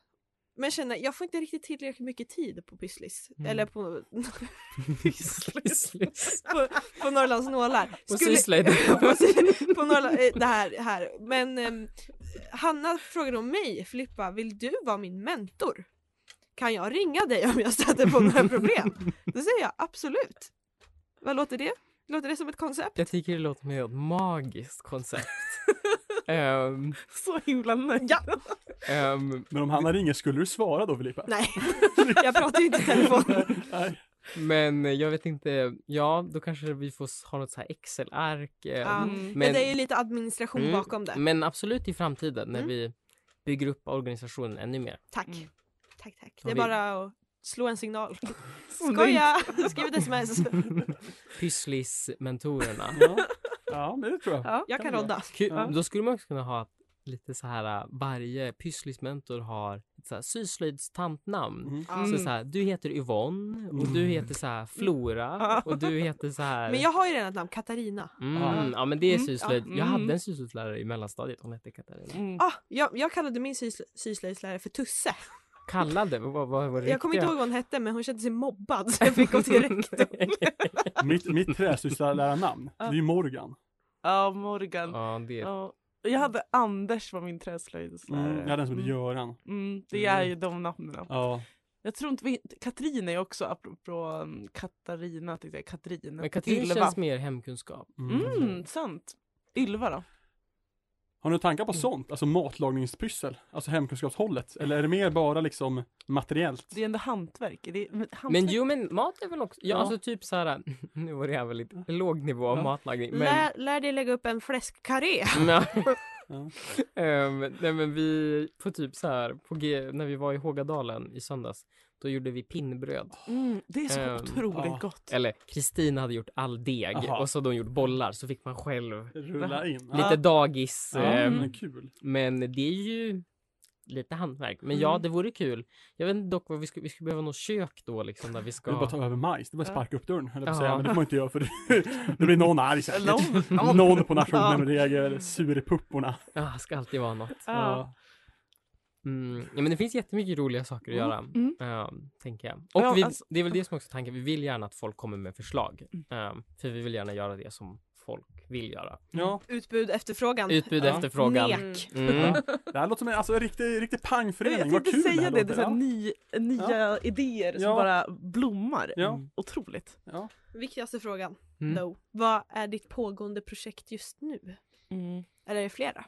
[SPEAKER 2] Men känner, jag får inte riktigt tillräckligt mycket tid på pysslis.
[SPEAKER 6] Mm.
[SPEAKER 2] Eller på,
[SPEAKER 6] Pysslis.
[SPEAKER 2] på, på Norrlands nålar.
[SPEAKER 6] Och
[SPEAKER 2] Skulle-
[SPEAKER 6] syslöjd.
[SPEAKER 2] på, sy- på några, eh, det här, här. Men ehm, Hanna frågade om mig, Filippa, vill du vara min mentor? Kan jag ringa dig om jag stöter på några problem? Då säger jag absolut. Vad låter det? Låter det som ett koncept?
[SPEAKER 6] Jag tycker det låter mer ett magiskt koncept. Ehm,
[SPEAKER 4] Så himla nöjd.
[SPEAKER 2] Ja,
[SPEAKER 6] ehm,
[SPEAKER 3] Men om Hanna ringer, skulle du svara då Filippa?
[SPEAKER 2] nej. Jag pratar ju inte i telefon.
[SPEAKER 3] Nej.
[SPEAKER 6] men jag vet inte, ja då kanske vi får s- ha något så här Excel-ark. eh,
[SPEAKER 2] Ja.
[SPEAKER 4] Mm.
[SPEAKER 2] Men det är ju lite administration
[SPEAKER 6] Mm.
[SPEAKER 2] bakom det.
[SPEAKER 6] men absolut i framtiden när
[SPEAKER 2] Mm.
[SPEAKER 6] vi bygger upp organisationen ännu mer.
[SPEAKER 2] Tack.
[SPEAKER 4] Mm.
[SPEAKER 2] Tack, tack. Det är
[SPEAKER 6] vi-
[SPEAKER 2] bara att slå en signal.
[SPEAKER 4] Om det
[SPEAKER 2] Skoja! Skriv ett sms.
[SPEAKER 6] Pysslis-mentorerna.
[SPEAKER 3] Ja. ja, men det tror jag.
[SPEAKER 4] Ja.
[SPEAKER 2] Jag kan rodda.
[SPEAKER 6] Kul.
[SPEAKER 3] Ja.
[SPEAKER 6] Då skulle man också kunna ha att lite så här, äh, varje pysslismentor har ett så här syslöjdstantnamn.
[SPEAKER 3] Mm.
[SPEAKER 6] Så,
[SPEAKER 4] Mm.
[SPEAKER 6] Alltså så här, du heter Yvonne och du heter så här Flora
[SPEAKER 4] Ja.
[SPEAKER 6] och du heter så här...
[SPEAKER 2] Men jag har ju redan ett namn, Katarina.
[SPEAKER 6] Mm, ja men det är
[SPEAKER 4] Mm,
[SPEAKER 6] syslöjd.
[SPEAKER 4] ja.
[SPEAKER 6] Jag hade
[SPEAKER 4] Mm.
[SPEAKER 6] en syslöjdslärare i mellanstadiet, hon hette Katarina.
[SPEAKER 4] Mm.
[SPEAKER 2] Ah, jag, jag kallade min sys- syslöjdslärare för Tusse.
[SPEAKER 6] Kallade, vad vad- vad var det
[SPEAKER 2] Jag kommer inte ihåg vad hon hette men hon kände sig mobbad så jag fick gå till rektorn.
[SPEAKER 3] Mitt, mitt träslöjdslärarnamn, det är ju Morgan.
[SPEAKER 4] Ja, Morgan.
[SPEAKER 6] Ja, det är...
[SPEAKER 4] Ja. Jag hade Anders var min träslöjdeslärare.
[SPEAKER 3] Mm. Jag hade en som hette Göran.
[SPEAKER 4] Mm, det är ju de namnen.
[SPEAKER 3] Ja.
[SPEAKER 4] Jag tror inte vi... Katrin är ju också, apropå um, Katarina tyckte jag, Katrin.
[SPEAKER 6] Men Katrin
[SPEAKER 4] Ylva.
[SPEAKER 6] känns mer hemkunskap.
[SPEAKER 3] Mm.
[SPEAKER 4] Mm, sant. Ylva då?
[SPEAKER 3] Har ni tankar på sånt? Alltså matlagningspyssel? Alltså hemkunskapshållet? Eller är det mer bara liksom materiellt?
[SPEAKER 4] Det är ändå hantverk. Är det, men hantverk?
[SPEAKER 6] Men jo men mat är väl också, ja,
[SPEAKER 3] Ja.
[SPEAKER 6] alltså typ så här, nu var det här väl lite låg nivå av
[SPEAKER 3] Ja.
[SPEAKER 6] matlagning. Men,
[SPEAKER 2] Lär, lär dig lägga upp en fläskkarré.
[SPEAKER 6] men,
[SPEAKER 3] Ja.
[SPEAKER 6] Ehm, nej men vi, på typ så här, på G, när vi var i Hågadalen i söndags, då gjorde vi pinnbröd.
[SPEAKER 4] Mm, det är så
[SPEAKER 6] Ehm,
[SPEAKER 4] otroligt
[SPEAKER 3] ja.
[SPEAKER 4] gott.
[SPEAKER 6] Eller Kristina hade gjort all deg
[SPEAKER 3] Aha.
[SPEAKER 6] och så hade hon gjort bollar, så fick man själv
[SPEAKER 3] Rulla in.
[SPEAKER 6] lite dagis.
[SPEAKER 3] Ja, Mm.
[SPEAKER 6] ehm,
[SPEAKER 3] men kul.
[SPEAKER 6] Men det är ju lite hantverk. Men ja,
[SPEAKER 4] Mm.
[SPEAKER 6] det vore kul. Jag vet inte dock vad vi skulle, vi skulle behöva något kök då liksom där vi
[SPEAKER 3] Det är bara
[SPEAKER 6] ska.
[SPEAKER 3] att ta över majs, det är bara att sparka upp dörren höll jag på att
[SPEAKER 6] Ja.
[SPEAKER 3] säga. Men det får man inte göra för det blir någon arg säkert.
[SPEAKER 4] Någon.
[SPEAKER 3] Någon på nationen reagerar, surpupporna.
[SPEAKER 6] Ja, det ska alltid vara något.
[SPEAKER 4] Ja.
[SPEAKER 6] Mm. Ja, men det finns jättemycket roliga saker att
[SPEAKER 4] Mm,
[SPEAKER 6] göra.
[SPEAKER 4] mm.
[SPEAKER 6] ehm, tänker jag.
[SPEAKER 4] Ja,
[SPEAKER 6] Och vi,
[SPEAKER 4] alltså-
[SPEAKER 6] det är väl det som också är tanken. Vi vill gärna att folk kommer med förslag. ehm, för vi vill gärna göra det som folk vill göra.
[SPEAKER 3] Ja,
[SPEAKER 2] Utbud, efterfrågan.
[SPEAKER 6] Utbud,
[SPEAKER 3] Ja.
[SPEAKER 6] efterfrågan.
[SPEAKER 2] Nek.
[SPEAKER 6] Mm.
[SPEAKER 3] det här låter som en alltså, en riktig, riktig pangförening.
[SPEAKER 4] Jag
[SPEAKER 3] Vad
[SPEAKER 4] tänkte
[SPEAKER 3] kul
[SPEAKER 4] säga
[SPEAKER 3] här
[SPEAKER 4] det, det är
[SPEAKER 3] låter.
[SPEAKER 4] så här ny, nya idéer som
[SPEAKER 3] Ja.
[SPEAKER 4] bara blommar. Mm.
[SPEAKER 3] Ja.
[SPEAKER 4] Otroligt.
[SPEAKER 3] Ja.
[SPEAKER 2] Viktigaste frågan.
[SPEAKER 6] Mm.
[SPEAKER 2] No. Vad är ditt pågående projekt just nu? Eller är det flera?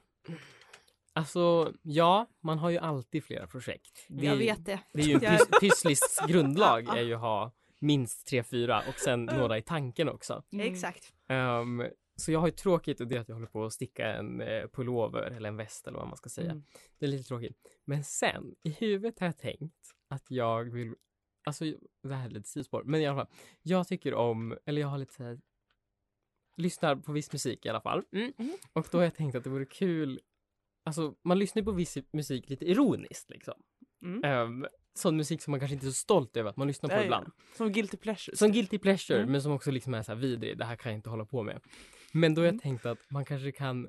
[SPEAKER 6] Alltså, ja, man har ju alltid flera projekt.
[SPEAKER 4] Mm.
[SPEAKER 6] Det,
[SPEAKER 2] Jag vet det.
[SPEAKER 6] det är ju
[SPEAKER 2] Jag-
[SPEAKER 6] pys- pysslists grundlag
[SPEAKER 2] Ja.
[SPEAKER 6] är ju att ha minst tre, fyra och sen några i tanken också.
[SPEAKER 4] Mm.
[SPEAKER 2] Exakt.
[SPEAKER 6] Ehm, så jag har ju tråkigt och det är att jag håller på att sticka en eh, pullover eller en väst eller vad man ska säga.
[SPEAKER 4] Mm.
[SPEAKER 6] Det är lite tråkigt. Men sen i huvudet har jag tänkt att jag vill, alltså det här är lite sidospår, men i alla fall. Jag tycker om, eller jag har lite så här, lyssnar på viss musik i alla fall. Och då har jag tänkt att det vore kul, alltså man lyssnar ju på viss musik lite ironiskt liksom.
[SPEAKER 4] Mm.
[SPEAKER 6] Ehm, sån musik som man kanske inte är så stolt över att man lyssnar på
[SPEAKER 4] Ja, ja.
[SPEAKER 6] ibland.
[SPEAKER 4] Som guilty pleasure.
[SPEAKER 6] Som guilty pleasure,
[SPEAKER 4] Mm.
[SPEAKER 6] men som också liksom är så här vidrig. Det här kan jag inte hålla på med. Men då har jag
[SPEAKER 4] Mm.
[SPEAKER 6] tänkt att man kanske kan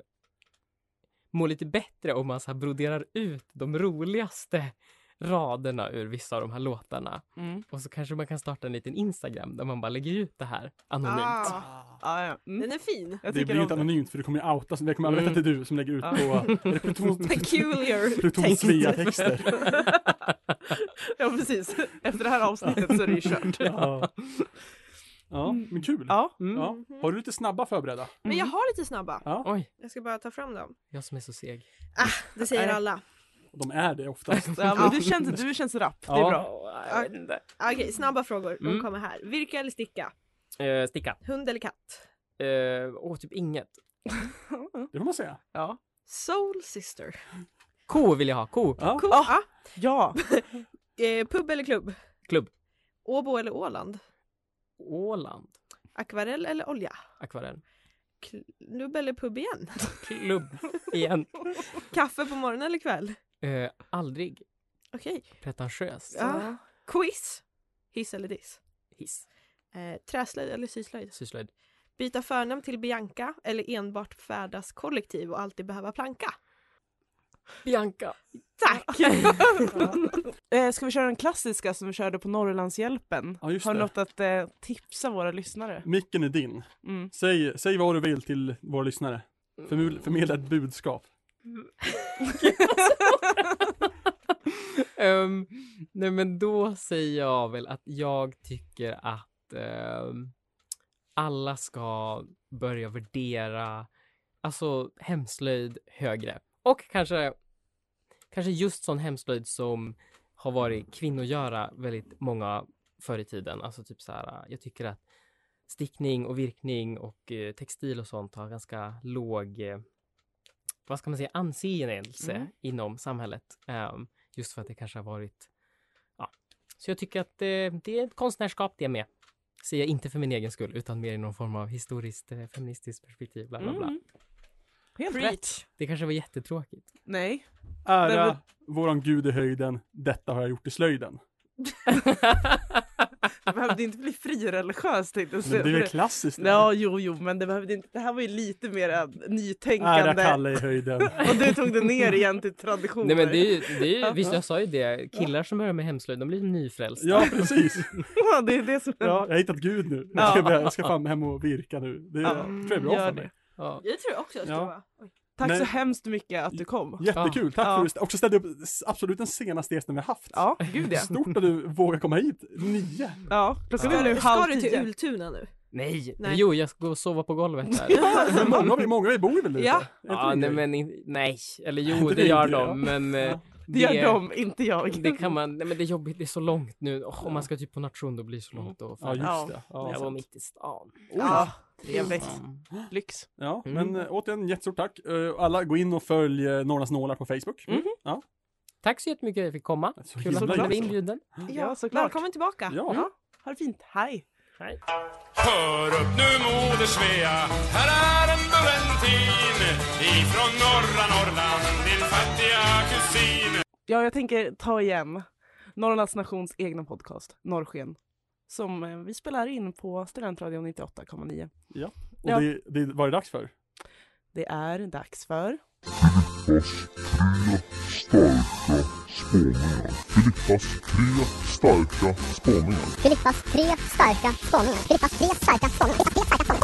[SPEAKER 6] må lite bättre om man så här broderar ut de roligaste raderna ur vissa av de här låtarna.
[SPEAKER 4] Mm.
[SPEAKER 6] Och så kanske man kan starta en liten Instagram där man bara lägger ut det här anonymt.
[SPEAKER 2] Ah,
[SPEAKER 4] Ja, ja. Mm.
[SPEAKER 2] den är fin.
[SPEAKER 4] Jag
[SPEAKER 3] Det
[SPEAKER 4] tycker
[SPEAKER 3] blir ju
[SPEAKER 4] om
[SPEAKER 3] inte
[SPEAKER 4] det. Mm.
[SPEAKER 3] anonymt för du kommer ju outa, så det kommer alla veta att det är du som lägger ut
[SPEAKER 4] Ja.
[SPEAKER 3] på är det Pluton,
[SPEAKER 2] Peculiar
[SPEAKER 3] Pluton
[SPEAKER 2] text.
[SPEAKER 3] Svea-texter.
[SPEAKER 4] ja, precis. Efter det här avsnittet så är det ju kört.
[SPEAKER 3] Ja. ja, men kul.
[SPEAKER 4] Ja.
[SPEAKER 6] Mm.
[SPEAKER 3] Ja. Har du lite snabba förberedda?
[SPEAKER 2] Men jag har lite snabba.
[SPEAKER 3] Ja,
[SPEAKER 6] Oj,
[SPEAKER 2] Jag ska bara ta fram dem.
[SPEAKER 6] jag som är så seg.
[SPEAKER 2] Det säger
[SPEAKER 4] Nej.
[SPEAKER 2] alla.
[SPEAKER 3] de är det oftast.
[SPEAKER 4] ja men du, känns, du känns rapp, det är
[SPEAKER 3] Ja.
[SPEAKER 4] bra.
[SPEAKER 2] jag vet Ah, Okej, snabba frågor. De
[SPEAKER 6] Mm.
[SPEAKER 2] kommer här. Virka eller sticka?
[SPEAKER 6] Eh, sticka.
[SPEAKER 2] Hund eller katt?
[SPEAKER 6] Eh, åh, typ inget.
[SPEAKER 3] Det får man säga.
[SPEAKER 4] Ja.
[SPEAKER 2] Soul sister.
[SPEAKER 6] Ko vill jag ha. Ko.
[SPEAKER 3] Ja.
[SPEAKER 2] Cool.
[SPEAKER 4] Ah.
[SPEAKER 2] Ah.
[SPEAKER 4] ja.
[SPEAKER 2] Eh, pub eller klubb?
[SPEAKER 6] Klubb.
[SPEAKER 2] Åbo eller Åland?
[SPEAKER 6] Åland.
[SPEAKER 2] Akvarell eller olja?
[SPEAKER 6] Akvarell.
[SPEAKER 2] Klubb eller pub igen?
[SPEAKER 6] Klubb. Igen.
[SPEAKER 2] Kaffe på morgonen eller kväll?
[SPEAKER 6] Eh, aldrig
[SPEAKER 2] Okej.
[SPEAKER 6] pretentiös.
[SPEAKER 2] Ja. Quiz. Hiss eller diss?
[SPEAKER 6] Hiss.
[SPEAKER 2] Eh, träslöjd eller syslöjd?
[SPEAKER 6] Syslöjd.
[SPEAKER 2] Byta förnamn till Bianca eller enbart färdas kollektiv och alltid behöva planka?
[SPEAKER 6] Bianca.
[SPEAKER 2] Tack!
[SPEAKER 4] Eh, ska vi köra den klassiska som vi körde på Norrlandshjälpen?
[SPEAKER 3] Ja, just
[SPEAKER 4] Har du
[SPEAKER 3] det.
[SPEAKER 4] något att eh, tipsa våra lyssnare?
[SPEAKER 3] Micken är din.
[SPEAKER 4] Mm.
[SPEAKER 3] Säg, säg vad du vill till våra lyssnare. Förmul- Förmedla ett budskap.
[SPEAKER 6] Ehm, nej men då säger jag väl att jag tycker att ehm, alla ska börja värdera alltså hemslöjd högre. Och kanske, kanske just sån hemslöjd som har varit kvinnogöra väldigt många förr i tiden. Alltså typ så här, jag tycker att stickning och virkning och eh, textil och sånt har ganska låg, eh, vad ska man säga, anseende
[SPEAKER 4] Mm.
[SPEAKER 6] inom samhället. Ehm, just för att det kanske har varit, ja. Så jag tycker att eh, det är ett konstnärskap det med. Säger jag inte för min egen skull, utan mer i någon form av historiskt, eh, feministiskt perspektiv. Bla, bla, bla.
[SPEAKER 4] Mm. Helt
[SPEAKER 6] Preach.
[SPEAKER 4] rätt.
[SPEAKER 6] Det kanske var jättetråkigt.
[SPEAKER 4] Nej.
[SPEAKER 3] Ära
[SPEAKER 4] Men- men-
[SPEAKER 3] våran gud i höjden. Detta har jag gjort i slöjden.
[SPEAKER 4] Det behövde inte bli frireligiös tänkte jag
[SPEAKER 3] Men det
[SPEAKER 4] säga.
[SPEAKER 3] är väl klassiskt? det?
[SPEAKER 4] Ja, jo, jo, men det behövde inte. Det här var ju lite mer
[SPEAKER 3] Ära
[SPEAKER 4] nytänkande.
[SPEAKER 3] Kalle i höjden.
[SPEAKER 4] Och du tog det ner igen till traditioner.
[SPEAKER 6] Nej men det är ju, det är ju
[SPEAKER 4] Oh, Ja.
[SPEAKER 6] visst jag sa ju det, killar som börjar med hemslöjd de blir som nyfrälsta.
[SPEAKER 3] Ja, precis.
[SPEAKER 4] Ja, det, är det som
[SPEAKER 3] Ja, jag har hittat Gud nu.
[SPEAKER 4] Ja.
[SPEAKER 3] Jag ska, börja- jag ska fan hem och virka nu. Det
[SPEAKER 4] Ja,
[SPEAKER 3] tror jag är bra
[SPEAKER 4] gör
[SPEAKER 3] för
[SPEAKER 4] det.
[SPEAKER 3] mig.
[SPEAKER 6] Ja.
[SPEAKER 2] Jag tror också jag skulle
[SPEAKER 3] Ja.
[SPEAKER 2] vara... Oj.
[SPEAKER 4] Tack så
[SPEAKER 3] Nej.
[SPEAKER 4] hemskt mycket att du kom.
[SPEAKER 3] Jättekul. Tack
[SPEAKER 4] Ja.
[SPEAKER 3] för att du också ställde upp s- absolut den senaste gästen vi har haft.
[SPEAKER 4] Ja, gud ja.
[SPEAKER 3] Stort att du vågar komma hit. Nio.
[SPEAKER 4] ja klockan
[SPEAKER 2] Ska,
[SPEAKER 4] är nu
[SPEAKER 2] du,
[SPEAKER 4] halv
[SPEAKER 2] ska du till
[SPEAKER 4] tio.
[SPEAKER 2] Ultuna nu?
[SPEAKER 6] Nej.
[SPEAKER 2] Nej.
[SPEAKER 6] jo jag ska gå och sova på golvet där.
[SPEAKER 3] Men många, av er- många av er bor väl där
[SPEAKER 2] Ja.
[SPEAKER 3] ute? Är inte
[SPEAKER 6] ja,
[SPEAKER 3] det
[SPEAKER 6] nej
[SPEAKER 3] grej?
[SPEAKER 6] men in, nej, eller
[SPEAKER 3] Nej,
[SPEAKER 6] jo
[SPEAKER 3] det
[SPEAKER 6] det gör
[SPEAKER 3] är inte
[SPEAKER 6] de men eh,
[SPEAKER 4] Det gör de, inte jag.
[SPEAKER 6] Det kan man, nej men det är jobbigt, det är så långt nu. Åh, om man ska typ på nation då blir det så långt och
[SPEAKER 3] Ja,
[SPEAKER 6] fan.
[SPEAKER 4] Ja.
[SPEAKER 3] just det. Ja,
[SPEAKER 6] jag var mitt i stan.
[SPEAKER 4] Ja, trevligt.
[SPEAKER 6] Mm.
[SPEAKER 4] Lyx.
[SPEAKER 3] ja
[SPEAKER 6] Mm.
[SPEAKER 3] men äh, återigen jättestort tack. Eh, Alla gå in och följ eh, Norrlands nålar på Facebook.
[SPEAKER 4] Mm.
[SPEAKER 6] Tack så jättemycket att jag fick komma.
[SPEAKER 3] Så
[SPEAKER 6] Kul att
[SPEAKER 3] himla
[SPEAKER 6] du blev
[SPEAKER 3] gäst.
[SPEAKER 6] inbjuden.
[SPEAKER 4] Ja, såklart.
[SPEAKER 2] Välkommen tillbaka!
[SPEAKER 3] Ja.
[SPEAKER 4] Ha det fint. Hej.
[SPEAKER 1] Hör upp nu moder Svea, här är en Burentin ifrån norra Norrland, din fattiga kusin.
[SPEAKER 4] Ja, jag tänker ta igen Norrlands nations egna podcast, Norrsken, som eh, vi spelar in på Studentradion 98,9.
[SPEAKER 3] Och
[SPEAKER 4] Ja.
[SPEAKER 3] Det, det, vad är det dags för?
[SPEAKER 4] Det är dags för...
[SPEAKER 7] Filippas tre starka spaningar. Filippas tre starka spaningar.
[SPEAKER 8] Filippas tre starka spaningar. Filippas tre starka spaningar.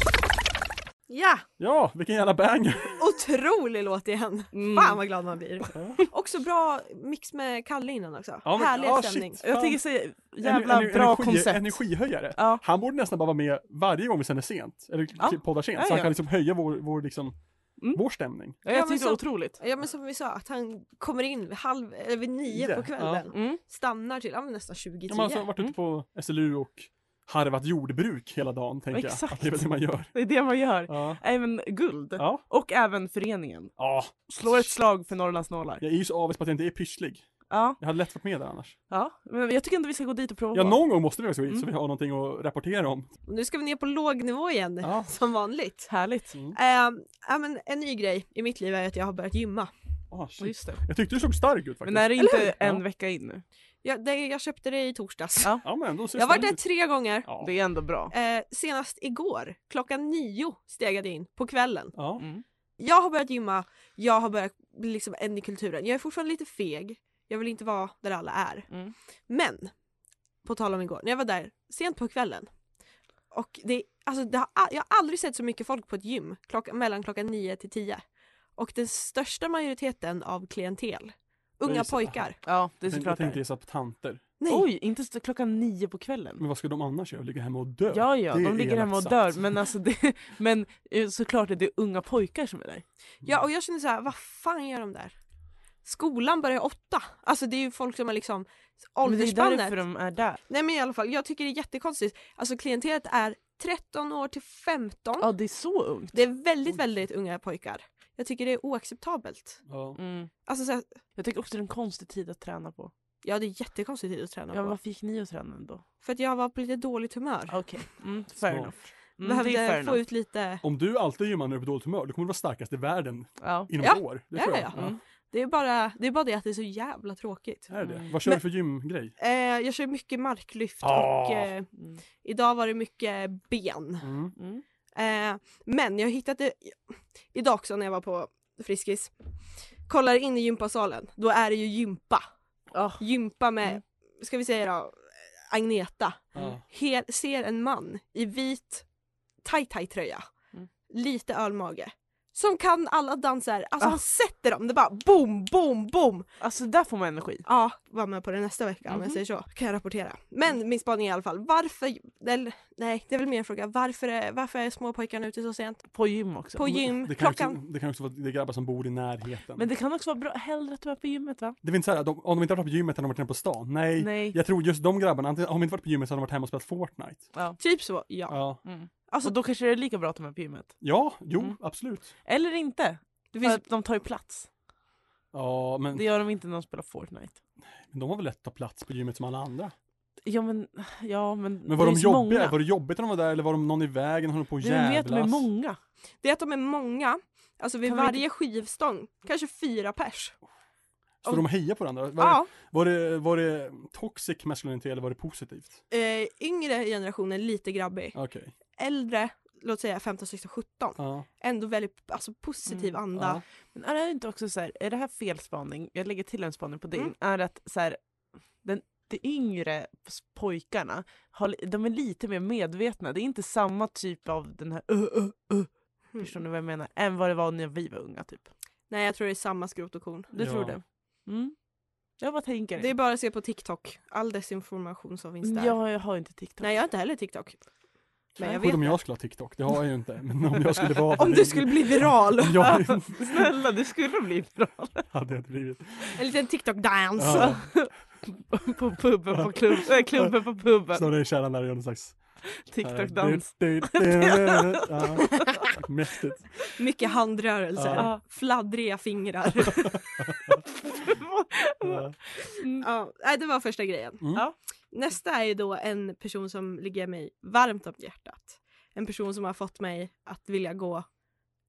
[SPEAKER 2] Ja!
[SPEAKER 3] Ja, vilken jävla banger!
[SPEAKER 2] Otrolig låt igen!
[SPEAKER 4] Mm.
[SPEAKER 2] Fan vad glad man blir.
[SPEAKER 3] Ja.
[SPEAKER 2] Också bra mix med Kalle innan också.
[SPEAKER 3] Ja, men-
[SPEAKER 2] Härlig
[SPEAKER 3] ja,
[SPEAKER 2] stämning.
[SPEAKER 3] shit.
[SPEAKER 4] Jag
[SPEAKER 3] Fan.
[SPEAKER 4] tänker säga jävla
[SPEAKER 3] Ener-
[SPEAKER 4] bra
[SPEAKER 3] energi-
[SPEAKER 4] koncept.
[SPEAKER 3] Energihöjare.
[SPEAKER 4] Ja.
[SPEAKER 3] Han borde nästan bara vara med varje gång vi sänder sent, eller
[SPEAKER 4] Ja.
[SPEAKER 3] ja. poddar sent,
[SPEAKER 4] Ja,
[SPEAKER 3] så han
[SPEAKER 4] ja.
[SPEAKER 3] kan liksom höja vår, vår, liksom,
[SPEAKER 4] Mm.
[SPEAKER 3] vår stämning.
[SPEAKER 2] Ja,
[SPEAKER 4] Ja, jag
[SPEAKER 2] men
[SPEAKER 4] tyckte det
[SPEAKER 2] så-
[SPEAKER 4] var otroligt.
[SPEAKER 2] Ja men som vi sa, att han kommer in vid, halv, eller vid nio
[SPEAKER 3] Nio,
[SPEAKER 2] på kvällen.
[SPEAKER 4] Mm.
[SPEAKER 2] Stannar till ja, men nästan 20
[SPEAKER 3] De har alltså
[SPEAKER 2] tio.
[SPEAKER 3] varit ute på SLU och harvat jordbruk hela dagen, tänker jag.
[SPEAKER 4] Exakt.
[SPEAKER 3] Att det är väl det man gör.
[SPEAKER 4] Det är det man gör.
[SPEAKER 3] Ja.
[SPEAKER 4] Även guld.
[SPEAKER 3] Ja.
[SPEAKER 4] Och även föreningen.
[SPEAKER 3] ja,
[SPEAKER 4] Slår ett slag för Norrlands nålar.
[SPEAKER 3] jag är ju så avis på att jag inte är pysslig.
[SPEAKER 4] Ja.
[SPEAKER 3] Jag hade lätt varit med där annars.
[SPEAKER 4] ja. Men jag tycker ändå vi ska gå dit och prova.
[SPEAKER 3] Ja, någon gång måste vi också gå hit,
[SPEAKER 4] Mm.
[SPEAKER 3] så vi har någonting att rapportera om.
[SPEAKER 2] Och Nu ska vi ner på låg nivå igen,
[SPEAKER 3] Ja.
[SPEAKER 2] som vanligt.
[SPEAKER 4] Härligt.
[SPEAKER 2] Ehm, ja, men en ny grej i mitt liv är att jag har börjat gymma.
[SPEAKER 3] Ah,
[SPEAKER 4] Ja,
[SPEAKER 3] shit.
[SPEAKER 4] Just det.
[SPEAKER 3] jag tyckte du såg stark ut faktiskt.
[SPEAKER 4] Men är det inte
[SPEAKER 3] hur?
[SPEAKER 4] en
[SPEAKER 3] Ja.
[SPEAKER 4] vecka in nu?
[SPEAKER 2] Jag, det, jag köpte det i torsdags.
[SPEAKER 4] Ja.
[SPEAKER 3] Ja, men då ses
[SPEAKER 2] Jag har varit
[SPEAKER 3] det
[SPEAKER 2] där
[SPEAKER 3] ut.
[SPEAKER 2] tre gånger.
[SPEAKER 3] Ja.
[SPEAKER 4] Det är ändå bra.
[SPEAKER 2] Eh, senast igår, klockan nio stegade jag in på kvällen.
[SPEAKER 4] Mm,
[SPEAKER 3] ja.
[SPEAKER 2] Jag har börjat gymma, jag har börjat bli liksom en i kulturen. Jag är fortfarande lite feg, jag vill inte vara där alla är.
[SPEAKER 4] Mm.
[SPEAKER 2] Men, på tal om igår, när jag var där sent på kvällen och det, alltså det har, a- jag har aldrig sett så mycket folk på ett gym klocka, mellan klockan nio till tio. Och den största majoriteten av klientel, unga
[SPEAKER 3] Just det.
[SPEAKER 2] pojkar.
[SPEAKER 4] Ja, det är
[SPEAKER 3] Jag tänkte- jag
[SPEAKER 4] såklart.
[SPEAKER 3] tänkte
[SPEAKER 4] det.
[SPEAKER 3] gissa på tanter.
[SPEAKER 2] Nej,
[SPEAKER 4] Oj, inte så klockan nio på kvällen.
[SPEAKER 3] Men vad ska de annars göra? Ligga hemma och dö?
[SPEAKER 4] Ja, ja,
[SPEAKER 3] Mm. Det
[SPEAKER 4] de
[SPEAKER 3] är
[SPEAKER 4] ligger hemma och
[SPEAKER 3] elakt
[SPEAKER 4] dör.
[SPEAKER 3] sagt.
[SPEAKER 4] Men, alltså det, men eh, såklart är det unga pojkar som är där.
[SPEAKER 2] Ja, och jag känner så här, vad fan gör de där? Skolan börjar åtta. Alltså det är ju folk som är liksom
[SPEAKER 4] Men det är
[SPEAKER 2] åldersspannet.
[SPEAKER 4] därför de är där.
[SPEAKER 2] Nej men i alla fall, jag tycker det är jättekonstigt. Alltså klientelet är 13 år till 15.
[SPEAKER 4] Ja, det är så ungt.
[SPEAKER 2] Det är väldigt, väldigt unga pojkar. Jag tycker det är oacceptabelt.
[SPEAKER 3] Ja.
[SPEAKER 4] Mm.
[SPEAKER 2] Alltså så här,
[SPEAKER 4] Jag tycker också det är en konstig tid att träna på.
[SPEAKER 2] ja det är jättekonstig tid att träna
[SPEAKER 4] Ja,
[SPEAKER 2] på.
[SPEAKER 4] varför gick ni och tränade då?
[SPEAKER 2] För att jag var på lite dåligt humör.
[SPEAKER 4] Okej, mm, fair
[SPEAKER 3] Smart.
[SPEAKER 4] enough. Mm,
[SPEAKER 2] Behövde
[SPEAKER 4] det är fair
[SPEAKER 2] få
[SPEAKER 4] enough.
[SPEAKER 2] ut lite.
[SPEAKER 3] Om du alltid gymmar när du är på dåligt humör, då kommer du vara starkast i världen
[SPEAKER 4] Ja. Mm.
[SPEAKER 3] inom
[SPEAKER 2] Ja.
[SPEAKER 3] ett år. Det
[SPEAKER 2] Ja,
[SPEAKER 3] tror jag.
[SPEAKER 2] ja, ja. Det är, bara, det är bara det att det är så jävla tråkigt.
[SPEAKER 3] Är
[SPEAKER 4] Mm.
[SPEAKER 3] det? Vad kör du
[SPEAKER 2] Men-
[SPEAKER 3] för gymgrej?
[SPEAKER 2] Eh, jag kör mycket marklyft
[SPEAKER 3] Ah.
[SPEAKER 2] och eh,
[SPEAKER 4] Mm.
[SPEAKER 2] idag var det mycket ben.
[SPEAKER 3] Mm.
[SPEAKER 4] Mm.
[SPEAKER 2] Eh, men jag hittade idag också när jag var på Friskis. Kollar in i gympasalen. Då är det ju gympa.
[SPEAKER 4] Ja.
[SPEAKER 2] Gympa med,
[SPEAKER 4] Mm.
[SPEAKER 2] ska vi säga då, Agneta.
[SPEAKER 3] Ja.
[SPEAKER 2] Hel, ser en man i vit tight tight tröja.
[SPEAKER 4] Mm.
[SPEAKER 2] Lite ölmage. Som kan alla danser. Alltså
[SPEAKER 4] Ah.
[SPEAKER 2] han sätter dem. Det bara boom, boom, boom.
[SPEAKER 4] Alltså där får man energi.
[SPEAKER 2] Ja, var med på det nästa vecka om
[SPEAKER 4] Mhm. Mm.
[SPEAKER 2] jag säger så. Kan jag rapportera. Men min spaning i alla fall. Varför, eller, nej det är väl mer en fråga. Varför är, varför är småpojkarna ute så sent?
[SPEAKER 4] På gym också.
[SPEAKER 2] På gym,
[SPEAKER 3] Det kan,
[SPEAKER 2] klockan
[SPEAKER 3] också, det kan också vara det är grabbar som bor i närheten.
[SPEAKER 4] Men det kan också vara bra, hellre att du är på gymmet va?
[SPEAKER 3] Det är väl inte så här, de, om de inte har varit på gymmet hade de varit inne på stan. Nej.
[SPEAKER 4] Nej.
[SPEAKER 3] Jag tror just de grabbarna, antingen- har de inte varit på gymmet så hade de varit hemma och spelat Fortnite.
[SPEAKER 2] Typ så, ja.
[SPEAKER 3] Ja,
[SPEAKER 4] Alltså, och då kanske det är lika bra att de är på gymmet.
[SPEAKER 3] ja jo,
[SPEAKER 4] Mm.
[SPEAKER 3] absolut.
[SPEAKER 4] Eller inte.
[SPEAKER 2] Det
[SPEAKER 4] För
[SPEAKER 2] finns,
[SPEAKER 4] att de tar ju plats.
[SPEAKER 3] Ja, men
[SPEAKER 4] Det gör de inte när de spelar Fortnite.
[SPEAKER 3] men de har väl lätt att ta plats på gymmet som alla andra.
[SPEAKER 4] Ja men, ja men.
[SPEAKER 3] Men var
[SPEAKER 4] det
[SPEAKER 3] de
[SPEAKER 4] är så
[SPEAKER 3] jobbiga?
[SPEAKER 4] många.
[SPEAKER 3] Var det jobbigt när de var där eller var de någon i vägen? Håller de på att
[SPEAKER 4] Nej, men vet att de är
[SPEAKER 3] jävlas?
[SPEAKER 4] många.
[SPEAKER 2] det är att de är många, alltså vid
[SPEAKER 4] Kan vi
[SPEAKER 2] varje skivstång, kanske fyra pers.
[SPEAKER 3] Så de hejar på varandra? Var,
[SPEAKER 2] Ja,
[SPEAKER 3] var, det, var det toxic maskulinitet eller var det positivt?
[SPEAKER 2] eh, yngre generationen lite grabbig.
[SPEAKER 3] Okej.
[SPEAKER 2] Äldre, låt säga 15, 16, 17.
[SPEAKER 3] Ja.
[SPEAKER 2] Ändå väldigt alltså, positiv
[SPEAKER 4] Mm,
[SPEAKER 2] anda.
[SPEAKER 3] ja.
[SPEAKER 4] Men är det inte också så här, är det här fel spaning? Jag lägger till en spaning på din.
[SPEAKER 2] Mm.
[SPEAKER 4] Är det att så här, den, de yngre pojkarna, har, li- de är lite mer medvetna. Det är inte samma typ av den här uh, uh, uh,
[SPEAKER 2] Mm.
[SPEAKER 4] förstår ni vad jag menar? Än vad det var när vi var unga typ.
[SPEAKER 2] Nej jag tror det är samma skrot och korn.
[SPEAKER 4] Du tror
[SPEAKER 3] Ja.
[SPEAKER 4] det? Mm. Jag bara tänker.
[SPEAKER 2] Det är bara att se på TikTok, all desinformation som finns där.
[SPEAKER 4] jag, jag har inte TikTok.
[SPEAKER 2] Nej jag har inte heller TikTok. Men jag
[SPEAKER 3] Sjukt
[SPEAKER 2] vet
[SPEAKER 3] om
[SPEAKER 2] det.
[SPEAKER 3] jag skulle ha TikTok, det har jag ju inte. Men om jag skulle vara
[SPEAKER 2] Om du skulle bli viral!
[SPEAKER 3] Om jag
[SPEAKER 4] Snälla du skulle bli bra
[SPEAKER 3] hade jag inte blivit.
[SPEAKER 2] En liten TikTok-dans.
[SPEAKER 3] Ja,
[SPEAKER 4] på puben på klubben, äh, klubben på puben.
[SPEAKER 3] snarare i källaren där och gör någon slags...
[SPEAKER 4] TikTok-dans.
[SPEAKER 3] Ja, mäktigt.
[SPEAKER 2] Mycket handrörelser,
[SPEAKER 4] Ja.
[SPEAKER 2] fladdriga fingrar.
[SPEAKER 3] Ja.
[SPEAKER 2] Ja, nej, det var första grejen.
[SPEAKER 3] Mm.
[SPEAKER 4] Ja.
[SPEAKER 2] Nästa är ju då en person som ligger mig varmt om hjärtat. En person som har fått mig att vilja gå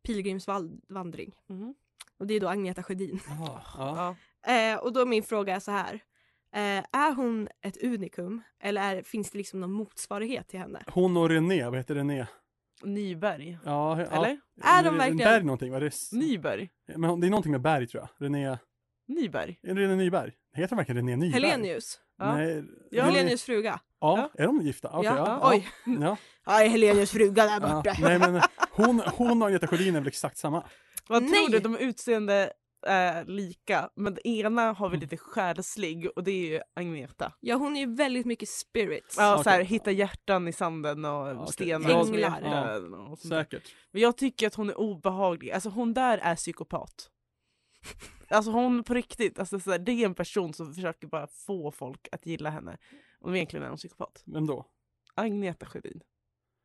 [SPEAKER 2] pilgrimsvandring.
[SPEAKER 4] Mm.
[SPEAKER 2] Och det är då Agneta Sjödin.
[SPEAKER 3] Ja, ja.
[SPEAKER 4] Ja.
[SPEAKER 2] Eh, och då är min fråga så här. Eh, är hon ett unikum eller är, finns det liksom någon motsvarighet till henne?
[SPEAKER 3] Hon och René, vad heter René?
[SPEAKER 4] Nyberg.
[SPEAKER 3] Ja, ja.
[SPEAKER 4] Eller?
[SPEAKER 2] Är de
[SPEAKER 3] René
[SPEAKER 2] verkligen-
[SPEAKER 3] Berg någonting, vad är det?
[SPEAKER 4] Nyberg.
[SPEAKER 3] Men det är någonting med Berg tror jag. René...
[SPEAKER 4] Nyberg.
[SPEAKER 3] Är det René Nyberg? Heter han verkligen René Nyberg?
[SPEAKER 2] Helenius?
[SPEAKER 4] Ja.
[SPEAKER 3] Nej.
[SPEAKER 4] Ja.
[SPEAKER 3] René-
[SPEAKER 2] Helenius fruga?
[SPEAKER 3] Ja, är de gifta? Okej,
[SPEAKER 2] Ja,
[SPEAKER 3] ja,
[SPEAKER 2] ja. Oj.
[SPEAKER 3] Ja, ja.
[SPEAKER 2] Ja, är Helenius fruga där
[SPEAKER 3] Ja,
[SPEAKER 2] borta.
[SPEAKER 3] nej men hon, hon och Agneta Sjödin är väl exakt samma?
[SPEAKER 4] Vad
[SPEAKER 2] Nej.
[SPEAKER 4] tror du? De utseende är lika, men den ena har vi
[SPEAKER 3] Mm.
[SPEAKER 4] lite själslig och det är ju Agneta.
[SPEAKER 2] Ja, hon är ju väldigt mycket spirits.
[SPEAKER 4] Ja,
[SPEAKER 3] Okej.
[SPEAKER 4] så här, hitta hjärtan i sanden och
[SPEAKER 3] okej.
[SPEAKER 4] stenar. som
[SPEAKER 2] Änglar.
[SPEAKER 4] hjärtan och sånt där.
[SPEAKER 3] Säkert.
[SPEAKER 4] Men jag tycker att hon är obehaglig. Alltså hon där är psykopat. Alltså hon på riktigt, alltså, så här, det är en person som försöker bara få folk att gilla henne. Och egentligen är hon psykopat.
[SPEAKER 3] Vem då?
[SPEAKER 4] Agneta Sjödin.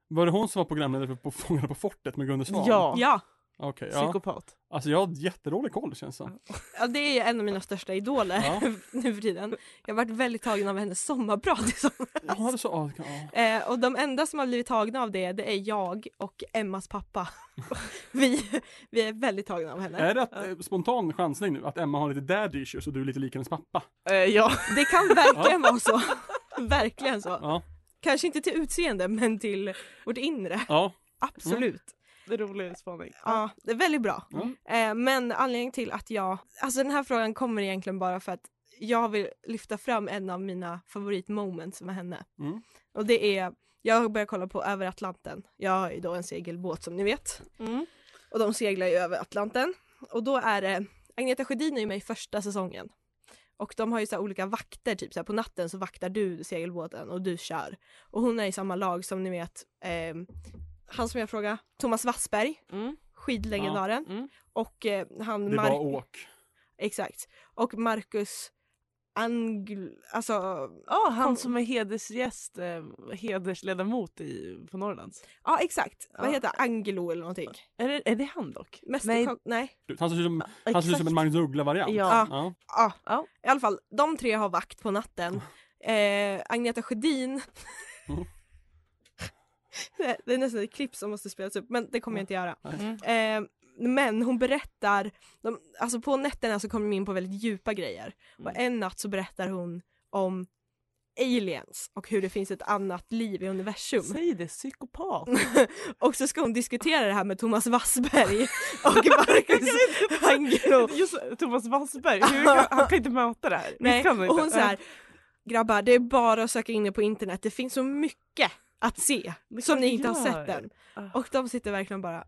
[SPEAKER 3] Var det hon som var programledare på Fångarna på fortet med Gunde Svan?
[SPEAKER 4] Ja,
[SPEAKER 2] Ja,
[SPEAKER 3] Okej, ja.
[SPEAKER 4] psykopat.
[SPEAKER 3] Alltså jag har jättedålig koll känns det som.
[SPEAKER 2] ja, det är ju en av mina största idoler
[SPEAKER 3] Ja.
[SPEAKER 2] nu för tiden. Jag har varit väldigt tagen av hennes sommarprat i somras.
[SPEAKER 3] Ja, Hon hade så, ja, ja.
[SPEAKER 2] Eh, och de enda som har blivit tagna av det, det är jag och Emmas pappa. vi, vi är väldigt tagna av henne.
[SPEAKER 3] Är det att, eh, spontan chansning nu, att Emma har lite dad issues och du är lite lik hennes pappa?
[SPEAKER 4] Eh, ja.
[SPEAKER 2] Det kan verkligen vara så. Verkligen så.
[SPEAKER 3] Ja.
[SPEAKER 2] Kanske inte till utseende, men till vårt inre.
[SPEAKER 3] Ja.
[SPEAKER 2] Absolut.
[SPEAKER 4] Det är rolig spaning.
[SPEAKER 2] Ja, det är väldigt bra.
[SPEAKER 3] Mm.
[SPEAKER 2] Eh, men anledningen till att jag... Alltså den här frågan kommer egentligen bara för att jag vill lyfta fram en av mina favoritmoments med henne.
[SPEAKER 3] Mm.
[SPEAKER 2] Och det är... Jag börjar kolla på Över Atlanten. Jag har ju då en segelbåt som ni vet.
[SPEAKER 4] Mm.
[SPEAKER 2] Och de seglar ju över Atlanten. Och då är det... Agneta Sjödin är ju med i första säsongen. Och de har ju så här olika vakter, typ så här på natten så vaktar du segelbåten och du kör. Och hon är i samma lag som ni vet, eh, han som jag frågade, Thomas Wassberg,
[SPEAKER 4] Mm.
[SPEAKER 2] skidlegendaren.
[SPEAKER 4] Ja, mm.
[SPEAKER 2] Och eh, han...
[SPEAKER 3] Det är bara
[SPEAKER 2] Mar-
[SPEAKER 3] åk.
[SPEAKER 2] Exakt. Och Marcus Angl... Alltså...
[SPEAKER 4] Ja, han
[SPEAKER 2] Kom-
[SPEAKER 4] som är hedersgäst, eh, hedersledamot i, på Norrlands.
[SPEAKER 2] Ja, exakt.
[SPEAKER 4] Ja.
[SPEAKER 2] Vad heter det? Angelo eller någonting?
[SPEAKER 4] Är det, är det han dock?
[SPEAKER 2] Nej. Nej.
[SPEAKER 3] Han ser ut som, han ser ut som en Magnus Uggla-variant.
[SPEAKER 4] Ja.
[SPEAKER 3] Ja.
[SPEAKER 2] Ja.
[SPEAKER 4] Ja.
[SPEAKER 2] I alla fall, de tre har vakt på natten. Eh, Agneta Sjödin...
[SPEAKER 3] Mm.
[SPEAKER 2] Det- det är nästan ett klipp som måste spelas upp, men det kommer jag inte göra.
[SPEAKER 3] Mm. Nej.
[SPEAKER 2] Eh, men hon berättar... De, alltså på nätterna så kommer de in på väldigt djupa grejer.
[SPEAKER 3] Mm.
[SPEAKER 2] Och en natt så berättar hon om aliens och hur det finns ett annat liv i universum.
[SPEAKER 4] Säg det, psykopat.
[SPEAKER 2] Och så ska hon diskutera det här med Thomas Wassberg och Marcus Angelo.
[SPEAKER 4] Just Thomas Wassberg, hur kan, han kan inte möta det här.
[SPEAKER 2] Nej,
[SPEAKER 4] Visst kan han
[SPEAKER 2] och
[SPEAKER 4] inte?
[SPEAKER 2] hon så här, grabbar det är bara att söka in er på internet, det finns så mycket att se
[SPEAKER 4] Det
[SPEAKER 2] som
[SPEAKER 4] kan
[SPEAKER 2] ni
[SPEAKER 4] vi
[SPEAKER 2] inte har
[SPEAKER 4] göra.
[SPEAKER 2] sett än.
[SPEAKER 4] Ah.
[SPEAKER 2] Och de sitter verkligen bara,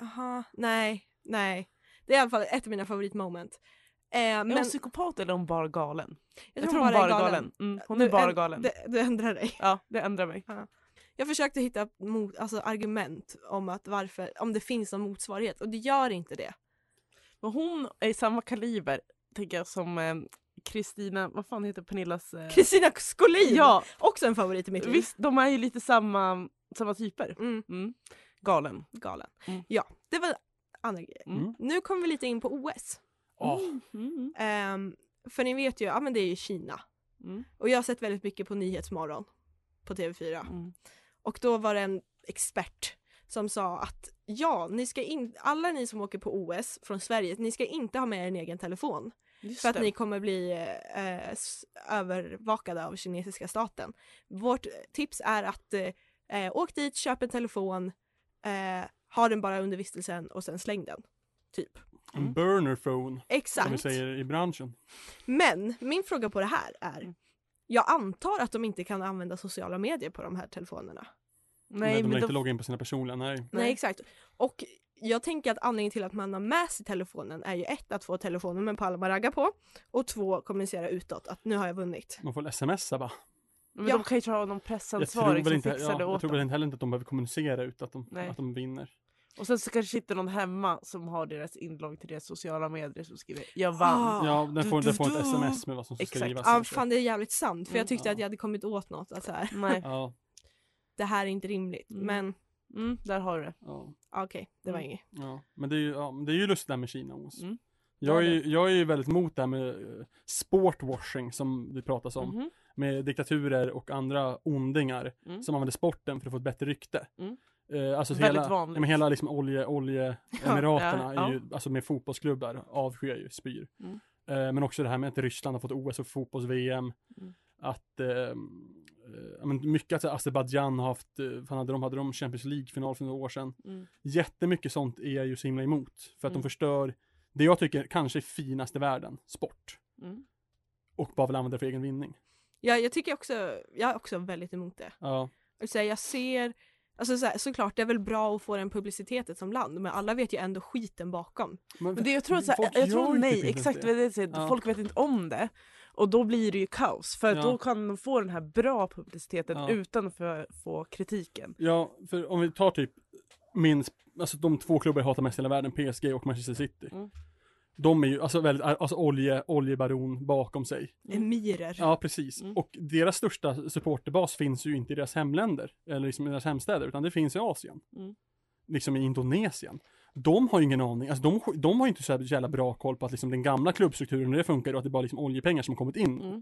[SPEAKER 2] jaha, nej, nej. Det är i alla fall ett av mina favoritmoment. Eh, men
[SPEAKER 4] Är hon psykopat eller är hon bara galen?
[SPEAKER 2] jag tror hon bara är galen.
[SPEAKER 4] Mm, hon
[SPEAKER 2] Du
[SPEAKER 4] är bara
[SPEAKER 2] änd-
[SPEAKER 4] galen.
[SPEAKER 2] Det, du ändrar dig.
[SPEAKER 4] Ja, det ändrar mig.
[SPEAKER 2] Jag försökte hitta mot, alltså argument om att varför, om det finns någon motsvarighet och det gör inte det.
[SPEAKER 4] Eh. Men hon är i samma kaliber, tänker jag, som eh, Kristina, vad fan heter Pernillas... Eh...
[SPEAKER 2] Kristina Skolin!
[SPEAKER 4] Ja,
[SPEAKER 2] Också en favorit i mitt liv.
[SPEAKER 4] visst, de är ju lite samma, samma typer.
[SPEAKER 2] Mm,
[SPEAKER 4] Mm. Galen.
[SPEAKER 2] galen.
[SPEAKER 4] Mm.
[SPEAKER 2] Ja, det var andra grejer.
[SPEAKER 4] Mm.
[SPEAKER 2] Nu kommer vi lite in på OS.
[SPEAKER 3] Ja.
[SPEAKER 4] Mm.
[SPEAKER 2] Ehm, för ni vet ju, ja men det är ju Kina.
[SPEAKER 4] Mm.
[SPEAKER 2] Och jag har sett väldigt mycket på Nyhetsmorgon på TV4.
[SPEAKER 4] Mm.
[SPEAKER 2] Och då var det en expert som sa att ja, ni ska in, alla ni som åker på OS från Sverige, ni ska inte ha med er en egen telefon.
[SPEAKER 4] Just
[SPEAKER 2] För att
[SPEAKER 4] det.
[SPEAKER 2] ni kommer bli eh, s- övervakade av kinesiska staten. Vårt tips är att eh, eh, åk dit, köp en telefon, eh, ha den bara under vistelsen och sen släng den. Typ.
[SPEAKER 4] Mm.
[SPEAKER 3] En burner phone, som vi
[SPEAKER 2] Exakt.
[SPEAKER 3] säger i branschen.
[SPEAKER 2] Men min fråga på det här
[SPEAKER 4] Mm.
[SPEAKER 2] är, jag antar att de inte kan använda sociala medier på de här telefonerna.
[SPEAKER 3] Nej, de
[SPEAKER 4] men
[SPEAKER 3] lär
[SPEAKER 4] då-
[SPEAKER 3] inte logga in på sina personliga, nej.
[SPEAKER 2] Nej,
[SPEAKER 4] Nej.
[SPEAKER 2] exakt. Och jag tänker att anledningen till att man har med sig telefonen är ju ett, att få telefonen med Palma ragga på och två, kommunicera utåt att nu har jag vunnit.
[SPEAKER 3] Man får väl smsa va?
[SPEAKER 4] Men
[SPEAKER 2] Ja.
[SPEAKER 4] de kan ju inte ha någon
[SPEAKER 3] Jag tror,
[SPEAKER 4] pressansvarig
[SPEAKER 3] väl
[SPEAKER 4] som
[SPEAKER 3] inte,
[SPEAKER 4] fixar
[SPEAKER 3] ja,
[SPEAKER 4] det
[SPEAKER 3] jag
[SPEAKER 4] åt
[SPEAKER 3] tror
[SPEAKER 4] dem.
[SPEAKER 3] väl heller inte att de behöver kommunicera ut att de,
[SPEAKER 4] Nej.
[SPEAKER 3] att de vinner.
[SPEAKER 4] Och sen så kanske sitter någon hemma som har deras inlogg till deras sociala medier som skriver “Jag vann”.
[SPEAKER 2] Ah.
[SPEAKER 3] Ja, den får, den får
[SPEAKER 4] Du-
[SPEAKER 3] ett
[SPEAKER 4] du-
[SPEAKER 3] sms med vad som ska
[SPEAKER 4] Exakt.
[SPEAKER 3] skrivas.
[SPEAKER 2] Ja,
[SPEAKER 3] kanske.
[SPEAKER 2] fan det är jävligt sant för
[SPEAKER 4] Mm,
[SPEAKER 2] jag tyckte
[SPEAKER 3] ja.
[SPEAKER 2] att jag hade kommit åt något att så här,
[SPEAKER 4] Nej.
[SPEAKER 3] Ja,
[SPEAKER 2] det här är inte rimligt.
[SPEAKER 4] Mm.
[SPEAKER 2] Men
[SPEAKER 4] Mm, där har du det.
[SPEAKER 3] ja,
[SPEAKER 2] ja, okej, det var
[SPEAKER 4] Mm.
[SPEAKER 2] inget.
[SPEAKER 3] ja. Men det är ju, ja, men det är ju lustigt det här med Kina OS.
[SPEAKER 4] Mm.
[SPEAKER 3] Jag, är,
[SPEAKER 4] Ja, det.
[SPEAKER 3] ju- jag är ju väldigt emot det här med eh, sportwashing som det pratas om.
[SPEAKER 4] Mhm.
[SPEAKER 3] Med diktaturer och andra ondingar
[SPEAKER 4] Mm.
[SPEAKER 3] som använder sporten för att få ett bättre rykte.
[SPEAKER 4] Mm.
[SPEAKER 3] Eh, alltså
[SPEAKER 4] Väldigt
[SPEAKER 3] hela,
[SPEAKER 4] vanligt.
[SPEAKER 3] ja, men hela liksom olje, oljeemiraterna
[SPEAKER 4] Ja, ja,
[SPEAKER 3] är ju, alltså med fotbollsklubbar avskyr ju, spyr.
[SPEAKER 4] Mm.
[SPEAKER 3] Eh, men också det här med att Ryssland har fått OS och fotbolls-VM.
[SPEAKER 4] Mm.
[SPEAKER 3] Att, eh, eh, ja, men mycket att så här, Azerbaijan har haft, eh, fan hade de, hade de Champions League-final för några år sedan.
[SPEAKER 4] Mm.
[SPEAKER 3] Jättemycket sånt är jag ju så himla emot. För att
[SPEAKER 4] Mm.
[SPEAKER 3] de förstör det jag tycker kanske är finaste världen, sport.
[SPEAKER 4] Mm.
[SPEAKER 3] Och bara vill använda det för egen vinning.
[SPEAKER 2] Jag, jag tycker också, jag är också väldigt emot det.
[SPEAKER 3] Ja.
[SPEAKER 2] Och så här, jag ser, alltså så här, såklart det är väl bra att få den publiciteten som land, men alla vet ju ändå skiten bakom.
[SPEAKER 4] Men det, jag tror, att så här,
[SPEAKER 3] folk
[SPEAKER 4] jag
[SPEAKER 3] gör
[SPEAKER 4] tror
[SPEAKER 3] ju
[SPEAKER 4] nej,
[SPEAKER 3] typ inte
[SPEAKER 4] exakt.
[SPEAKER 3] ens
[SPEAKER 4] Det. Det, det,
[SPEAKER 3] Ja.
[SPEAKER 4] Folk vet inte om det. Och då blir det ju kaos. För
[SPEAKER 3] Ja.
[SPEAKER 4] då kan de få den här bra publiciteten
[SPEAKER 3] Ja.
[SPEAKER 4] utan att få- få kritiken.
[SPEAKER 3] Ja, för om vi tar typ min, sp- alltså de två klubbar jag hatar mest i hela världen, PSG och Manchester City.
[SPEAKER 4] Mm.
[SPEAKER 3] De är ju alltså väldigt, alltså olje, oljebaron bakom sig.
[SPEAKER 2] Emirer.
[SPEAKER 3] Ja, precis.
[SPEAKER 4] Mm.
[SPEAKER 3] Och deras största supporterbas finns ju inte i deras hemländer, eller liksom i deras hemstäder, utan det finns i Asien.
[SPEAKER 4] Mm.
[SPEAKER 3] Liksom i Indonesien. De har ju ingen aning, alltså de, de har ju inte så här jävla bra koll på att liksom den gamla klubbstrukturen, hur det funkar och att det bara är liksom oljepengar som har kommit in.
[SPEAKER 4] Mm.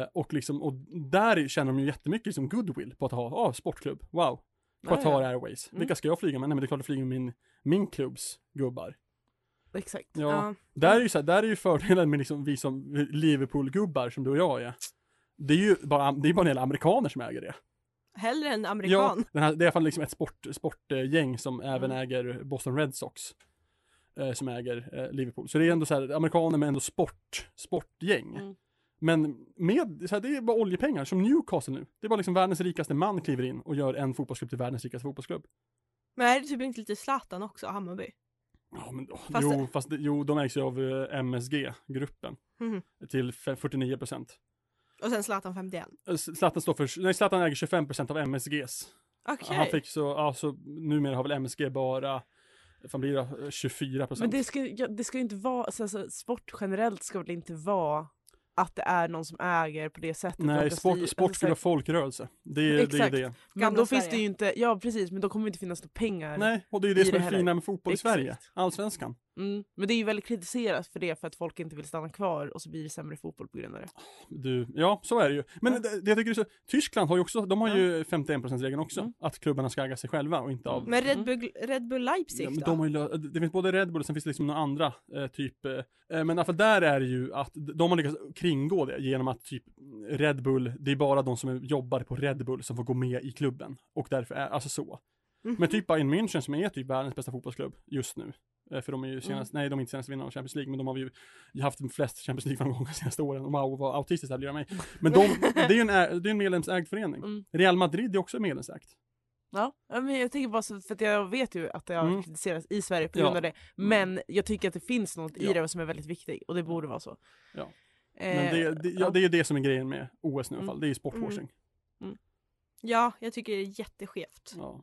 [SPEAKER 3] Eh, och liksom, och där känner de ju jättemycket liksom goodwill på att ha, ah, sportklubb, wow. Qatar Airways,
[SPEAKER 4] Mm.
[SPEAKER 3] vilka ska jag flyga med? Nej men det är klart jag flyger med min, min klubbs gubbar.
[SPEAKER 4] Exakt.
[SPEAKER 3] Ja. Där är ju så här, där är ju fördelen med liksom vi som Liverpool-gubbar som du och jag är. Det är ju bara, det är bara en del amerikaner som äger det.
[SPEAKER 2] Hellre en amerikan.
[SPEAKER 3] den här, det är i alla fall liksom ett sport, sportgäng som även äger Boston Red Sox. Eh, som äger eh, Liverpool. Så det är ändå så här, amerikaner men ändå sport, sportgäng.
[SPEAKER 4] Mm.
[SPEAKER 3] Men med, så här, det är bara oljepengar, som Newcastle nu. Det är bara liksom världens rikaste man kliver in och gör en fotbollsklubb till världens rikaste fotbollsklubb.
[SPEAKER 2] Men är det typ inte lite Zlatan också, Hammarby?
[SPEAKER 3] Ja, men, åh,
[SPEAKER 2] Fast-
[SPEAKER 3] jo, fast, det- jo, de ägs ju av eh, MSG-gruppen.
[SPEAKER 2] Mhm.
[SPEAKER 3] Till fe- 49 procent.
[SPEAKER 2] Och sen Zlatan 51.
[SPEAKER 3] Zlatan står för, nej Zlatan äger 25% av MSGs.
[SPEAKER 2] Okej.
[SPEAKER 3] Han fick så, alltså numera har väl MSG bara, fan blir det, 24%?
[SPEAKER 4] Men det ska, ja, det ska ju inte vara, så, så, sport generellt ska väl inte vara att det är någon som äger på det sättet.
[SPEAKER 3] nej,
[SPEAKER 4] och
[SPEAKER 3] sport,
[SPEAKER 4] styr-
[SPEAKER 3] sport
[SPEAKER 4] alltså, så
[SPEAKER 3] skulle
[SPEAKER 4] här-
[SPEAKER 3] vara folkrörelse. Det är det. Är
[SPEAKER 4] Exakt.
[SPEAKER 3] det.
[SPEAKER 4] men
[SPEAKER 2] Gamla
[SPEAKER 4] då finns det
[SPEAKER 2] Sverige.
[SPEAKER 4] ju inte, ja precis, men då kommer det inte finnas några pengar.
[SPEAKER 3] Nej, och det är ju
[SPEAKER 4] I
[SPEAKER 3] det som
[SPEAKER 4] det
[SPEAKER 3] är
[SPEAKER 4] här
[SPEAKER 3] det fina med fotboll
[SPEAKER 4] Exakt.
[SPEAKER 3] i Sverige. Allsvenskan.
[SPEAKER 4] Mm. Men det är ju väldigt kritiserat för det, för att folk inte vill stanna kvar och så blir det sämre fotboll på grund av det.
[SPEAKER 3] Du, ja, så är det ju. Men
[SPEAKER 4] Ja.
[SPEAKER 3] det, det jag tycker är så, Tyskland har ju också, de har ju 51%-regeln också.
[SPEAKER 4] Mm.
[SPEAKER 3] Att klubbarna ska äga sig själva och inte av
[SPEAKER 2] Men Red Bull, Red Bull Leipzig
[SPEAKER 3] Mm.
[SPEAKER 2] då?
[SPEAKER 3] Ja, men de har ju, lö- eh, det finns både Red Bull och sen finns det liksom några andra eh, typ. Eh, men i alla fall där är det ju att de har lyckats kringgå det genom att typ Red Bull, det är bara de som jobbar på Red Bull som får gå med i klubben. Och därför är, alltså så.
[SPEAKER 2] Mhm.
[SPEAKER 3] Men typ Bayern München som är typ världens bästa fotbollsklubb just nu. Eh, För de
[SPEAKER 4] Mm.
[SPEAKER 3] är ju senast, nej de är inte senast vinnarna av Champions League, men de har ju haft flest Champions League-framgångar de senaste åren. Wow, vad autistiskt det här blir av mig. Men de, det är ju en, ä- det är en medlemsägd förening.
[SPEAKER 4] Mm.
[SPEAKER 3] Real Madrid är också medlemsägt.
[SPEAKER 4] Ja, ja, men jag tänker bara så, för att jag vet ju att det har
[SPEAKER 3] Mm.
[SPEAKER 4] kritiserats i Sverige på
[SPEAKER 3] Ja. Mm.
[SPEAKER 4] grund av det. Men jag tycker att det finns något i
[SPEAKER 3] Ja.
[SPEAKER 4] det som är väldigt viktigt och det borde vara så.
[SPEAKER 3] Ja.
[SPEAKER 4] Eh,
[SPEAKER 3] Men det, det, ja,
[SPEAKER 4] ja.
[SPEAKER 3] det är ju det som är grejen med OS nu i alla
[SPEAKER 4] Mm.
[SPEAKER 3] fall, det är ju sportwashing.
[SPEAKER 2] Ja, jag tycker det är jätteskevt.
[SPEAKER 3] Ja.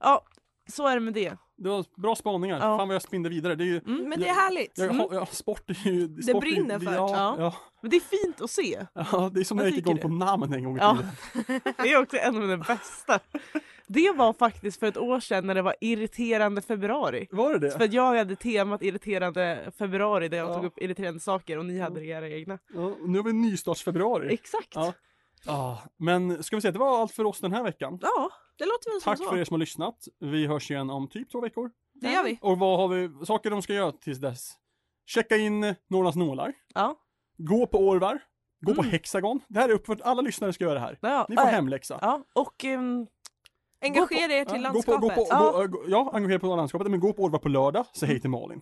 [SPEAKER 4] ja, så är det med det.
[SPEAKER 3] Det var bra spaningar.
[SPEAKER 4] Ja.
[SPEAKER 3] Fan vad jag spinner vidare. Det är ju,
[SPEAKER 4] Mm.
[SPEAKER 2] Men det är härligt.
[SPEAKER 3] jag,
[SPEAKER 4] Mm.
[SPEAKER 3] ja, sport är ju... Sport är ju-
[SPEAKER 2] brinner för det.
[SPEAKER 3] Ja, ja.
[SPEAKER 4] Men det är fint att se.
[SPEAKER 3] ja, det är som när
[SPEAKER 4] Jag
[SPEAKER 3] jag gick igång
[SPEAKER 4] tycker
[SPEAKER 3] på namn en gång i
[SPEAKER 4] Ja.
[SPEAKER 3] tiden.
[SPEAKER 4] Det är också en av mina bästa. Det var faktiskt för ett år sedan när det var irriterande februari.
[SPEAKER 3] Var det det?
[SPEAKER 4] För att jag hade temat irriterande februari där jag
[SPEAKER 3] Ja. Mm.
[SPEAKER 4] tog upp irriterande saker och ni hade era egna.
[SPEAKER 3] Ja, och nu har vi nystartsfebruari.
[SPEAKER 4] Exakt.
[SPEAKER 3] Ja.
[SPEAKER 4] Ja,
[SPEAKER 3] Ah, men ska vi säga att det var allt för oss den här veckan.
[SPEAKER 2] Det låter väl som
[SPEAKER 3] Tack
[SPEAKER 2] så.
[SPEAKER 3] för er som har lyssnat. Vi hörs igen om typ två veckor.
[SPEAKER 2] Det gör vi.
[SPEAKER 3] Och vad har vi, saker de ska göra tills dess? Checka in Norrlands nålar.
[SPEAKER 4] ja.
[SPEAKER 3] Gå på Orvar. Gå på
[SPEAKER 4] Mm.
[SPEAKER 3] Hexagon. Det här är uppfört, alla lyssnare ska göra det här.
[SPEAKER 4] ja.
[SPEAKER 3] Ni får
[SPEAKER 4] ja.
[SPEAKER 3] hemläxa.
[SPEAKER 4] Ja, och ehm,
[SPEAKER 2] Engagera er till
[SPEAKER 3] Ja,
[SPEAKER 2] landskapet.
[SPEAKER 3] Gå på, gå på,
[SPEAKER 4] Ja.
[SPEAKER 3] gå, gå, ja, engagera på landskapet, men gå på Orvar på lördag, säg hej till Malin.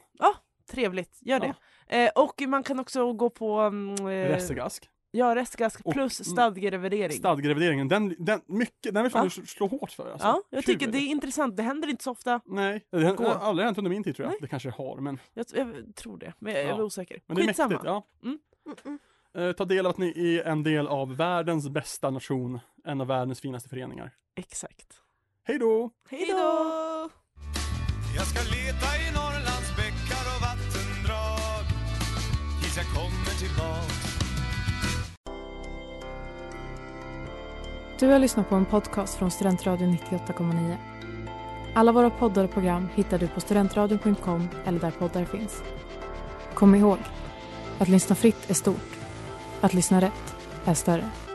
[SPEAKER 4] Trevligt, gör det. Eh, och man kan också gå på mm, eh,
[SPEAKER 3] Ressegask.
[SPEAKER 4] ja, restgask
[SPEAKER 3] Och- mm,
[SPEAKER 4] plus stadgerevidering.
[SPEAKER 3] Stadgerevideringen, den, den, mycket, den vill fan
[SPEAKER 4] Ja.
[SPEAKER 3] du slå hårt för alltså.
[SPEAKER 4] ja, jag
[SPEAKER 3] Kul
[SPEAKER 4] tycker
[SPEAKER 3] är
[SPEAKER 4] det är intressant, det händer inte så ofta.
[SPEAKER 3] Nej, det har
[SPEAKER 4] Gå.
[SPEAKER 3] det har aldrig hänt under min tid tror jag. Det kanske det har, men,
[SPEAKER 4] Jag, jag tror det, men jag, jag
[SPEAKER 3] Ja.
[SPEAKER 4] är osäker.
[SPEAKER 3] men det är
[SPEAKER 4] Skitsamma.
[SPEAKER 3] mäktigt. Ja.
[SPEAKER 4] Mm.
[SPEAKER 2] Mm,
[SPEAKER 3] Eh, ta del av att ni är en del av världens bästa nation, en av världens finaste föreningar.
[SPEAKER 4] Exakt.
[SPEAKER 3] Hej då!
[SPEAKER 2] Hej då!
[SPEAKER 1] Jag ska leta i Norrlands bäckar och vattendrag tills jag kommer tillbaks
[SPEAKER 9] Du har lyssnat på en podcast från Studentradion 98,9. Alla våra poddar och program hittar du på studentradion.com eller där poddar finns. Kom ihåg, att lyssna fritt är stort. Att lyssna rätt är större.